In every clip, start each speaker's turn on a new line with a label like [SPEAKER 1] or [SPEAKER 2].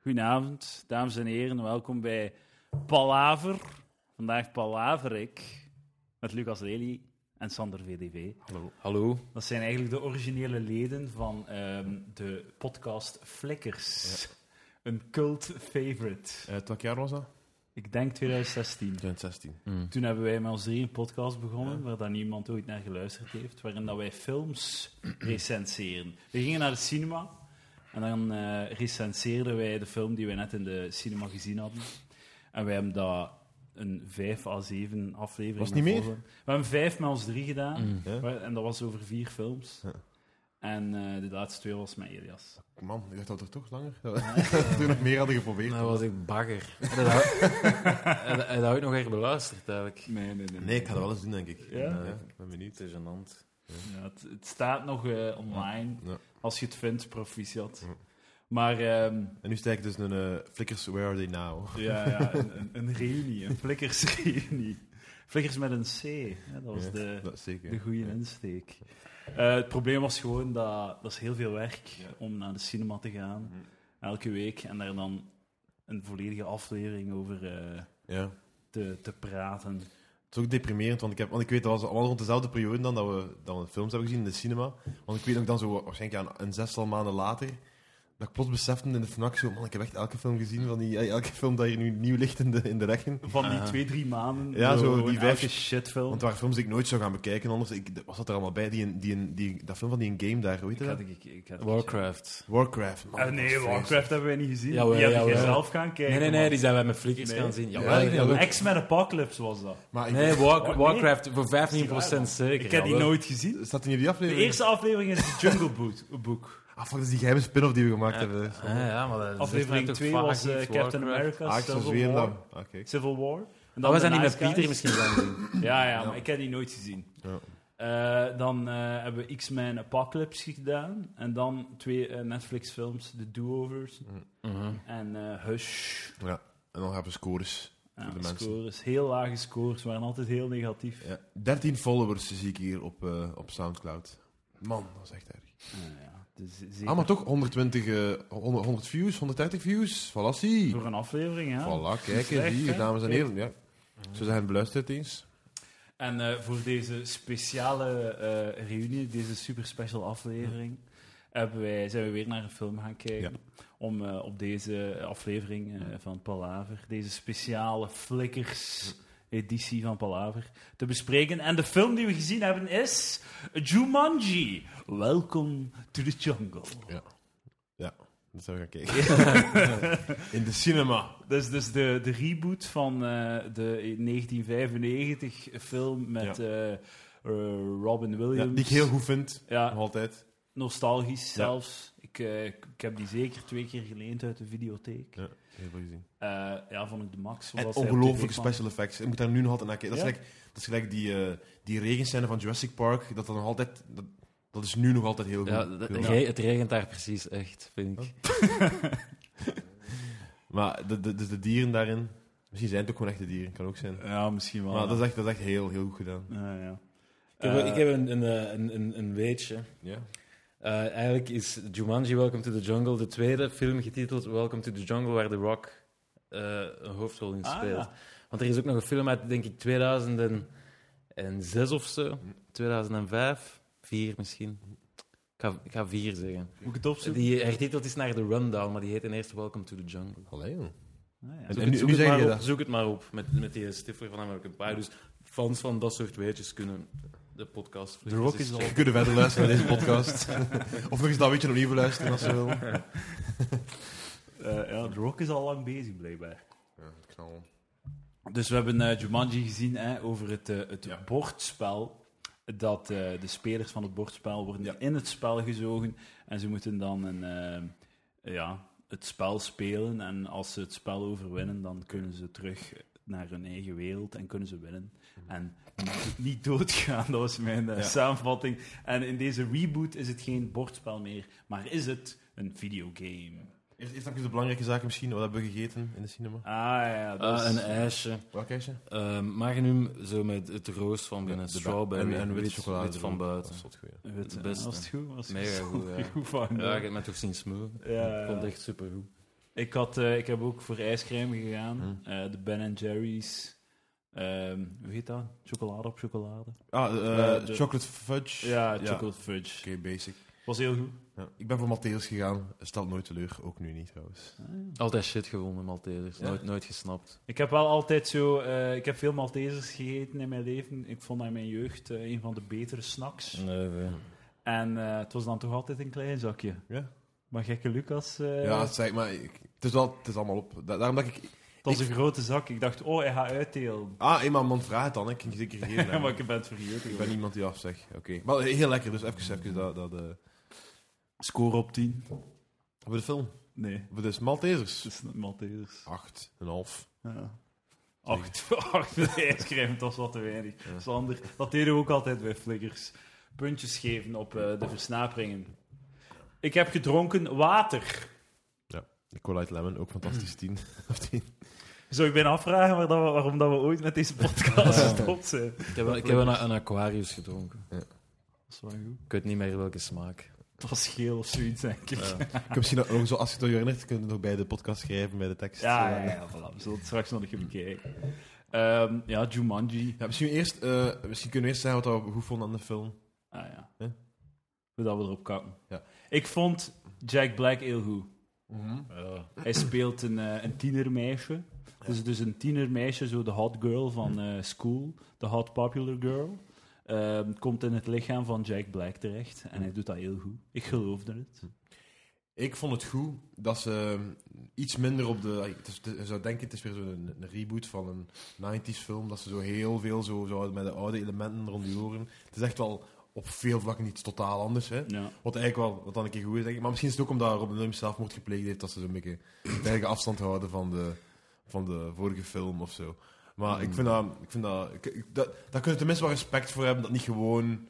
[SPEAKER 1] Goedenavond, dames en heren. Welkom bij Palaver. Vandaag Palaver ik met Lucas Lely en Sander VDV.
[SPEAKER 2] Hallo. Hallo.
[SPEAKER 1] Dat zijn eigenlijk de originele leden van ehm, de podcast Flikkers. Een cult favorite.
[SPEAKER 2] uit Eh, welk jaar was dat?
[SPEAKER 1] Ik denk 2016.
[SPEAKER 2] 2016.
[SPEAKER 3] Hmm.
[SPEAKER 1] Toen hebben wij met ons drie een podcast begonnen, waar dan niemand ooit naar geluisterd heeft, waarin dat wij films recenseren. We gingen naar de cinema en dan eh recenseerden wij de film die wij net in de cinema gezien hadden. En wij hebben dat een vijf à zeven afleveringen.
[SPEAKER 2] Was het niet meer?
[SPEAKER 1] volgen. We hebben vijf met ons drie gedaan,
[SPEAKER 2] Ja.
[SPEAKER 1] waar- en dat was over vier films.
[SPEAKER 2] Ja.
[SPEAKER 1] En eh, de laatste twee was met Elias.
[SPEAKER 2] Man, ik dacht dat we er toch langer. dat we toen nog meer hadden geprobeerd.
[SPEAKER 3] Nou was ik bagger. En dat had, en, en dat had ik nog even beluisterd, eigenlijk.
[SPEAKER 1] Nee, nee,
[SPEAKER 2] Nee, ik ga dat wel eens doen, denk ik. Eh,
[SPEAKER 1] Ja?
[SPEAKER 2] ik ben benieuwd.
[SPEAKER 3] is een hand.
[SPEAKER 1] Ja, het, het staat nog eh, online.
[SPEAKER 2] Ja.
[SPEAKER 1] Als je het vindt, proficiat.
[SPEAKER 2] Ja.
[SPEAKER 1] Maar ehm,
[SPEAKER 2] En nu sta ik dus een eh Flickers Where Are They Now?
[SPEAKER 1] ja, ja
[SPEAKER 2] eh,
[SPEAKER 1] een, een, een reunie, een flikkersreunie. Flikkers met een C, hè, dat was
[SPEAKER 2] Ja,
[SPEAKER 1] de,
[SPEAKER 2] Dat is zeker.
[SPEAKER 1] de goede
[SPEAKER 2] Ja.
[SPEAKER 1] insteek. Eh, het probleem was gewoon dat dat is heel veel werk om naar de cinema te gaan,
[SPEAKER 2] Mhm.
[SPEAKER 1] elke week, en daar dan een volledige aflevering over eh,
[SPEAKER 2] Ja. Het
[SPEAKER 1] te, te praten.
[SPEAKER 2] is ook deprimerend, want ik, heb, want ik weet dat was allemaal rond dezelfde periode dan dat we, dat we films hebben gezien in de cinema. Want ik weet ook dan zo waarschijnlijk ja, een zestal maanden later. Dat ik plots besefte in de FNAC zo, man, ik heb echt elke film gezien van die, eh, elke film dat hier nu nieuw ligt in de, in de rekken.
[SPEAKER 1] Van die
[SPEAKER 3] Ah.
[SPEAKER 1] twee, drie maanden,
[SPEAKER 2] Ja, zo
[SPEAKER 1] gewoon
[SPEAKER 2] die vijf-
[SPEAKER 1] elke shitfilm.
[SPEAKER 2] Want er waren films die ik nooit zou gaan bekijken, anders ik, was dat er allemaal bij. Die, een- die, een- die, dat film van die een game daar, hoe heet
[SPEAKER 1] Ik
[SPEAKER 2] dat?
[SPEAKER 1] had- ik- ik had-
[SPEAKER 3] Warcraft.
[SPEAKER 2] Warcraft. man,
[SPEAKER 1] Ah,
[SPEAKER 2] dat is
[SPEAKER 1] nee,
[SPEAKER 2] vreselijk.
[SPEAKER 1] Warcraft hebben wij niet gezien.
[SPEAKER 3] Jawel,
[SPEAKER 1] die hebben jij
[SPEAKER 3] jawel.
[SPEAKER 1] zelf gaan
[SPEAKER 3] Nee,
[SPEAKER 1] kijken.
[SPEAKER 3] nee, nee, die zijn wij met flikkers
[SPEAKER 1] Nee.
[SPEAKER 3] gaan zien.
[SPEAKER 2] Ja,
[SPEAKER 3] Jawel,
[SPEAKER 2] ik denk dat
[SPEAKER 3] jawel.
[SPEAKER 2] ook.
[SPEAKER 1] X-Men Apocalypse was dat.
[SPEAKER 2] Maar ik,
[SPEAKER 3] Nee,
[SPEAKER 1] Oh,
[SPEAKER 3] War-
[SPEAKER 1] nee.
[SPEAKER 3] Warcraft voor 15%
[SPEAKER 1] Ik,
[SPEAKER 3] zeker.
[SPEAKER 1] heb die
[SPEAKER 3] jawel.
[SPEAKER 1] nooit gezien.
[SPEAKER 2] staat die in die
[SPEAKER 1] De
[SPEAKER 2] aflevering?
[SPEAKER 1] eerste aflevering is de Jungle Boot, Book.
[SPEAKER 2] Ah, fuck, dat is die geheime spin-off die we gemaakt
[SPEAKER 3] Ja.
[SPEAKER 2] hebben.
[SPEAKER 3] Ah, ja, maar dat is
[SPEAKER 1] Aflevering
[SPEAKER 3] toch
[SPEAKER 1] 2
[SPEAKER 3] vaag
[SPEAKER 1] was
[SPEAKER 3] iets,
[SPEAKER 1] eh, Captain
[SPEAKER 3] Warcraft.
[SPEAKER 1] America,
[SPEAKER 2] Ah, ik zou
[SPEAKER 1] Civil
[SPEAKER 2] zweren
[SPEAKER 1] War.
[SPEAKER 2] dan. Ah, kijk.
[SPEAKER 1] Civil War. En
[SPEAKER 3] Maar Oh, we zijn
[SPEAKER 1] de
[SPEAKER 3] niet met
[SPEAKER 1] Nice Guys.
[SPEAKER 3] Pieter misschien gaan zien.
[SPEAKER 1] Ja, ja, maar
[SPEAKER 2] Ja.
[SPEAKER 1] ik heb die nooit gezien.
[SPEAKER 2] Ja.
[SPEAKER 1] Eh, dan eh, hebben we X-Men Apocalypse gedaan. En dan twee eh, Netflix-films, The Do-Overs
[SPEAKER 3] Mhm.
[SPEAKER 1] en eh, Hush.
[SPEAKER 2] En dan hebben we scores.
[SPEAKER 1] Ja,
[SPEAKER 2] Voor de mensen.
[SPEAKER 1] scores, heel lage scores, waren altijd heel negatief.
[SPEAKER 2] Ja. 13 followers zie ik hier op, eh, op Soundcloud. Man, dat is echt erg.
[SPEAKER 1] Ah, ja, dus zeker
[SPEAKER 2] Ah, maar toch 120, eh, 100, 100 views, 130 views. Voilà, zie.
[SPEAKER 1] Voor een aflevering, ja.
[SPEAKER 2] Voilà, kijk
[SPEAKER 1] Slecht,
[SPEAKER 2] eens, hier,
[SPEAKER 1] hè?
[SPEAKER 2] dames en heren. Ja. Ze zijn beluisterd eens.
[SPEAKER 1] En eh, voor deze speciale eh, reunie, deze super special aflevering, hebben wij, zijn we weer naar een film gaan kijken. Om eh, op deze aflevering eh, van Palaver, deze speciale Flickers-editie van Palaver, te bespreken. En de film die we gezien hebben is Jumanji. Welcome to the jungle.
[SPEAKER 2] Dat zijn we gaan kijken. in de cinema.
[SPEAKER 1] Dat is dus de, de reboot van eh, de 1995 film met
[SPEAKER 2] Ja.
[SPEAKER 1] eh, eh, Robin
[SPEAKER 2] Ja,
[SPEAKER 1] Williams.
[SPEAKER 2] die ik heel goed vind.
[SPEAKER 1] Ja,
[SPEAKER 2] Nog altijd.
[SPEAKER 1] Nostalgisch zelfs. Ik, eh, ik ik heb die zeker twee keer geleend uit de videotheek.
[SPEAKER 2] Ja, heel veel gezien.
[SPEAKER 1] Ja, ja vond ik de max.
[SPEAKER 2] En
[SPEAKER 1] zoals hij op
[SPEAKER 2] ongelooflijke
[SPEAKER 1] tv kwam.
[SPEAKER 2] special effects. Ik moet daar nu nog altijd naar kijken. Dat,
[SPEAKER 1] Ja?
[SPEAKER 2] is gelijk, dat is gelijk die, eh, die regenscène van Jurassic Park. Dat, dat, nog altijd, dat, dat is nu nog altijd heel goed.
[SPEAKER 3] Ja, Oh. dat-
[SPEAKER 2] Ik wil-
[SPEAKER 3] het re- het regent daar precies echt, vind ik.
[SPEAKER 2] Maar de, de, dus de dieren daarin... Misschien zijn het ook gewoon echte dieren. Kan ook zijn.
[SPEAKER 1] Ja, misschien wel.
[SPEAKER 2] Eh, Maar dat is echt, dat is echt heel, heel goed gedaan.
[SPEAKER 1] Ja, ja.
[SPEAKER 4] Ik heb,
[SPEAKER 1] Eh,
[SPEAKER 4] ik heb een, een, eh, een, een, een weetje.
[SPEAKER 2] Ja.
[SPEAKER 4] Eh, eigenlijk is Jumanji Welcome to the Jungle de tweede film getiteld Welcome to the Jungle, waar The Rock eh, een hoofdrol in
[SPEAKER 1] Ah,
[SPEAKER 4] speelt.
[SPEAKER 1] ja.
[SPEAKER 4] Want er is ook nog een film uit, denk ik, 2006 of zo. 2005, 4 misschien. Ik ga, ik ga 4 zeggen.
[SPEAKER 1] Moet ik het opzoeken?
[SPEAKER 4] Die hertiteld is naar The Rundown, maar die heet in eerste Welcome to the Jungle.
[SPEAKER 2] Allee, joh.
[SPEAKER 1] Ah, ja.
[SPEAKER 2] En-
[SPEAKER 4] Zoek,
[SPEAKER 2] nu-
[SPEAKER 4] het, zoek,
[SPEAKER 2] nu
[SPEAKER 4] het
[SPEAKER 2] zeg
[SPEAKER 4] maar
[SPEAKER 2] je
[SPEAKER 4] op,
[SPEAKER 2] dat.
[SPEAKER 4] zoek het maar op met, met die stiffer van American Pie. Dus fans van dat soort weetjes kunnen de podcast...
[SPEAKER 1] The Rock is al-
[SPEAKER 2] Je kunt verder luisteren naar deze podcast. of nog eens dat beetje opnieuw luisteren als je wil. Ja,
[SPEAKER 1] Eh, ja, de Rock is al lang bezig, blijkbaar.
[SPEAKER 2] het knal.
[SPEAKER 1] Dus we hebben eh, Jumanji gezien hè, over het, eh, het
[SPEAKER 2] Ja.
[SPEAKER 1] bordspel. Dat eh, de spelers van het bordspel worden
[SPEAKER 2] Ja.
[SPEAKER 1] in het spel gezogen. En ze moeten dan een, eh, ja, het spel spelen. En als ze het spel overwinnen, dan kunnen ze terug naar hun eigen wereld en kunnen ze winnen. En niet- niet doodgaan, dat was mijn eh,
[SPEAKER 2] Ja.
[SPEAKER 1] samenvatting. En in deze reboot is het geen bordspel meer, maar is het een videogame.
[SPEAKER 2] Eerst, eerst even de belangrijke zaken misschien. Wat hebben we gegeten in de cinema?
[SPEAKER 1] Ah ja, dat
[SPEAKER 3] Eh,
[SPEAKER 1] is...
[SPEAKER 3] een ijsje.
[SPEAKER 2] Welk ijsje?
[SPEAKER 3] Eh,
[SPEAKER 4] Ehm,
[SPEAKER 3] magnum, zo met het roos van binnen.
[SPEAKER 2] De- de-
[SPEAKER 3] strawberry.
[SPEAKER 2] En, en
[SPEAKER 3] wit,
[SPEAKER 2] witte chocolade.
[SPEAKER 3] wit van
[SPEAKER 2] erop.
[SPEAKER 3] buiten.
[SPEAKER 2] Dat is tot goed, ja.
[SPEAKER 1] Weet-
[SPEAKER 3] het beste.
[SPEAKER 1] Was het goed? Was het
[SPEAKER 3] Mega goed, ja.
[SPEAKER 1] goed van,
[SPEAKER 3] Ja, ik heb mij toch zien smoren.
[SPEAKER 1] Ja,
[SPEAKER 3] Ik vond het echt supergoed.
[SPEAKER 1] Ik, had, eh, ik heb ook voor ijscrème gegaan.
[SPEAKER 2] Hm.
[SPEAKER 1] Eh, de Ben Jerry's. ehm, hoe heet dat? Chocolade op chocolade.
[SPEAKER 2] Ah, eh,
[SPEAKER 1] Eh, de-
[SPEAKER 2] chocolate fudge.
[SPEAKER 1] Ja, chocolate fudge.
[SPEAKER 2] Oké, basic.
[SPEAKER 1] Was heel goed.
[SPEAKER 2] Ja. Ik ben voor Matthäus gegaan. Stelt nooit teleur, ook nu niet trouwens.
[SPEAKER 4] Altijd shit gevonden, Maltesers.
[SPEAKER 1] Ja.
[SPEAKER 4] Nooit, nooit gesnapt.
[SPEAKER 1] Ik heb wel altijd zo... eh, ik heb veel Maltesers gegeten in mijn leven. Ik vond dat in mijn jeugd eh, een van de betere snacks.
[SPEAKER 2] Hm.
[SPEAKER 4] Nee,
[SPEAKER 1] En eh, het was dan toch altijd een klein zakje.
[SPEAKER 2] Ja.
[SPEAKER 1] Maar gekke Lucas... eh,
[SPEAKER 2] Ja, zeg maar, ik- het, is wel, het is allemaal op. Da- daarom dat ik.
[SPEAKER 1] het was een grote zak. Ik dacht, oh, hij gaat uitdelen.
[SPEAKER 2] Ah, eenmaal man vraagt het dan, ik kan je zeker geven. hè.
[SPEAKER 1] maar ik ben het vergeten.
[SPEAKER 2] ik ben iemand die afzegt. Oké. Maar heel lekker, dus even, even dat. dat eh,
[SPEAKER 1] Score op 10.
[SPEAKER 2] Voor de film.
[SPEAKER 1] Nee,
[SPEAKER 2] Voor de Maltesers.
[SPEAKER 1] het is een Maltesers.
[SPEAKER 2] Acht, een half.
[SPEAKER 1] Ja. Acht, acht voor de ijscrème, dat was wat te weinig. Sander, dat deden we ook altijd bij flikkers. Puntjes geven op eh, de versnaperingen. Ik heb gedronken water.
[SPEAKER 2] De Cola Light Lemon, ook fantastisch. Tien. Of tien.
[SPEAKER 1] Zou ik bijna afvragen waar dat we- waarom dat we ooit met deze podcast
[SPEAKER 4] Ja.
[SPEAKER 1] gestopt zijn?
[SPEAKER 4] Ik heb, ik heb een, een Aquarius gedronken.
[SPEAKER 1] Dat is wel goed.
[SPEAKER 4] Ik weet niet meer welke smaak.
[SPEAKER 1] Het was geel of zoiets, denk ik. Ja,
[SPEAKER 2] Ik heb misschien nog, zo, als je het nog herinnert, kun je het nog bij de podcast schrijven, bij de tekst.
[SPEAKER 1] ja, ja,
[SPEAKER 2] Eh,
[SPEAKER 1] voilà. We zullen het straks nog even bekijken. Ehm, ja, Jumanji.
[SPEAKER 2] Ja, misschien, eerst, eh, misschien kunnen we eerst zeggen wat we goed vonden aan de film.
[SPEAKER 1] Ah ja.
[SPEAKER 2] Huh?
[SPEAKER 1] Voordat we erop kakken.
[SPEAKER 2] Ja.
[SPEAKER 1] Ik vond Jack Black heel goed. Mhm. Eh, Hij speelt een, eh, een tienermeisje. Dus, dus een tienermeisje, zo de hot girl van eh, school, de hot popular girl, ehm, komt in het lichaam van Jack Black terecht. En hij doet dat heel goed. Ik geloofde het.
[SPEAKER 2] Ik vond het goed dat ze eh, iets minder op de. het is- het- je zou denken, het is weer zo'n een reboot van een 90s film. Dat ze zo heel veel zo, zo met de oude elementen rond die horen. Het is echt wel op veel vlakken iets totaal anders. Hè?
[SPEAKER 1] Ja.
[SPEAKER 2] Wat eigenlijk wel wat dan een keer goed is, denk ik. Maar misschien is het ook omdat Robin Williams zelfmoord gepleegd heeft, dat ze zo'n beetje een eigen afstand houden van de, van de vorige film of zo. Maar ik vind dat... Ik vind dat, ik- ik- dat daar kunnen we tenminste wel respect voor hebben, dat niet gewoon...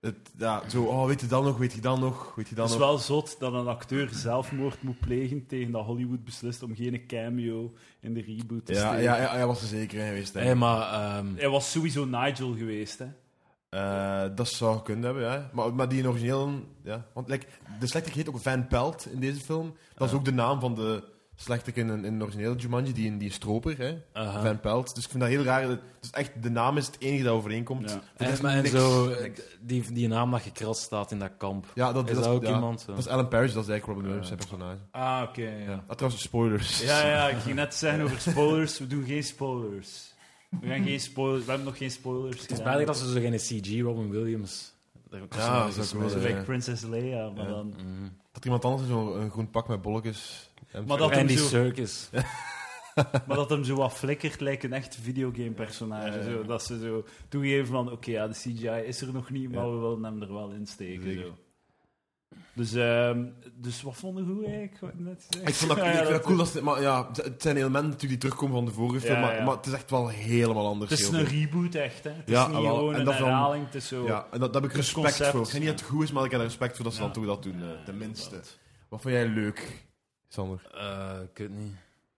[SPEAKER 2] Het, ja, zo, oh, weet je dan nog, weet je dan nog, weet je dan
[SPEAKER 1] Het is
[SPEAKER 2] nog.
[SPEAKER 1] wel zot dat een acteur zelfmoord moet plegen tegen dat Hollywood beslist om geen cameo in de reboot te
[SPEAKER 2] Ja,
[SPEAKER 1] steken.
[SPEAKER 2] ja, ja, ja, was er zeker in geweest.
[SPEAKER 4] Hé,
[SPEAKER 2] denk ik.
[SPEAKER 4] maar... ehm,
[SPEAKER 1] Hij was sowieso Nigel geweest, hè.
[SPEAKER 2] Eh, dat zou kunnen hebben, ja. Maar, maar die in origineel... Ja. Want like, de slechterik heet ook Van Pelt in deze film. Dat is ook de naam van de slechterik in, in de originele Jumanji, die, in- die stroper, hè.
[SPEAKER 4] aha.
[SPEAKER 2] Van Pelt. Dus ik vind dat heel raar. dat- Dus echt, de naam is het enige dat overeenkomt.
[SPEAKER 1] Ja.
[SPEAKER 2] Er is
[SPEAKER 4] En, eh, maar en
[SPEAKER 2] niks-
[SPEAKER 4] zo,
[SPEAKER 2] niks.
[SPEAKER 4] die, die naam dat gekrast staat in dat kamp.
[SPEAKER 2] Ja, dat,
[SPEAKER 4] Is
[SPEAKER 2] dat,
[SPEAKER 4] dat ook
[SPEAKER 2] ja.
[SPEAKER 4] iemand? eh? Zo?
[SPEAKER 2] Dat is Alan Parrish, dat is eigenlijk Robin Williams, zijn personage.
[SPEAKER 1] Ah, oké, ja.
[SPEAKER 2] Ah, trouwens, spoilers.
[SPEAKER 1] Ja, ja, ik ging net zeggen over spoilers. We doen geen spoilers. We gaan geen spoilers. We hebben nog geen spoilers
[SPEAKER 4] Het is pijnlijk dat ze zo geen CG Robin Williams... daar-
[SPEAKER 2] Ja, dat is ook
[SPEAKER 4] gesmeed
[SPEAKER 2] wel, Mm.
[SPEAKER 1] Zo
[SPEAKER 4] hebben.
[SPEAKER 1] like
[SPEAKER 2] Ja.
[SPEAKER 1] Princess Leia, maar
[SPEAKER 2] eh, Ja.
[SPEAKER 1] dan...
[SPEAKER 4] Mhm.
[SPEAKER 2] Dat er iemand anders in zo'n groen pak met bolletjes... hem-
[SPEAKER 1] Maar dat- hem
[SPEAKER 4] En die
[SPEAKER 1] zo-
[SPEAKER 4] circus.
[SPEAKER 1] Maar dat hem zo wat flikkert lijkt een echt videogame-personage.
[SPEAKER 2] Ja, ja, ja.
[SPEAKER 1] Zo, dat ze zo toegeven van, oké, ja, de CGI is er nog niet, maar
[SPEAKER 2] Ja.
[SPEAKER 1] we willen hem er wel in steken.
[SPEAKER 2] Zeker.
[SPEAKER 1] Zo. Dus, ehm, dus wat vonden we goed eigenlijk? Wat ik net zei?
[SPEAKER 2] Ik vond dat,
[SPEAKER 1] Ja,
[SPEAKER 2] ik
[SPEAKER 1] ja,
[SPEAKER 2] vind dat
[SPEAKER 1] dat-
[SPEAKER 2] cool, dat ze- maar ja, het- het zijn elementen natuurlijk die terugkomen van de vorige film,
[SPEAKER 1] Ja,
[SPEAKER 2] maar,
[SPEAKER 1] ja.
[SPEAKER 2] maar het is echt wel helemaal anders.
[SPEAKER 1] Het is
[SPEAKER 2] heel
[SPEAKER 1] een
[SPEAKER 2] veel.
[SPEAKER 1] reboot echt, hè. Het
[SPEAKER 2] Ja,
[SPEAKER 1] is niet
[SPEAKER 2] wel,
[SPEAKER 1] gewoon
[SPEAKER 2] en
[SPEAKER 1] een
[SPEAKER 2] dat van-
[SPEAKER 1] herhaling, het is zo...
[SPEAKER 2] Ja, en dat, daar heb ik
[SPEAKER 1] Het
[SPEAKER 2] respect
[SPEAKER 1] concept.
[SPEAKER 2] voor. Ik zeg niet dat het goed is, maar ik heb er respect voor dat ze
[SPEAKER 1] Ja.
[SPEAKER 2] dan toch dat doen, eh, tenminste. Wat vond jij leuk, Sander?
[SPEAKER 4] Eh, ik weet niet.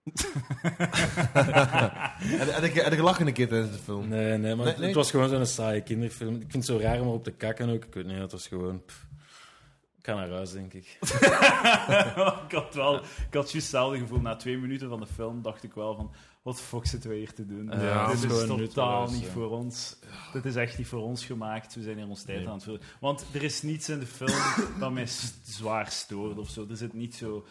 [SPEAKER 2] Heb heb ik heb ik gelachen een keer tijdens de film?
[SPEAKER 4] Nee, nee, maar
[SPEAKER 2] Nee, nee.
[SPEAKER 4] het was gewoon zo'n saaie kinderfilm. Ik vind het zo raar om erop te kakken ook. Ik weet niet, het was gewoon... pff. Ik ga naar huis, denk ik.
[SPEAKER 1] Oh, ik had wel, ik had juist hetzelfde gevoel. Na twee minuten van de film dacht ik wel van, wat de fuck zitten we hier te doen?
[SPEAKER 4] Ja,
[SPEAKER 1] dit
[SPEAKER 4] het is
[SPEAKER 1] is
[SPEAKER 4] gewoon
[SPEAKER 1] totaal
[SPEAKER 4] nutteloos,
[SPEAKER 1] niet
[SPEAKER 4] ja.
[SPEAKER 1] voor ons. Dit is echt niet voor ons gemaakt. We zijn hier ons tijd aan het vullen. Want er is niets in de film dat mij s- zwaar stoort of zo. Er zit niet zo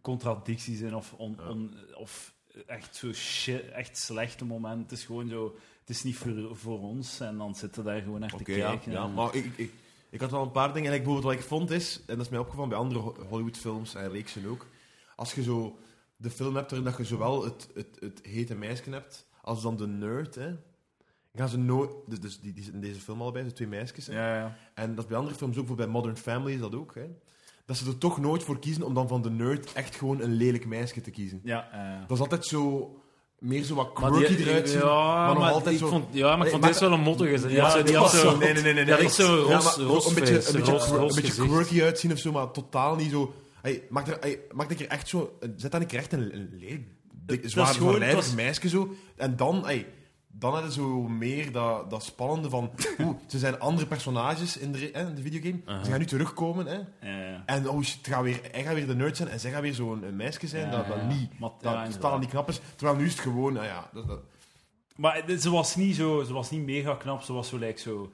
[SPEAKER 1] contradicties in of, on, on- of echt zo shit, echt slechte momenten. Het is gewoon zo, het is niet voor, voor ons. En dan zitten we daar gewoon naar
[SPEAKER 2] Oké,
[SPEAKER 1] te
[SPEAKER 2] ja,
[SPEAKER 1] kijken.
[SPEAKER 2] ja,
[SPEAKER 1] En-
[SPEAKER 2] maar ik, ik, ik had wel een paar dingen. En ik, bijvoorbeeld wat ik vond is, en dat is mij opgevallen bij andere Ho- Hollywoodfilms en reeksen ook, als je zo de film hebt waarin dat je zowel het, het, het hete meisje hebt, als dan de nerd, hè, gaan ze nooit... Dus, dus die, die zitten in deze film allebei, de twee meisjes. hè.
[SPEAKER 1] ja, ja.
[SPEAKER 2] En dat is bij andere films ook, voor bij Modern Family is dat ook, hè. Dat ze er toch nooit voor kiezen om dan van de nerd echt gewoon een lelijk meisje te kiezen.
[SPEAKER 1] ja, ja.
[SPEAKER 2] Dat is altijd zo... Meer zo wat quirky
[SPEAKER 4] die-
[SPEAKER 2] eruit zien.
[SPEAKER 4] ja, maar,
[SPEAKER 2] nog altijd
[SPEAKER 4] ik
[SPEAKER 2] zo-
[SPEAKER 4] vond, ja, maar
[SPEAKER 2] Nee,
[SPEAKER 4] ik vond
[SPEAKER 2] maar-
[SPEAKER 4] dit wel een mottige. Die
[SPEAKER 1] Ja,
[SPEAKER 4] had zo- die had
[SPEAKER 1] dat
[SPEAKER 4] zo-
[SPEAKER 1] was
[SPEAKER 2] Nee, nee, nee, nee.
[SPEAKER 4] Ja,
[SPEAKER 2] nee.
[SPEAKER 4] dat is zo'n ros-
[SPEAKER 2] maar
[SPEAKER 4] ros
[SPEAKER 2] Een beetje,
[SPEAKER 4] face,
[SPEAKER 2] een beetje,
[SPEAKER 4] ros-
[SPEAKER 2] quir-
[SPEAKER 4] ros
[SPEAKER 2] een beetje
[SPEAKER 4] gezicht.
[SPEAKER 2] quirky uitzien of zo, maar totaal niet zo... Hey, maak, er, hey, maak dat je echt zo... Zet dan een keer echt een, een lelijk, dik,
[SPEAKER 1] Dat is
[SPEAKER 2] zwaar,
[SPEAKER 1] gewoon-
[SPEAKER 2] zwaarlijvig
[SPEAKER 1] dat is-
[SPEAKER 2] meisje zo. En dan... Hey, dan hadden ze zo meer dat, dat spannende van... Oeh, ze zijn andere personages in de, re- hè, in de videogame.
[SPEAKER 4] Aha.
[SPEAKER 2] Ze gaan nu terugkomen, hè.
[SPEAKER 1] Ja.
[SPEAKER 2] En oh shit, het gaat weer, hij gaat weer de nerd zijn en zij gaat weer zo'n een meisje zijn dat, dat niet...
[SPEAKER 1] Maar,
[SPEAKER 2] Dat
[SPEAKER 1] ja,
[SPEAKER 2] totaal
[SPEAKER 1] inderdaad.
[SPEAKER 2] niet knap is. Terwijl nu is het gewoon, nou ja... Dat, dat-
[SPEAKER 1] maar dit- ze was niet zo, ze was niet mega knap, ze was zo like zo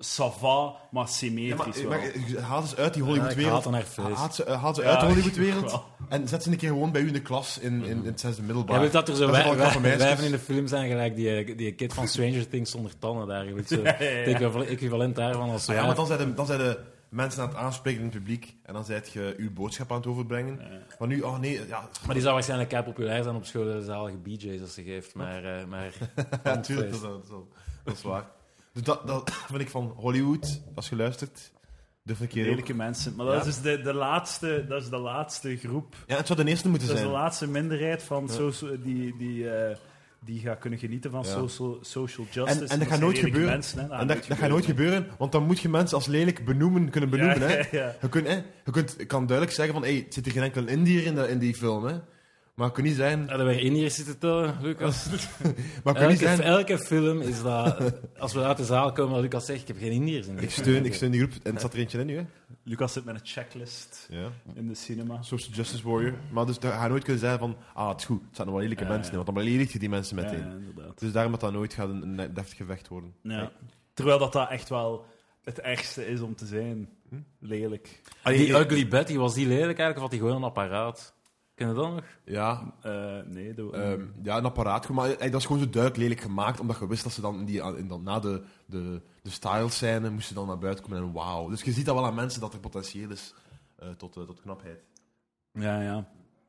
[SPEAKER 1] sava, maar
[SPEAKER 2] Ja,
[SPEAKER 1] symmetrisch
[SPEAKER 2] maar,
[SPEAKER 1] wel.
[SPEAKER 2] maar eh, haal ze uit die
[SPEAKER 4] ik haat
[SPEAKER 2] Hollywood-wereld.
[SPEAKER 4] dan haar vlees.
[SPEAKER 2] haal ze, eh, haal ze
[SPEAKER 1] Ja,
[SPEAKER 2] uit de
[SPEAKER 1] ik
[SPEAKER 2] Hollywood-wereld.
[SPEAKER 1] wel.
[SPEAKER 2] En zet ze een keer gewoon bij u in de klas in, in, in het zesde middelbaar.
[SPEAKER 4] Jij wilt dat er zo
[SPEAKER 2] Dat is wel
[SPEAKER 4] wij-
[SPEAKER 2] knap van
[SPEAKER 4] wij-
[SPEAKER 2] meisjes.
[SPEAKER 4] wijven in de film zijn gelijk die, eh, die kid van Stranger Things zonder tanden daar. eigenlijk
[SPEAKER 1] Ja,
[SPEAKER 4] Zo.
[SPEAKER 1] ja, ja.
[SPEAKER 4] Het equival- equivalent daarvan als
[SPEAKER 2] Ah ja,
[SPEAKER 4] wij-
[SPEAKER 2] maar dan zijn, de, dan zijn de mensen aan het aanspreken in het publiek en dan zijt je uw boodschap aan het overbrengen. Maar nu, oh nee, ja,
[SPEAKER 4] Maar die zou waarschijnlijk kei populair zijn op school, de zalige BJ's als ze geeft. Maar, eh, maar
[SPEAKER 2] natuurlijk, dat, is- dat, is wel- dat is waar. Dus dat, dat vind ik van Hollywood, als je luistert, durf een keer ook.
[SPEAKER 1] Lelijke mensen. Maar dat
[SPEAKER 2] Ja.
[SPEAKER 1] is dus de, de, laatste, dat is de laatste groep.
[SPEAKER 2] Ja, het zou de eerste moeten
[SPEAKER 1] Dat is de
[SPEAKER 2] zijn.
[SPEAKER 1] laatste minderheid van social, die, die, eh, die gaat kunnen genieten van
[SPEAKER 2] Ja.
[SPEAKER 1] social, social justice.
[SPEAKER 2] En- en dat gaat
[SPEAKER 1] zijn
[SPEAKER 2] nooit
[SPEAKER 1] lelijke
[SPEAKER 2] gebeuren.
[SPEAKER 1] mensen, hè. Nou,
[SPEAKER 2] En dat, dat gaat nooit gebeuren, want dan moet je mensen als lelijk benoemen, kunnen
[SPEAKER 1] Ja,
[SPEAKER 2] benoemen. Hè.
[SPEAKER 1] ja, ja.
[SPEAKER 2] Je, kunt, hè, je kunt, je kan duidelijk zeggen van, hey, het zit er geen enkel Indiër in, dat- in die film. Hè. Maar het kan niet zijn...
[SPEAKER 4] hadden we in hier zitten tellen, Lucas.
[SPEAKER 2] Maar het kan niet
[SPEAKER 4] Elke,
[SPEAKER 2] zijn...
[SPEAKER 4] elke film is dat, als we uit de zaal komen, dat Lucas zegt, ik heb geen Indiërs in
[SPEAKER 2] Ik
[SPEAKER 4] dit.
[SPEAKER 2] steun, ik steun die groep. En het zat er eentje in nu, hè.
[SPEAKER 1] Lucas zit met een checklist
[SPEAKER 2] Ja.
[SPEAKER 1] in de cinema.
[SPEAKER 2] Social Justice Warrior. Maar dus daar ga je nooit kunnen zeggen van, ah, het is goed, het zijn nog wel lelijke
[SPEAKER 1] Ja,
[SPEAKER 2] mensen
[SPEAKER 1] ja.
[SPEAKER 2] in, want dan beledig je die mensen meteen.
[SPEAKER 1] Ja, inderdaad.
[SPEAKER 2] Dus daarom dat dat nooit gaat een, een deftig gevecht worden.
[SPEAKER 1] Ja. Terwijl dat, dat echt wel het ergste is om te zijn.
[SPEAKER 2] Hm?
[SPEAKER 1] Lelijk.
[SPEAKER 4] Die Ugly Betty, was die lelijk eigenlijk, of had die gewoon een apparaat? Ken je dat nog?
[SPEAKER 2] Ja,
[SPEAKER 1] Eh, nee, dat
[SPEAKER 2] ehm, ja, een apparaat. gewoon, Maar eh, dat is gewoon zo duidelijk lelijk gemaakt, omdat je wist dat ze dan, in die, ah, in dan na de, de, de style-scène moesten dan naar buiten komen en wauw. Dus je ziet dat wel aan mensen dat er potentieel is eh, tot, eh, tot knapheid.
[SPEAKER 1] Ja, ja. Want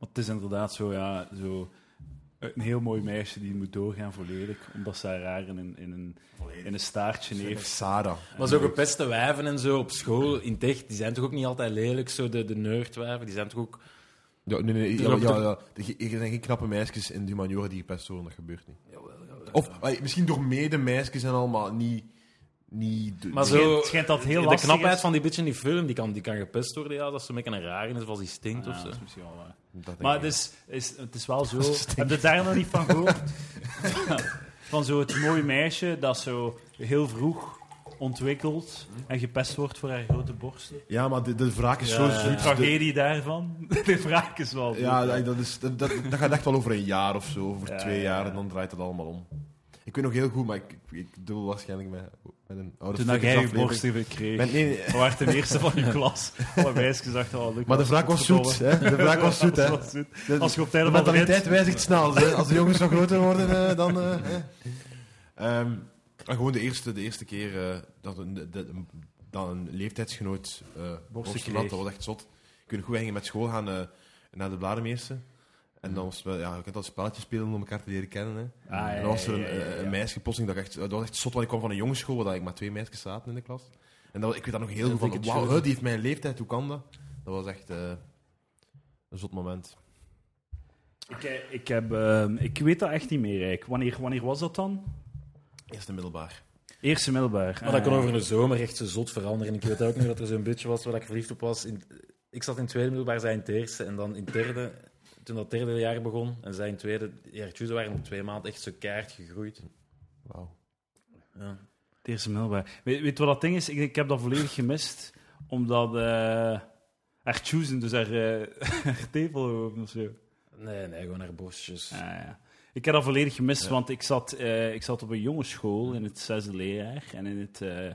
[SPEAKER 1] het is inderdaad zo, ja, zo eh, een heel mooi meisje die moet doorgaan voor lelijk, omdat ze haar haar in een, in een, in een staartje heeft.
[SPEAKER 2] Sarah.
[SPEAKER 4] Maar zo gepeste wijven en zo op school, in tech, die zijn toch ook niet altijd lelijk, zo de, de nerdwijven, die zijn toch ook...
[SPEAKER 2] Ja, nee, nee,
[SPEAKER 4] Dus
[SPEAKER 2] ja,
[SPEAKER 4] dat
[SPEAKER 2] ja,
[SPEAKER 4] betekent-
[SPEAKER 2] ja. Er er zijn geen knappe meisjes in de humaniora die gepest worden, dat gebeurt niet. Of eh, misschien door mede meisjes en al, maar niet... niet
[SPEAKER 4] Maar
[SPEAKER 1] Het schijnt-
[SPEAKER 4] zo-
[SPEAKER 1] het schijnt dat het heel
[SPEAKER 4] de
[SPEAKER 1] lastig
[SPEAKER 4] knapheid
[SPEAKER 1] is.
[SPEAKER 4] van die bitch in die film, die kan, die kan gepest worden, ja, dat ze een beetje een raar is, of als die stinkt
[SPEAKER 1] Ja,
[SPEAKER 4] of zo.
[SPEAKER 1] dat is misschien wel eh, waar.
[SPEAKER 2] dat denk
[SPEAKER 1] Maar
[SPEAKER 2] ik
[SPEAKER 1] het
[SPEAKER 2] wel.
[SPEAKER 1] is, is, het is wel zo... Heb je daar nog niet van gehoord? Van- van zo het mooie meisje dat zo heel vroeg ontwikkelt en gepest wordt voor haar grote borsten.
[SPEAKER 2] Ja, maar de, de wraak is
[SPEAKER 4] Ja,
[SPEAKER 2] zo
[SPEAKER 4] ja.
[SPEAKER 1] De
[SPEAKER 2] zoet. De-
[SPEAKER 1] tragedie daarvan, de vraag is wel...
[SPEAKER 2] ja, dat- dat, is, dat, dat, dat gaat echt wel over een jaar of zo, over
[SPEAKER 1] Ja,
[SPEAKER 2] twee
[SPEAKER 1] ja,
[SPEAKER 2] jaar,
[SPEAKER 1] ja.
[SPEAKER 2] en dan draait het allemaal om. Ik weet nog heel goed, maar ik, ik, ik dubbel waarschijnlijk met, met een oude
[SPEAKER 1] Toen dat jij je
[SPEAKER 2] flikkers aflevering.
[SPEAKER 1] borsten kreeg.
[SPEAKER 2] Met- nee, nee,
[SPEAKER 1] We waren ten eerste van je klas. Alle meisjes dachten al.
[SPEAKER 2] maar de wraak was zoet, hè? De wraak was zoet, hè? De,
[SPEAKER 1] Als je op tijd
[SPEAKER 2] de
[SPEAKER 1] op het
[SPEAKER 2] mentaliteit wijzigt snel. Hè? Als de jongens nog groter worden, eh, dan... eh, hè. Ehm, maar gewoon de eerste, de eerste keer eh, dat, een, de- de- dat een leeftijdsgenoot eh borsten had,
[SPEAKER 1] kreeg.
[SPEAKER 2] dat was echt zot. Ik weet nog goed, wij gingen met school gaan eh, naar de Blademeersen. En dan was het wel- ja, je kunt dat spelletje spelen om elkaar te leren kennen. Hè.
[SPEAKER 1] Ah, ja,
[SPEAKER 2] en dan was er een,
[SPEAKER 1] ja, ja, ja.
[SPEAKER 2] een meisje plotseling, dat, ik echt, dat was echt zot, want ik kwam van een jongensschool waar ik maar twee meisjes zaten in de klas. En dat, ik weet dat nog heel
[SPEAKER 4] Dat
[SPEAKER 2] goed van,
[SPEAKER 4] ik het
[SPEAKER 2] wauw,
[SPEAKER 4] zo-
[SPEAKER 2] hè, die heeft mijn leeftijd, hoe kan dat? Dat was echt eh, een zot moment.
[SPEAKER 1] Ik, eh, ik, heb, ehm, ik weet dat echt niet meer, Rijk. Wanneer, wanneer was dat dan?
[SPEAKER 2] Eerste middelbaar.
[SPEAKER 1] Eerste
[SPEAKER 2] Ah,
[SPEAKER 1] middelbaar.
[SPEAKER 4] Maar dat kon
[SPEAKER 1] Eh,
[SPEAKER 4] over de zomer echt zo zot veranderen. Ik weet ook nog dat er zo'n bitch was waar ik verliefd op was. In, ik zat in het tweede middelbaar, zij in het eerste. En dan in het derde, toen dat derde jaar begon, en zij in het tweede jaartje, ze waren op twee maanden echt zo keihard gegroeid.
[SPEAKER 2] Wauw.
[SPEAKER 4] Ja.
[SPEAKER 1] Het eerste middelbaar. Weet, weet wat dat ding is? Ik, ik heb dat volledig gemist. Omdat... eh haar chosen, dus haar, eh, haar tevelhoofd of zo.
[SPEAKER 4] Nee, nee, gewoon haar borstjes.
[SPEAKER 1] Ah, ja. Ik heb dat volledig gemist, want ik zat, eh, ik zat op een jongensschool in het zesde leerjaar. En in het, eh,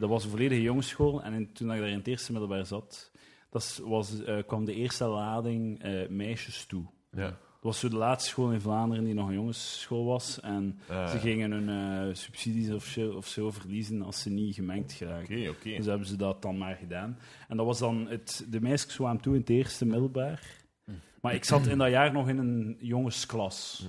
[SPEAKER 1] dat was een volledige jongensschool. En in- toen ik daar in het eerste middelbaar zat, dat is- was, eh, kwam de eerste lading eh, meisjes toe.
[SPEAKER 2] Ja.
[SPEAKER 1] Dat was zo de laatste school in Vlaanderen die nog een jongensschool was. En ze gingen hun eh, subsidies of zo, of zo verliezen als ze niet gemengd geraken.
[SPEAKER 2] Oké, oké.
[SPEAKER 1] Dus hebben ze dat dan maar gedaan. En dat was dan het, de meisjes kwamen toe in het eerste middelbaar.
[SPEAKER 2] Mm.
[SPEAKER 1] Maar ik zat in dat jaar nog in een jongensklas.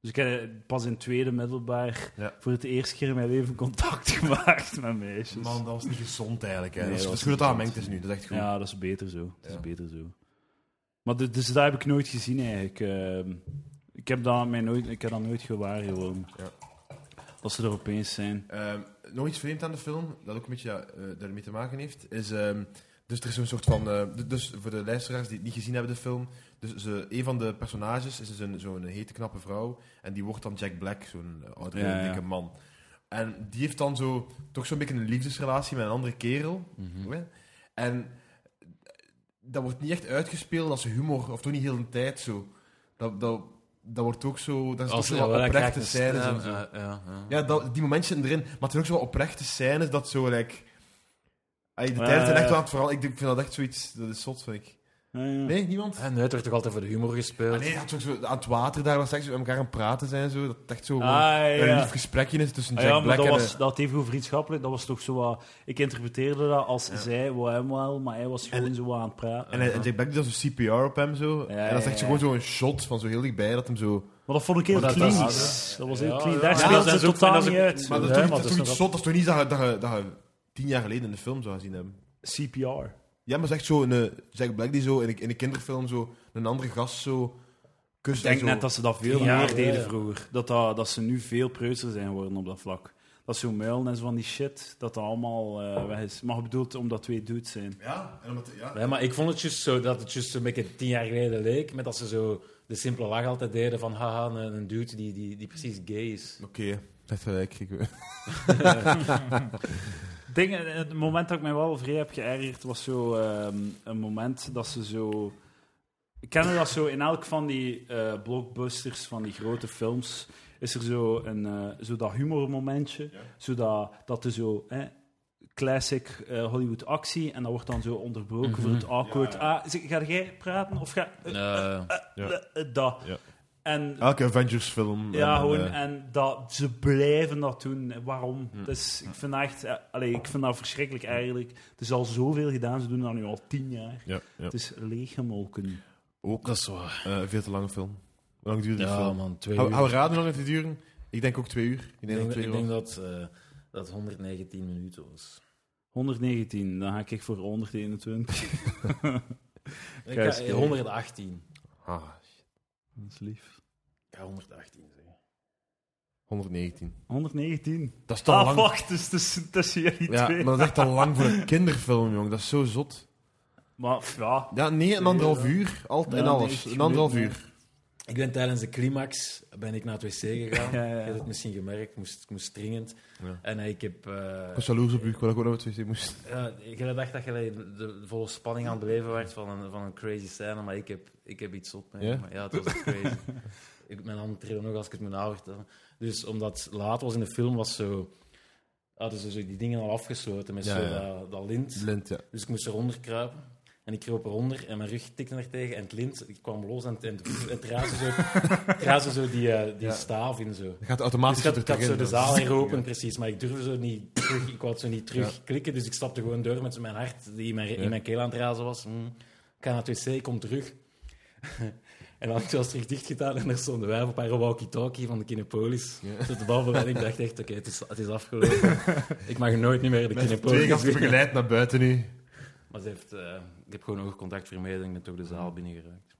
[SPEAKER 1] Dus ik heb pas in het tweede middelbaar
[SPEAKER 2] Ja.
[SPEAKER 1] voor het eerste keer in mijn leven contact gemaakt met meisjes.
[SPEAKER 2] Man, dat was niet gezond eigenlijk. Hè.
[SPEAKER 1] Nee,
[SPEAKER 2] dat is,
[SPEAKER 1] dat
[SPEAKER 2] dat is
[SPEAKER 1] was
[SPEAKER 2] goed
[SPEAKER 1] niet
[SPEAKER 2] dat dat mengt is nu. Dat is echt goed.
[SPEAKER 1] Ja, dat is beter zo. Dat
[SPEAKER 2] Ja.
[SPEAKER 1] is beter zo. Maar de- dus dat heb ik nooit gezien eigenlijk. Ehm, ik, heb dat mij nooit, ik heb dat nooit gewaar gewoon.
[SPEAKER 2] Ja.
[SPEAKER 1] Dat ze er opeens zijn.
[SPEAKER 2] Ehm, nog iets vreemd aan de film, dat ook een beetje ja, eh, daarmee te maken heeft, is ehm, Dus er is een soort van. eh, d- dus voor de luisteraars die het niet gezien hebben, de film. Dus ze, een van de personages is dus een- zo'n hete, knappe vrouw. En die wordt dan Jack Black, zo'n eh, oudere,
[SPEAKER 1] Ja, ja.
[SPEAKER 2] dikke man. En die heeft dan zo, toch zo'n beetje een liefdesrelatie met een andere kerel.
[SPEAKER 4] Mhm.
[SPEAKER 2] Mm. Hè? En eh, dat wordt niet echt uitgespeeld als humor, of toch niet heel de tijd zo. Dat, dat, dat wordt ook zo. Dat is
[SPEAKER 3] Als-
[SPEAKER 2] toch
[SPEAKER 3] ja,
[SPEAKER 2] zo wat
[SPEAKER 3] wel, ik
[SPEAKER 2] oprechte
[SPEAKER 3] raak-
[SPEAKER 2] scènes
[SPEAKER 3] ja,
[SPEAKER 2] en zo.
[SPEAKER 3] ja, ja, ja.
[SPEAKER 2] Ja, dat, die momentjes zitten erin. Maar het zijn ook zo wat oprechte scènes dat zo, like... Ay, de
[SPEAKER 1] Ja,
[SPEAKER 2] tijd
[SPEAKER 1] ja,
[SPEAKER 2] zijn
[SPEAKER 1] ja. Hm.
[SPEAKER 2] echt wel aan het verhaal. Ik denk- vind dat echt zoiets... Dat is zot, vind ik.
[SPEAKER 1] Ja, ja.
[SPEAKER 2] Nee, niemand?
[SPEAKER 3] En nu werd er toch altijd voor de humor gespeeld.
[SPEAKER 2] Ah, nee, dat is ook zo, aan het water daar was echt zo met elkaar aan het praten zijn. Zo, dat het echt zo
[SPEAKER 1] Ah,
[SPEAKER 2] gewoon
[SPEAKER 1] ja.
[SPEAKER 2] een lief gesprekje is tussen
[SPEAKER 1] Ah,
[SPEAKER 2] Jack
[SPEAKER 1] ja, maar
[SPEAKER 2] Black
[SPEAKER 1] dat
[SPEAKER 2] en... eh,
[SPEAKER 1] was dat even goed vriendschappelijk. Dat was toch zo wat... Ik interpreteerde dat als
[SPEAKER 2] Ja.
[SPEAKER 1] zij wou hem wel, maar hij was gewoon zo wat aan het praten.
[SPEAKER 2] eh, En, hij- en Jack Black doet dan zo CPR op hem, zo.
[SPEAKER 1] Ja,
[SPEAKER 2] en dat is
[SPEAKER 1] ja,
[SPEAKER 2] echt zo
[SPEAKER 1] ja.
[SPEAKER 2] gewoon zo'n shot van zo heel dichtbij, dat hem zo...
[SPEAKER 1] Maar dat vond ik heel
[SPEAKER 4] Maar dat- dat-
[SPEAKER 1] klinisch. Dat,
[SPEAKER 4] dat-
[SPEAKER 1] was heel
[SPEAKER 3] ja,
[SPEAKER 1] klinisch.
[SPEAKER 3] ja.
[SPEAKER 1] Daar
[SPEAKER 3] Ja,
[SPEAKER 1] speelt
[SPEAKER 4] dat
[SPEAKER 1] ze
[SPEAKER 4] is ook- en
[SPEAKER 1] totaal
[SPEAKER 4] dat is
[SPEAKER 1] niet
[SPEAKER 4] ook-
[SPEAKER 1] uit.
[SPEAKER 2] Maar dat is
[SPEAKER 1] Ja,
[SPEAKER 2] toch niet, dat is toch
[SPEAKER 1] nog
[SPEAKER 2] niet zot? Dat is toch niet dat je, dat, je, dat je tien jaar geleden in de film zou gezien hebben?
[SPEAKER 1] CPR.
[SPEAKER 2] Ja, maar het is echt zo een eh, Jack Black die zo in een, in een kinderfilm zo een andere gast zo kust.
[SPEAKER 1] Ik
[SPEAKER 4] Dus
[SPEAKER 1] denk
[SPEAKER 2] en zo.
[SPEAKER 1] net dat ze dat veel
[SPEAKER 4] Ja,
[SPEAKER 1] meer
[SPEAKER 4] ja,
[SPEAKER 1] deden
[SPEAKER 4] ja.
[SPEAKER 1] vroeger. Dat, dat, dat ze nu veel preutser zijn geworden op dat vlak. Dat zo'n muil en zo van die shit, dat dat allemaal eh, weg is. Maar bedoeld omdat twee dudes zijn.
[SPEAKER 2] Ja, en omdat, ja.
[SPEAKER 4] Ja, maar ik vond het juist zo dat het juist een beetje tien jaar geleden leek. Met dat ze zo de simpele lach altijd deden van haha, een, een dude die, die, die precies gay is.
[SPEAKER 2] Oké, echt gelijk. Ik,
[SPEAKER 1] Dingen, eh, het moment dat ik mij wel vrij heb geërgerd, was zo ehm, een moment dat ze zo... Ik ken dat zo in elk van die eh, blockbusters, van die grote films, is er zo, een, eh, zo dat humormomentje. Zodat dat er zo... Hè, classic eh, Hollywood actie en dat wordt dan zo onderbroken voor het awkward. Ah, zeg, ga jij praten of ga... eh,
[SPEAKER 2] Mhm. Ja.
[SPEAKER 1] eh, eh, dat.
[SPEAKER 2] Ja.
[SPEAKER 1] En
[SPEAKER 2] Elke Avengers film.
[SPEAKER 1] ja,
[SPEAKER 2] en,
[SPEAKER 1] gewoon,
[SPEAKER 2] eh,
[SPEAKER 1] en dat, ze blijven dat doen. Waarom?
[SPEAKER 2] Hm.
[SPEAKER 1] Dus ik vind dat echt, eh, allee, ik vind dat verschrikkelijk eigenlijk. Het is al zoveel gedaan, ze doen dat nu al tien jaar.
[SPEAKER 2] ja, ja.
[SPEAKER 1] Het is leeggemolken.
[SPEAKER 2] Ook
[SPEAKER 4] Dat is waar.
[SPEAKER 2] eh, een veel te lange film. Hoe lang duurde die
[SPEAKER 4] Ja,
[SPEAKER 2] film?
[SPEAKER 4] man, twee
[SPEAKER 2] Hou,
[SPEAKER 4] uur.
[SPEAKER 2] hou raden hoe lang het duren? Ik denk ook twee uur. Ik
[SPEAKER 4] ik
[SPEAKER 2] denk,
[SPEAKER 4] denk,
[SPEAKER 2] dat twee
[SPEAKER 4] ik
[SPEAKER 2] uur
[SPEAKER 4] denk
[SPEAKER 2] was.
[SPEAKER 4] dat, eh, dat 119 minuten was.
[SPEAKER 1] 119, dan ga ik voor 121.
[SPEAKER 4] Ik
[SPEAKER 1] Kijk,
[SPEAKER 4] ga-
[SPEAKER 1] eens.
[SPEAKER 4] 118.
[SPEAKER 2] Ah,
[SPEAKER 1] Dat is lief.
[SPEAKER 4] Ik ga 118 zeggen.
[SPEAKER 2] 119.
[SPEAKER 1] 119.
[SPEAKER 2] Dat is te
[SPEAKER 1] Ah,
[SPEAKER 2] lang.
[SPEAKER 1] wacht, dus tussen, tussen jullie
[SPEAKER 2] Ja,
[SPEAKER 1] twee.
[SPEAKER 2] maar dat is echt al lang voor een kinderfilm, jong. Dat is zo zot.
[SPEAKER 1] Maar pff, ja,
[SPEAKER 2] Ja, nee, een anderhalf uur. Altijd en
[SPEAKER 1] Ja,
[SPEAKER 2] alles.
[SPEAKER 1] nee,
[SPEAKER 2] Een anderhalf
[SPEAKER 1] nee.
[SPEAKER 2] uur.
[SPEAKER 4] Ik ben tijdens de climax ben ik naar het wc gegaan.
[SPEAKER 1] Ja, ja, ja.
[SPEAKER 4] Je hebt het misschien gemerkt, ik moest, ik moest dringend.
[SPEAKER 2] Ja.
[SPEAKER 4] En ik heb... eh,
[SPEAKER 2] Ik was jaloers op u. Ik wou ook naar het wc moest.
[SPEAKER 4] Ja, ik had gedacht dat je de, de volle spanning aan het beleven werd van een, van een crazy scène, maar ik heb, ik heb iets op mij.
[SPEAKER 2] Ja?
[SPEAKER 4] Maar ja, het was echt crazy. ik, mijn handen trillen nog als ik het moet navertellen. Dus omdat het laat was in de film, was zo, hadden ze zo die dingen al afgesloten met
[SPEAKER 2] Ja,
[SPEAKER 4] zo
[SPEAKER 2] ja.
[SPEAKER 4] Dat, dat lint.
[SPEAKER 2] Lint, ja.
[SPEAKER 4] Dus ik moest eronder kruipen. En ik kroop eronder en mijn rug tikte er tegen en het lint ik kwam los en het, en het, het raasde zo, het raasde zo die, eh, die
[SPEAKER 2] Ja.
[SPEAKER 4] staaf in zo.
[SPEAKER 2] Dat gaat
[SPEAKER 4] Dus
[SPEAKER 2] automatisch
[SPEAKER 4] ik had, ik
[SPEAKER 2] er
[SPEAKER 4] had zo
[SPEAKER 2] terug
[SPEAKER 4] de
[SPEAKER 2] in. dus-
[SPEAKER 4] zaal heropen,
[SPEAKER 2] Ja.
[SPEAKER 4] precies, maar ik durfde zo niet terug, ik wou zo niet terug klikken, dus ik stapte gewoon door met zo mijn hart die in mijn,
[SPEAKER 2] Ja.
[SPEAKER 4] in mijn keel aan het razen was. Mm. Ik ga naar het wc, ik kom terug. en dan had ik zelfs terug dicht gedaan en er stonden wij op een paar walkie-talkie van de Kinepolis.
[SPEAKER 2] Ja.
[SPEAKER 4] Tot de babbelen en ik dacht echt, oké, het, is, het is afgelopen. ik mag nooit niet meer de
[SPEAKER 2] Met twee
[SPEAKER 4] Kinepolis
[SPEAKER 2] gasten
[SPEAKER 4] binnen.
[SPEAKER 2] begeleid naar buiten nu.
[SPEAKER 4] Maar ze heeft, eh, ik heb gewoon oogcontact vermeden en ik ben toch de zaal binnengeraakt.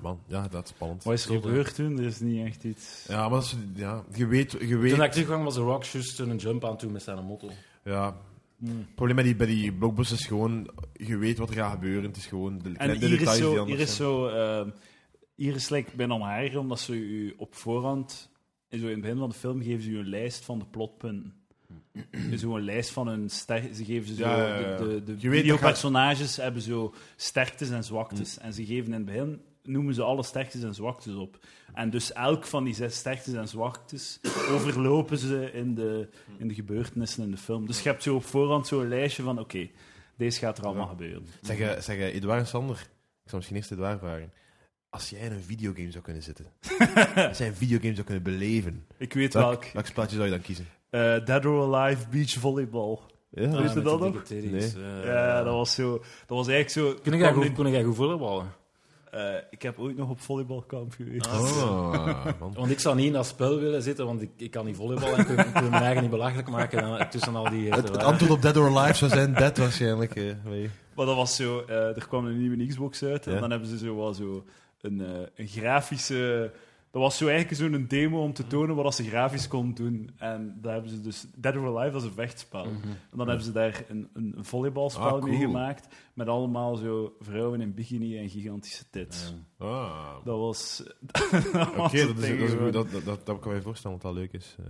[SPEAKER 2] Man, ja, dat is spannend.
[SPEAKER 1] wat is er gebeurd toen? Er is niet echt iets...
[SPEAKER 2] Ja, maar dat is- ja, je weet... Je
[SPEAKER 4] Toen
[SPEAKER 2] weet Ah,
[SPEAKER 4] ik terugkwam was de Rock juist een jump aan toe met zijn motto.
[SPEAKER 2] ja,
[SPEAKER 1] Hm.
[SPEAKER 2] het probleem bij die, bij die blockbusters is gewoon... Je weet wat er gaat gebeuren. Het is gewoon de
[SPEAKER 1] En
[SPEAKER 2] kleine
[SPEAKER 1] hier is
[SPEAKER 2] details die
[SPEAKER 1] zo,
[SPEAKER 2] anders
[SPEAKER 1] hier is
[SPEAKER 2] zijn.
[SPEAKER 1] zo, ehm, hier is like, bijna onhaarig, omdat ze u op voorhand, en zo in het begin van de film, geven ze u een lijst van de plotpunten. Dus zo een lijst van hun sterkte. Ze geven ze zo,
[SPEAKER 2] Ja, ja, ja.
[SPEAKER 1] de, de, de
[SPEAKER 2] Je weet,
[SPEAKER 1] videopersonages hebben zo sterktes en
[SPEAKER 2] Mm.
[SPEAKER 1] zwaktes. En ze geven in het begin, noemen ze alle sterktes en zwaktes op. En dus elk van die zes sterktes en zwaktes overlopen ze in de, in de gebeurtenissen in de film. Dus je hebt zo op voorhand zo'n lijstje van, oké, deze gaat er allemaal
[SPEAKER 2] Ja.
[SPEAKER 1] gebeuren.
[SPEAKER 2] Zeg, eh, zeg eh, Edouard en Sander, ik zou misschien eerst Edouard vragen. Als jij in een videogame zou kunnen zitten, als jij een videogame zou kunnen beleven,
[SPEAKER 1] Ik weet welk.
[SPEAKER 2] welk, welk spelletje zou je dan kiezen?
[SPEAKER 1] Eh, Dead or Alive Beach Volleyball.
[SPEAKER 2] Ja,
[SPEAKER 1] Weet je dat
[SPEAKER 4] met die
[SPEAKER 1] nog?
[SPEAKER 4] dikke titties,
[SPEAKER 1] Ja,
[SPEAKER 4] eh.
[SPEAKER 1] dat was zo. Dat was eigenlijk zo.
[SPEAKER 4] Kunnen jij goed, kunnen jij goed volleyballen?
[SPEAKER 1] Eh, ik heb ooit nog op volleybalkamp geweest.
[SPEAKER 2] Ah. Oh, man.
[SPEAKER 4] Want ik zou niet in dat spel willen zitten, want ik, ik kan niet volleyballen en ik wil, ik wil mijn eigen niet belachelijk maken dan, tussen al die...
[SPEAKER 2] Het, het antwoord op Dead or Alive zou zijn Dead waarschijnlijk. eh, weet je.
[SPEAKER 1] Maar dat was zo. eh, er kwam een nieuwe Xbox uit en
[SPEAKER 2] Ja.
[SPEAKER 1] dan hebben ze zo wel zo een, eh, een grafische Dat was zo eigenlijk zo'n demo om
[SPEAKER 2] Mm.
[SPEAKER 1] te tonen wat ze grafisch konden doen. En daar hebben ze dus Dead or Alive als een vechtspel.
[SPEAKER 4] eh,
[SPEAKER 1] En dan hebben ze daar een, een volleybalspel
[SPEAKER 2] Mm. Ah,
[SPEAKER 1] mee
[SPEAKER 2] cool.
[SPEAKER 1] gemaakt. Met allemaal zo vrouwen in bikini en gigantische tits.
[SPEAKER 2] Ah.
[SPEAKER 1] Dat was.
[SPEAKER 2] Oké,
[SPEAKER 1] het
[SPEAKER 2] dat, is-
[SPEAKER 1] ding
[SPEAKER 2] dat, is
[SPEAKER 1] gewoon.
[SPEAKER 2] goed. dat, dat, dat, dat kan ik me voorstellen, wat dat leuk is. eh,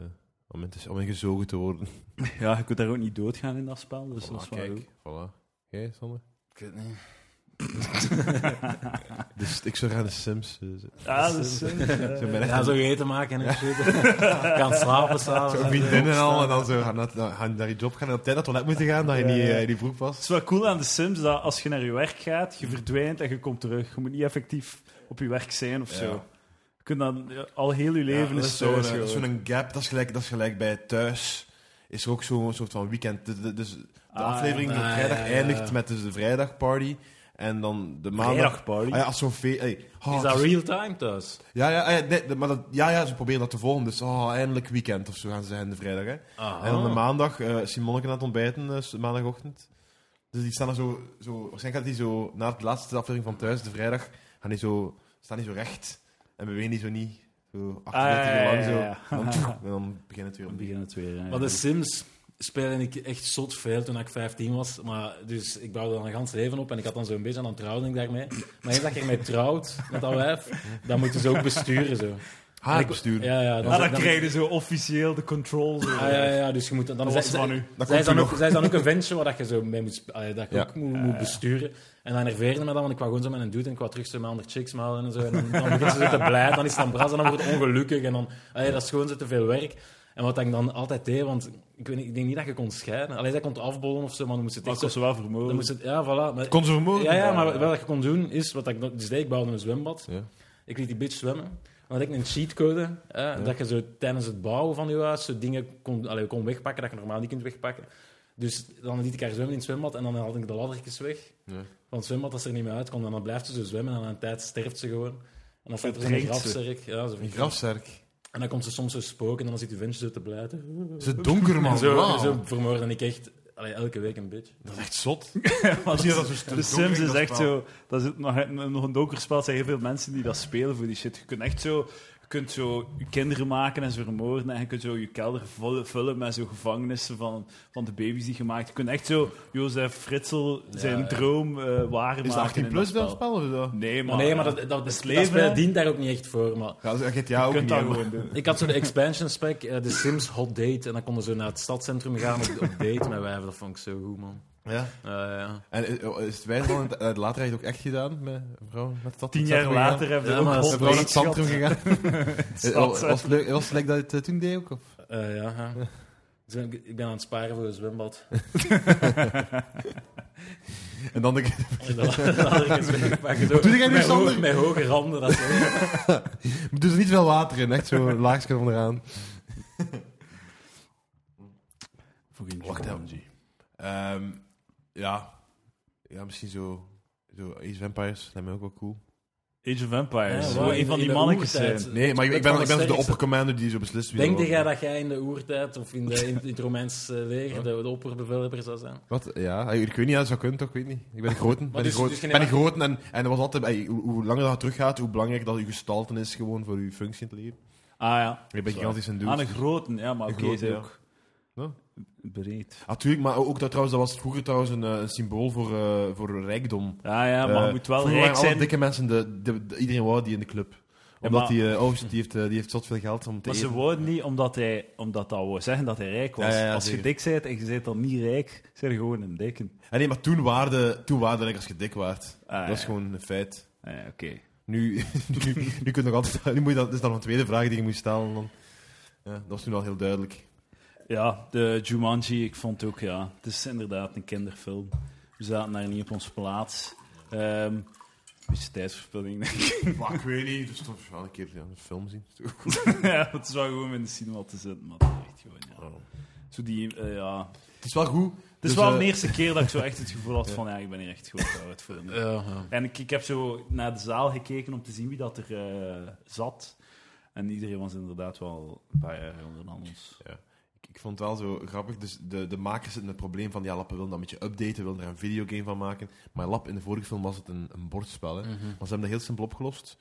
[SPEAKER 2] om, in te, om in gezogen te worden.
[SPEAKER 1] Ja, je kunt daar ook niet doodgaan in dat spel. Dus
[SPEAKER 2] Voilà,
[SPEAKER 1] dat is wel
[SPEAKER 2] kijk,
[SPEAKER 1] goed.
[SPEAKER 2] voilà. Jij, Sander?
[SPEAKER 4] Ik weet niet.
[SPEAKER 2] Dus ik zou graag de Sims eh, zetten.
[SPEAKER 1] Ah, dat is. eh,
[SPEAKER 2] Zo ben
[SPEAKER 4] Ja, zo eten maken en shit. kan slapen
[SPEAKER 1] Ah,
[SPEAKER 4] s'avonds. eh,
[SPEAKER 2] Zo vriendinnen en al, en dan zo gaan naar, gaan naar je job gaan en op tijd naar het toilet moeten gaan, dat je
[SPEAKER 1] Ja,
[SPEAKER 2] niet,
[SPEAKER 1] ja.
[SPEAKER 2] eh, in die broek
[SPEAKER 1] Het
[SPEAKER 2] past.
[SPEAKER 1] is wel cool aan de Sims dat als je naar je werk gaat,
[SPEAKER 2] Hm.
[SPEAKER 1] je verdwijnt en je komt terug. Je moet niet effectief op je werk zijn of
[SPEAKER 2] Ja.
[SPEAKER 1] zo. Je kunt dan ja, al heel je leven
[SPEAKER 2] dat
[SPEAKER 1] is
[SPEAKER 2] is zo'n
[SPEAKER 1] thuis
[SPEAKER 2] eh,
[SPEAKER 1] gewoon.
[SPEAKER 2] zo'n gap, dat is, gelijk, dat is gelijk bij thuis. Is er ook zo'n soort van weekend. De- de- Dus de
[SPEAKER 1] Ah,
[SPEAKER 2] aflevering van
[SPEAKER 4] ah,
[SPEAKER 2] vrijdag
[SPEAKER 4] ja, ja, ja.
[SPEAKER 2] eindigt met dus de vrijdagparty. En dan de maandag.
[SPEAKER 1] Vrijdagparty.
[SPEAKER 2] Ah ja, als zo'n feest.
[SPEAKER 4] Is dat real time thuis?
[SPEAKER 2] ja, ja, ah ja, nee, de- maar dat, ja, ja, ze proberen dat te volgen. Dus oh, eindelijk weekend of zo gaan ze zeggen de vrijdag. Hè. En
[SPEAKER 4] Ah.
[SPEAKER 2] dan de maandag, eh Simonneke aan het ontbijten, eh, s- maandagochtend. Dus die staan er zo, zo waarschijnlijk gaat die zo, na de laatste aflevering van thuis, de vrijdag, gaan die zo, staan die zo recht en bewegen die zo niet. Zo
[SPEAKER 1] Ah, ja,
[SPEAKER 2] 38 uur lang
[SPEAKER 1] ja,
[SPEAKER 2] zo.
[SPEAKER 1] ja, ja.
[SPEAKER 2] En dan, en dan begint het weer
[SPEAKER 1] Dan
[SPEAKER 2] opnieuw.
[SPEAKER 1] begint het weer. hè.
[SPEAKER 4] Maar de Sims speelde ik echt zot veel toen ik 15 was. Maar, dus ik bouwde dan een gans leven op en ik had dan zo'n beetje en dan trouwde ik daarmee. Maar eens dat je ermee trouwt, met dat wijf, dan moeten ze ook besturen zo.
[SPEAKER 2] Haar
[SPEAKER 4] Ik-
[SPEAKER 2] besturen.
[SPEAKER 4] Ja, ja.
[SPEAKER 1] Ah, dan krijg je zo officieel de controls. eh.
[SPEAKER 4] Ah, ja, ja, ja, dus je moet dan...
[SPEAKER 1] Dat
[SPEAKER 4] zij-
[SPEAKER 1] was van
[SPEAKER 4] zij-
[SPEAKER 1] u.
[SPEAKER 2] Dat
[SPEAKER 4] Zij
[SPEAKER 2] komt
[SPEAKER 4] is,
[SPEAKER 2] toen
[SPEAKER 4] dan ook,
[SPEAKER 2] nog.
[SPEAKER 4] zij is dan ook een ventje waar dat je zo mee moet, sp- allee, dat je
[SPEAKER 2] Ja.
[SPEAKER 4] ook moet, moet besturen. En dan nerveerde me dat, want ik wou gewoon zo met een dude en ik wou terug zo met andere chicks malen en zo. En dan, dan begint ze zo te blij, dan is het dan bras en dan wordt het ongelukkig. En dan, allee, dat is gewoon zo te veel werk. En wat ik dan altijd deed, want ik, weet niet, ik denk niet dat je kon scheiden. Alleen zij kon het afbollen of zo, maar dan moest het
[SPEAKER 1] Maar
[SPEAKER 4] echt
[SPEAKER 1] het kost
[SPEAKER 4] zo-
[SPEAKER 1] wel
[SPEAKER 4] dan
[SPEAKER 1] vermogen.
[SPEAKER 4] moest het, ja, voilà. Maar,
[SPEAKER 2] Kon ze vermoorden?
[SPEAKER 4] ja, ja, maar wat je kon doen is, wat ik nog- dus deed, ik bouwde een zwembad.
[SPEAKER 2] Ja.
[SPEAKER 4] Ik liet die bitch zwemmen. Dan had ik een cheatcode, hè, dat je zo tijdens het bouwen van je huis zo dingen kon, allee, kon wegpakken dat je normaal niet kunt wegpakken. Dus dan liet ik haar zwemmen in het zwembad en dan had ik de laddertjes weg.
[SPEAKER 2] Ja.
[SPEAKER 4] Van het zwembad, als ze er niet meer uitkomt, en dan blijft ze zo zwemmen en aan een tijd sterft ze gewoon. En dan staat er zo'n
[SPEAKER 1] Verdrinkt ze.
[SPEAKER 4] grafzerk. Ja, zo van-
[SPEAKER 2] Een grafzerk.
[SPEAKER 4] En dan komt ze soms zo spoken en dan zit je ventje zo te blijten.
[SPEAKER 2] Ze donker, man.
[SPEAKER 4] En zo,
[SPEAKER 2] Wauw.
[SPEAKER 4] zo vermoorde ik echt allee, elke week een bitch.
[SPEAKER 2] Dat is echt zot.
[SPEAKER 1] Maar
[SPEAKER 2] Zie je dat
[SPEAKER 1] de-
[SPEAKER 2] zo stuk
[SPEAKER 1] de
[SPEAKER 2] donker
[SPEAKER 1] Sims
[SPEAKER 2] in
[SPEAKER 1] is
[SPEAKER 2] dat
[SPEAKER 1] echt
[SPEAKER 2] spel?
[SPEAKER 1] zo. Dat is nog, een- nog een donker spel. Er zijn heel veel mensen die dat spelen voor die shit. Je kunt echt zo. Je kunt zo je kinderen maken en ze vermoorden. En je kunt zo je kelder vullen, vullen met zo gevangenissen van, van de baby's die je maakt. Je kunt echt zo Jozef Fritsel zijn
[SPEAKER 4] ja.
[SPEAKER 1] droom eh waar
[SPEAKER 2] Is dat
[SPEAKER 1] maken.
[SPEAKER 2] 18
[SPEAKER 1] in
[SPEAKER 2] plus dat spel of zo?
[SPEAKER 1] Nee, maar,
[SPEAKER 4] Maar nee, maar dat, dat, dat,
[SPEAKER 1] het
[SPEAKER 4] dat
[SPEAKER 1] leven,
[SPEAKER 4] spel
[SPEAKER 1] hè?
[SPEAKER 4] dient daar ook niet echt voor. Maar
[SPEAKER 2] Ja, dat GTA
[SPEAKER 1] je
[SPEAKER 2] ook
[SPEAKER 1] kunt
[SPEAKER 2] niet.
[SPEAKER 1] dat
[SPEAKER 2] hè, maar-
[SPEAKER 1] gewoon doen.
[SPEAKER 4] Ik had zo de expansion spec, eh, de Sims Hot Date. En dan konden ze naar het stadcentrum gaan op, op date met wijven. Dat vond ik zo goed, man.
[SPEAKER 2] Ja.
[SPEAKER 4] Ja, ja.
[SPEAKER 2] En eh, is het wijs dan, eh, later heb je het ook echt gedaan met een vrouw? Met dat,
[SPEAKER 1] Tien jaar
[SPEAKER 2] dat- dat-
[SPEAKER 1] later hebben we
[SPEAKER 4] Ja,
[SPEAKER 1] ook
[SPEAKER 4] maar
[SPEAKER 1] hot
[SPEAKER 4] ze
[SPEAKER 2] Ze hebben naar
[SPEAKER 1] dates
[SPEAKER 2] het centrum
[SPEAKER 1] gehad.
[SPEAKER 2] gegaan. Eh, Was
[SPEAKER 1] Stadcentrum.
[SPEAKER 2] was het leuk, was het leuk dat je het eh, toen deed ook? Of?
[SPEAKER 4] Eh, ja, ja. Dus ben ik- ik ben aan het sparen voor een zwembad.
[SPEAKER 2] En dan denk ik,
[SPEAKER 4] En dan had ik een zwembad. Zo,
[SPEAKER 2] doe jij nu,
[SPEAKER 4] met ho-
[SPEAKER 2] Sander?
[SPEAKER 4] Met hoge randen. Dat is wel-
[SPEAKER 2] er doet er niet veel water in, echt zo laagje onderaan.
[SPEAKER 1] Fucking
[SPEAKER 2] Wacht
[SPEAKER 1] Jumanji.
[SPEAKER 2] Ehm, ja. ja, misschien zo, zo Ace Vampires, lijkt me ook wel cool.
[SPEAKER 1] Age of Empires.
[SPEAKER 4] Ja,
[SPEAKER 1] Zo
[SPEAKER 4] waar,
[SPEAKER 1] een
[SPEAKER 4] in-
[SPEAKER 1] van
[SPEAKER 4] in
[SPEAKER 1] die
[SPEAKER 4] de
[SPEAKER 1] mannetjes
[SPEAKER 4] oertijd.
[SPEAKER 1] zijn.
[SPEAKER 2] Nee, maar ik, ik ben, ik ben zo de
[SPEAKER 4] sterkste.
[SPEAKER 2] oppercommander die zo beslist wie
[SPEAKER 4] Denk
[SPEAKER 2] er
[SPEAKER 4] jij
[SPEAKER 2] wordt.
[SPEAKER 4] dat jij in de oertijd of in, de, in het Romeinse leger de, de opperbevelhebber zou zijn?
[SPEAKER 2] Wat? Ja, ik weet niet, ja, dat zou kunnen toch, ik weet niet. Ik ben een grote. ben
[SPEAKER 4] dus-
[SPEAKER 2] een groot,
[SPEAKER 4] dus je
[SPEAKER 2] ben een
[SPEAKER 4] neemt-
[SPEAKER 2] grote en, en dat was altijd, ey, hoe, hoe langer dat teruggaat, hoe belangrijk dat je gestalte is gewoon voor je functie in het leven.
[SPEAKER 1] Ah ja.
[SPEAKER 2] Ik ben gigantisch een dude.
[SPEAKER 1] Aan een groten, ja, maar
[SPEAKER 2] Een
[SPEAKER 1] oké,
[SPEAKER 2] grote,
[SPEAKER 1] ze
[SPEAKER 2] ja.
[SPEAKER 1] ook.
[SPEAKER 2] Ja.
[SPEAKER 1] Breed.
[SPEAKER 2] Natuurlijk, Ah, maar ook dat trouwens, dat was vroeger trouwens een, eh, een symbool voor, eh, voor rijkdom.
[SPEAKER 1] Ja, ja, maar
[SPEAKER 2] Eh,
[SPEAKER 1] je moet wel
[SPEAKER 2] vroeger
[SPEAKER 1] rijk
[SPEAKER 2] waren alle
[SPEAKER 1] zijn.
[SPEAKER 2] dikke mensen, de, de, de- iedereen wou die in de club. Omdat
[SPEAKER 1] maar-
[SPEAKER 2] die, eh, oh, shit, die heeft, eh, die heeft zoveel geld om te
[SPEAKER 1] Maar ze
[SPEAKER 2] eten.
[SPEAKER 1] wouden niet omdat, hij, omdat dat wou zeggen dat hij rijk was.
[SPEAKER 2] Ja, ja, ja,
[SPEAKER 1] Als je
[SPEAKER 2] zeker.
[SPEAKER 1] dik bent en je bent dan niet rijk, zijn je gewoon een dikken.
[SPEAKER 2] Ah, nee, maar toen waarde, toen waarde like, als je dik waard.
[SPEAKER 1] Ah,
[SPEAKER 2] dat is
[SPEAKER 1] ja.
[SPEAKER 2] gewoon een feit.
[SPEAKER 1] Ah, ja, oké.
[SPEAKER 2] Nu, nu, nu kun je nog altijd... Nu moet je dat, dat is dan een tweede vraag die je moet stellen. Dan. Ja, dat was toen al heel duidelijk.
[SPEAKER 1] Ja, de Jumanji, ik vond ook, ja, het is inderdaad een kinderfilm. We zaten daar niet op onze plaats. Ehm een beetje tijdsverspilling, denk ik.
[SPEAKER 2] Maar ik weet niet, dus toch wel een keer ja, een film zien. Is toch ook goed.
[SPEAKER 1] ja, het is wel gewoon om in de cinema te zitten, maar dat is echt gewoon, ja. Zo die, eh, ja.
[SPEAKER 2] Het is wel goed.
[SPEAKER 1] Het is wel
[SPEAKER 2] eh,
[SPEAKER 1] de eerste keer dat ik zo echt het gevoel had van, ja, ik ben hier echt goed uit voor een- En ik, ik heb zo naar de zaal gekeken om te zien wie dat er eh, zat. En iedereen was inderdaad wel een paar jaar jonger dan ons.
[SPEAKER 2] Ik, ik vond het wel zo grappig. Dus de, de makers zitten met het probleem van... Ja, Lappen willen dat een beetje updaten, willen er een
[SPEAKER 4] Mm. Mhm,
[SPEAKER 2] videogame van maken. Maar Lap, in de vorige film was het een, een bordspel. Hè? Maar ze hebben dat heel simpel opgelost.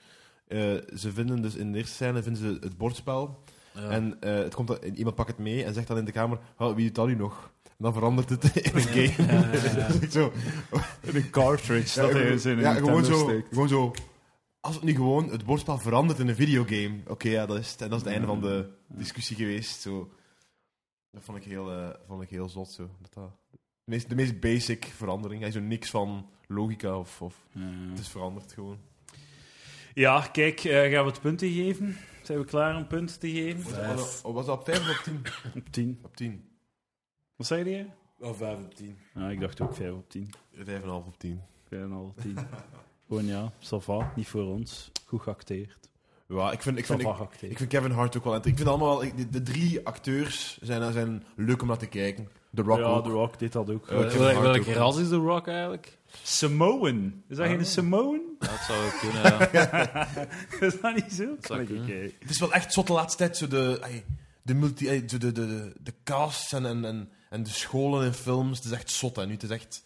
[SPEAKER 2] eh, ze vinden dus in de eerste scène vinden ze het bordspel. En eh, het komt, dan- iemand pakt het mee en zegt dan in de kamer, "Oh, wie doet dat nu nog? En dan verandert het in een game. Dat is echt zo,
[SPEAKER 1] Een cartridge dat hij zijn
[SPEAKER 2] ja, gewoon
[SPEAKER 1] Nintendo
[SPEAKER 2] zo,
[SPEAKER 1] steekt.
[SPEAKER 2] gewoon zo. Als het nu gewoon het bordspel verandert in een videogame. Oké, ja, dat is het. En dat is het einde van de discussie geweest. Zo. Dat vond ik heel, eh, vond ik heel zot. Zo. Dat dat, de, meest, de meest basic verandering. Hij is zo niks van logica of, of. Het is veranderd gewoon.
[SPEAKER 1] Ja, kijk, eh, gaan we het punten geven? Zijn we klaar om punten te geven?
[SPEAKER 2] Was dat- Was dat, was dat op 5 of op 10?
[SPEAKER 1] Op 10.
[SPEAKER 2] Op 10.
[SPEAKER 1] Wat zei je?
[SPEAKER 4] Of 5 op 10.
[SPEAKER 1] Nou, ik dacht ook 5 op 10.
[SPEAKER 2] 5,5 op 10.
[SPEAKER 1] 5,5 op 10. Gewoon ja, ça va, niet voor ons. Goed geacteerd.
[SPEAKER 2] Ja, ik vind, ik,
[SPEAKER 1] Ça
[SPEAKER 2] vind,
[SPEAKER 1] va
[SPEAKER 2] ik,
[SPEAKER 1] geacteerd.
[SPEAKER 2] ik vind Kevin Hart ook wel. int- Ik vind allemaal wel. ik- De, de drie acteurs zijn, zijn leuk om naar te kijken. The Rock.
[SPEAKER 1] ja,
[SPEAKER 2] ook.
[SPEAKER 1] The Rock deed dat ook.
[SPEAKER 2] Eh,
[SPEAKER 1] Eh,
[SPEAKER 2] Kevin Hart
[SPEAKER 3] Welke
[SPEAKER 2] ook.
[SPEAKER 3] ras is The Rock eigenlijk?
[SPEAKER 1] Samoan. Is dat
[SPEAKER 3] Ah.
[SPEAKER 1] geen Samoan?
[SPEAKER 3] Ja, dat zou wel kunnen. ja.
[SPEAKER 1] Is dat niet zo?
[SPEAKER 3] zou
[SPEAKER 1] Kan ik-
[SPEAKER 3] kunnen.
[SPEAKER 1] oké.
[SPEAKER 2] Het is wel echt zot de laatste tijd, zo de, ai, de, multi, ai, zo de, de, de, de casts en, en, en, en de scholen en films. Het is echt zot, hè. Nu, het is echt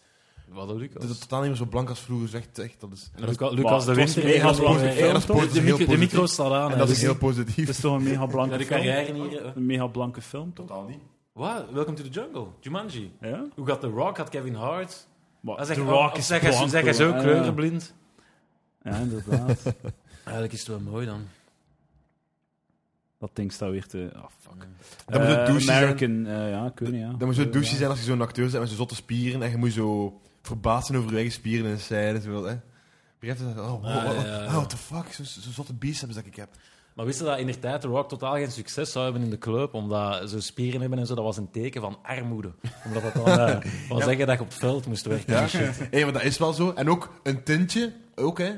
[SPEAKER 3] Wat een Lucas.
[SPEAKER 2] het is totaal niet meer zo blank als vroeger. Het is echt, echt, dat is, en dat is,
[SPEAKER 4] Lucas,
[SPEAKER 1] Maar
[SPEAKER 4] Lucas de
[SPEAKER 1] het was
[SPEAKER 4] Winter.
[SPEAKER 1] mega
[SPEAKER 4] Lucas de
[SPEAKER 1] belangrijk.
[SPEAKER 4] Winter.
[SPEAKER 1] Ja,
[SPEAKER 2] dat is
[SPEAKER 4] De
[SPEAKER 2] positief,
[SPEAKER 4] micro-
[SPEAKER 2] heel
[SPEAKER 4] De
[SPEAKER 2] positief.
[SPEAKER 4] micro staat aan.
[SPEAKER 2] en
[SPEAKER 4] hè,
[SPEAKER 2] dat is
[SPEAKER 4] dus
[SPEAKER 2] heel
[SPEAKER 1] Het
[SPEAKER 2] positief.
[SPEAKER 1] is toch een mega
[SPEAKER 4] Ja,
[SPEAKER 1] blanke
[SPEAKER 4] de
[SPEAKER 1] film?
[SPEAKER 4] carrière hier. eh.
[SPEAKER 1] Een mega blanke film, toch?
[SPEAKER 2] Totaal niet.
[SPEAKER 3] Wat? Welcome to the Jungle. Jumanji.
[SPEAKER 1] Ja?
[SPEAKER 3] Hoe gaat The Rock? Had Kevin Hart?
[SPEAKER 1] Maar
[SPEAKER 3] Ah, zeg-
[SPEAKER 1] The
[SPEAKER 3] oh,
[SPEAKER 1] Rock
[SPEAKER 3] of
[SPEAKER 1] is
[SPEAKER 3] zeg, hij-
[SPEAKER 1] blanco,
[SPEAKER 3] zeg hij zo
[SPEAKER 1] hè? Ja.
[SPEAKER 3] kleurenblind?
[SPEAKER 1] Ja, inderdaad.
[SPEAKER 3] Eigenlijk is het wel mooi dan.
[SPEAKER 1] dat ding staat weer te... Ah, fuck.
[SPEAKER 2] Dan moet het
[SPEAKER 1] Eh,
[SPEAKER 2] douche zijn.
[SPEAKER 1] American, eh, ja, kunnen, ja.
[SPEAKER 2] Dan moet je zo douche zijn als je zo'n acteur bent met zo'n zotte spieren. En je moet zo verbaasd zijn over je eigen spieren en scènes. Zo, hè. Begrijp je dat? Oh, wow,
[SPEAKER 3] Ah,
[SPEAKER 2] wow,
[SPEAKER 3] ja, ja.
[SPEAKER 2] oh, what the fuck? Zo'n zo zo'n zotte biceps dat ik heb.
[SPEAKER 3] Maar wisten dat in de tijd The Rock totaal geen succes zou hebben in de club? Omdat ze spieren hebben en zo, dat was een teken van armoede. Omdat dat dan eh, wou zeggen dat je op het veld moest werken.
[SPEAKER 2] Ja? Hé, maar dat is wel zo. En ook een tintje. Ook, hè.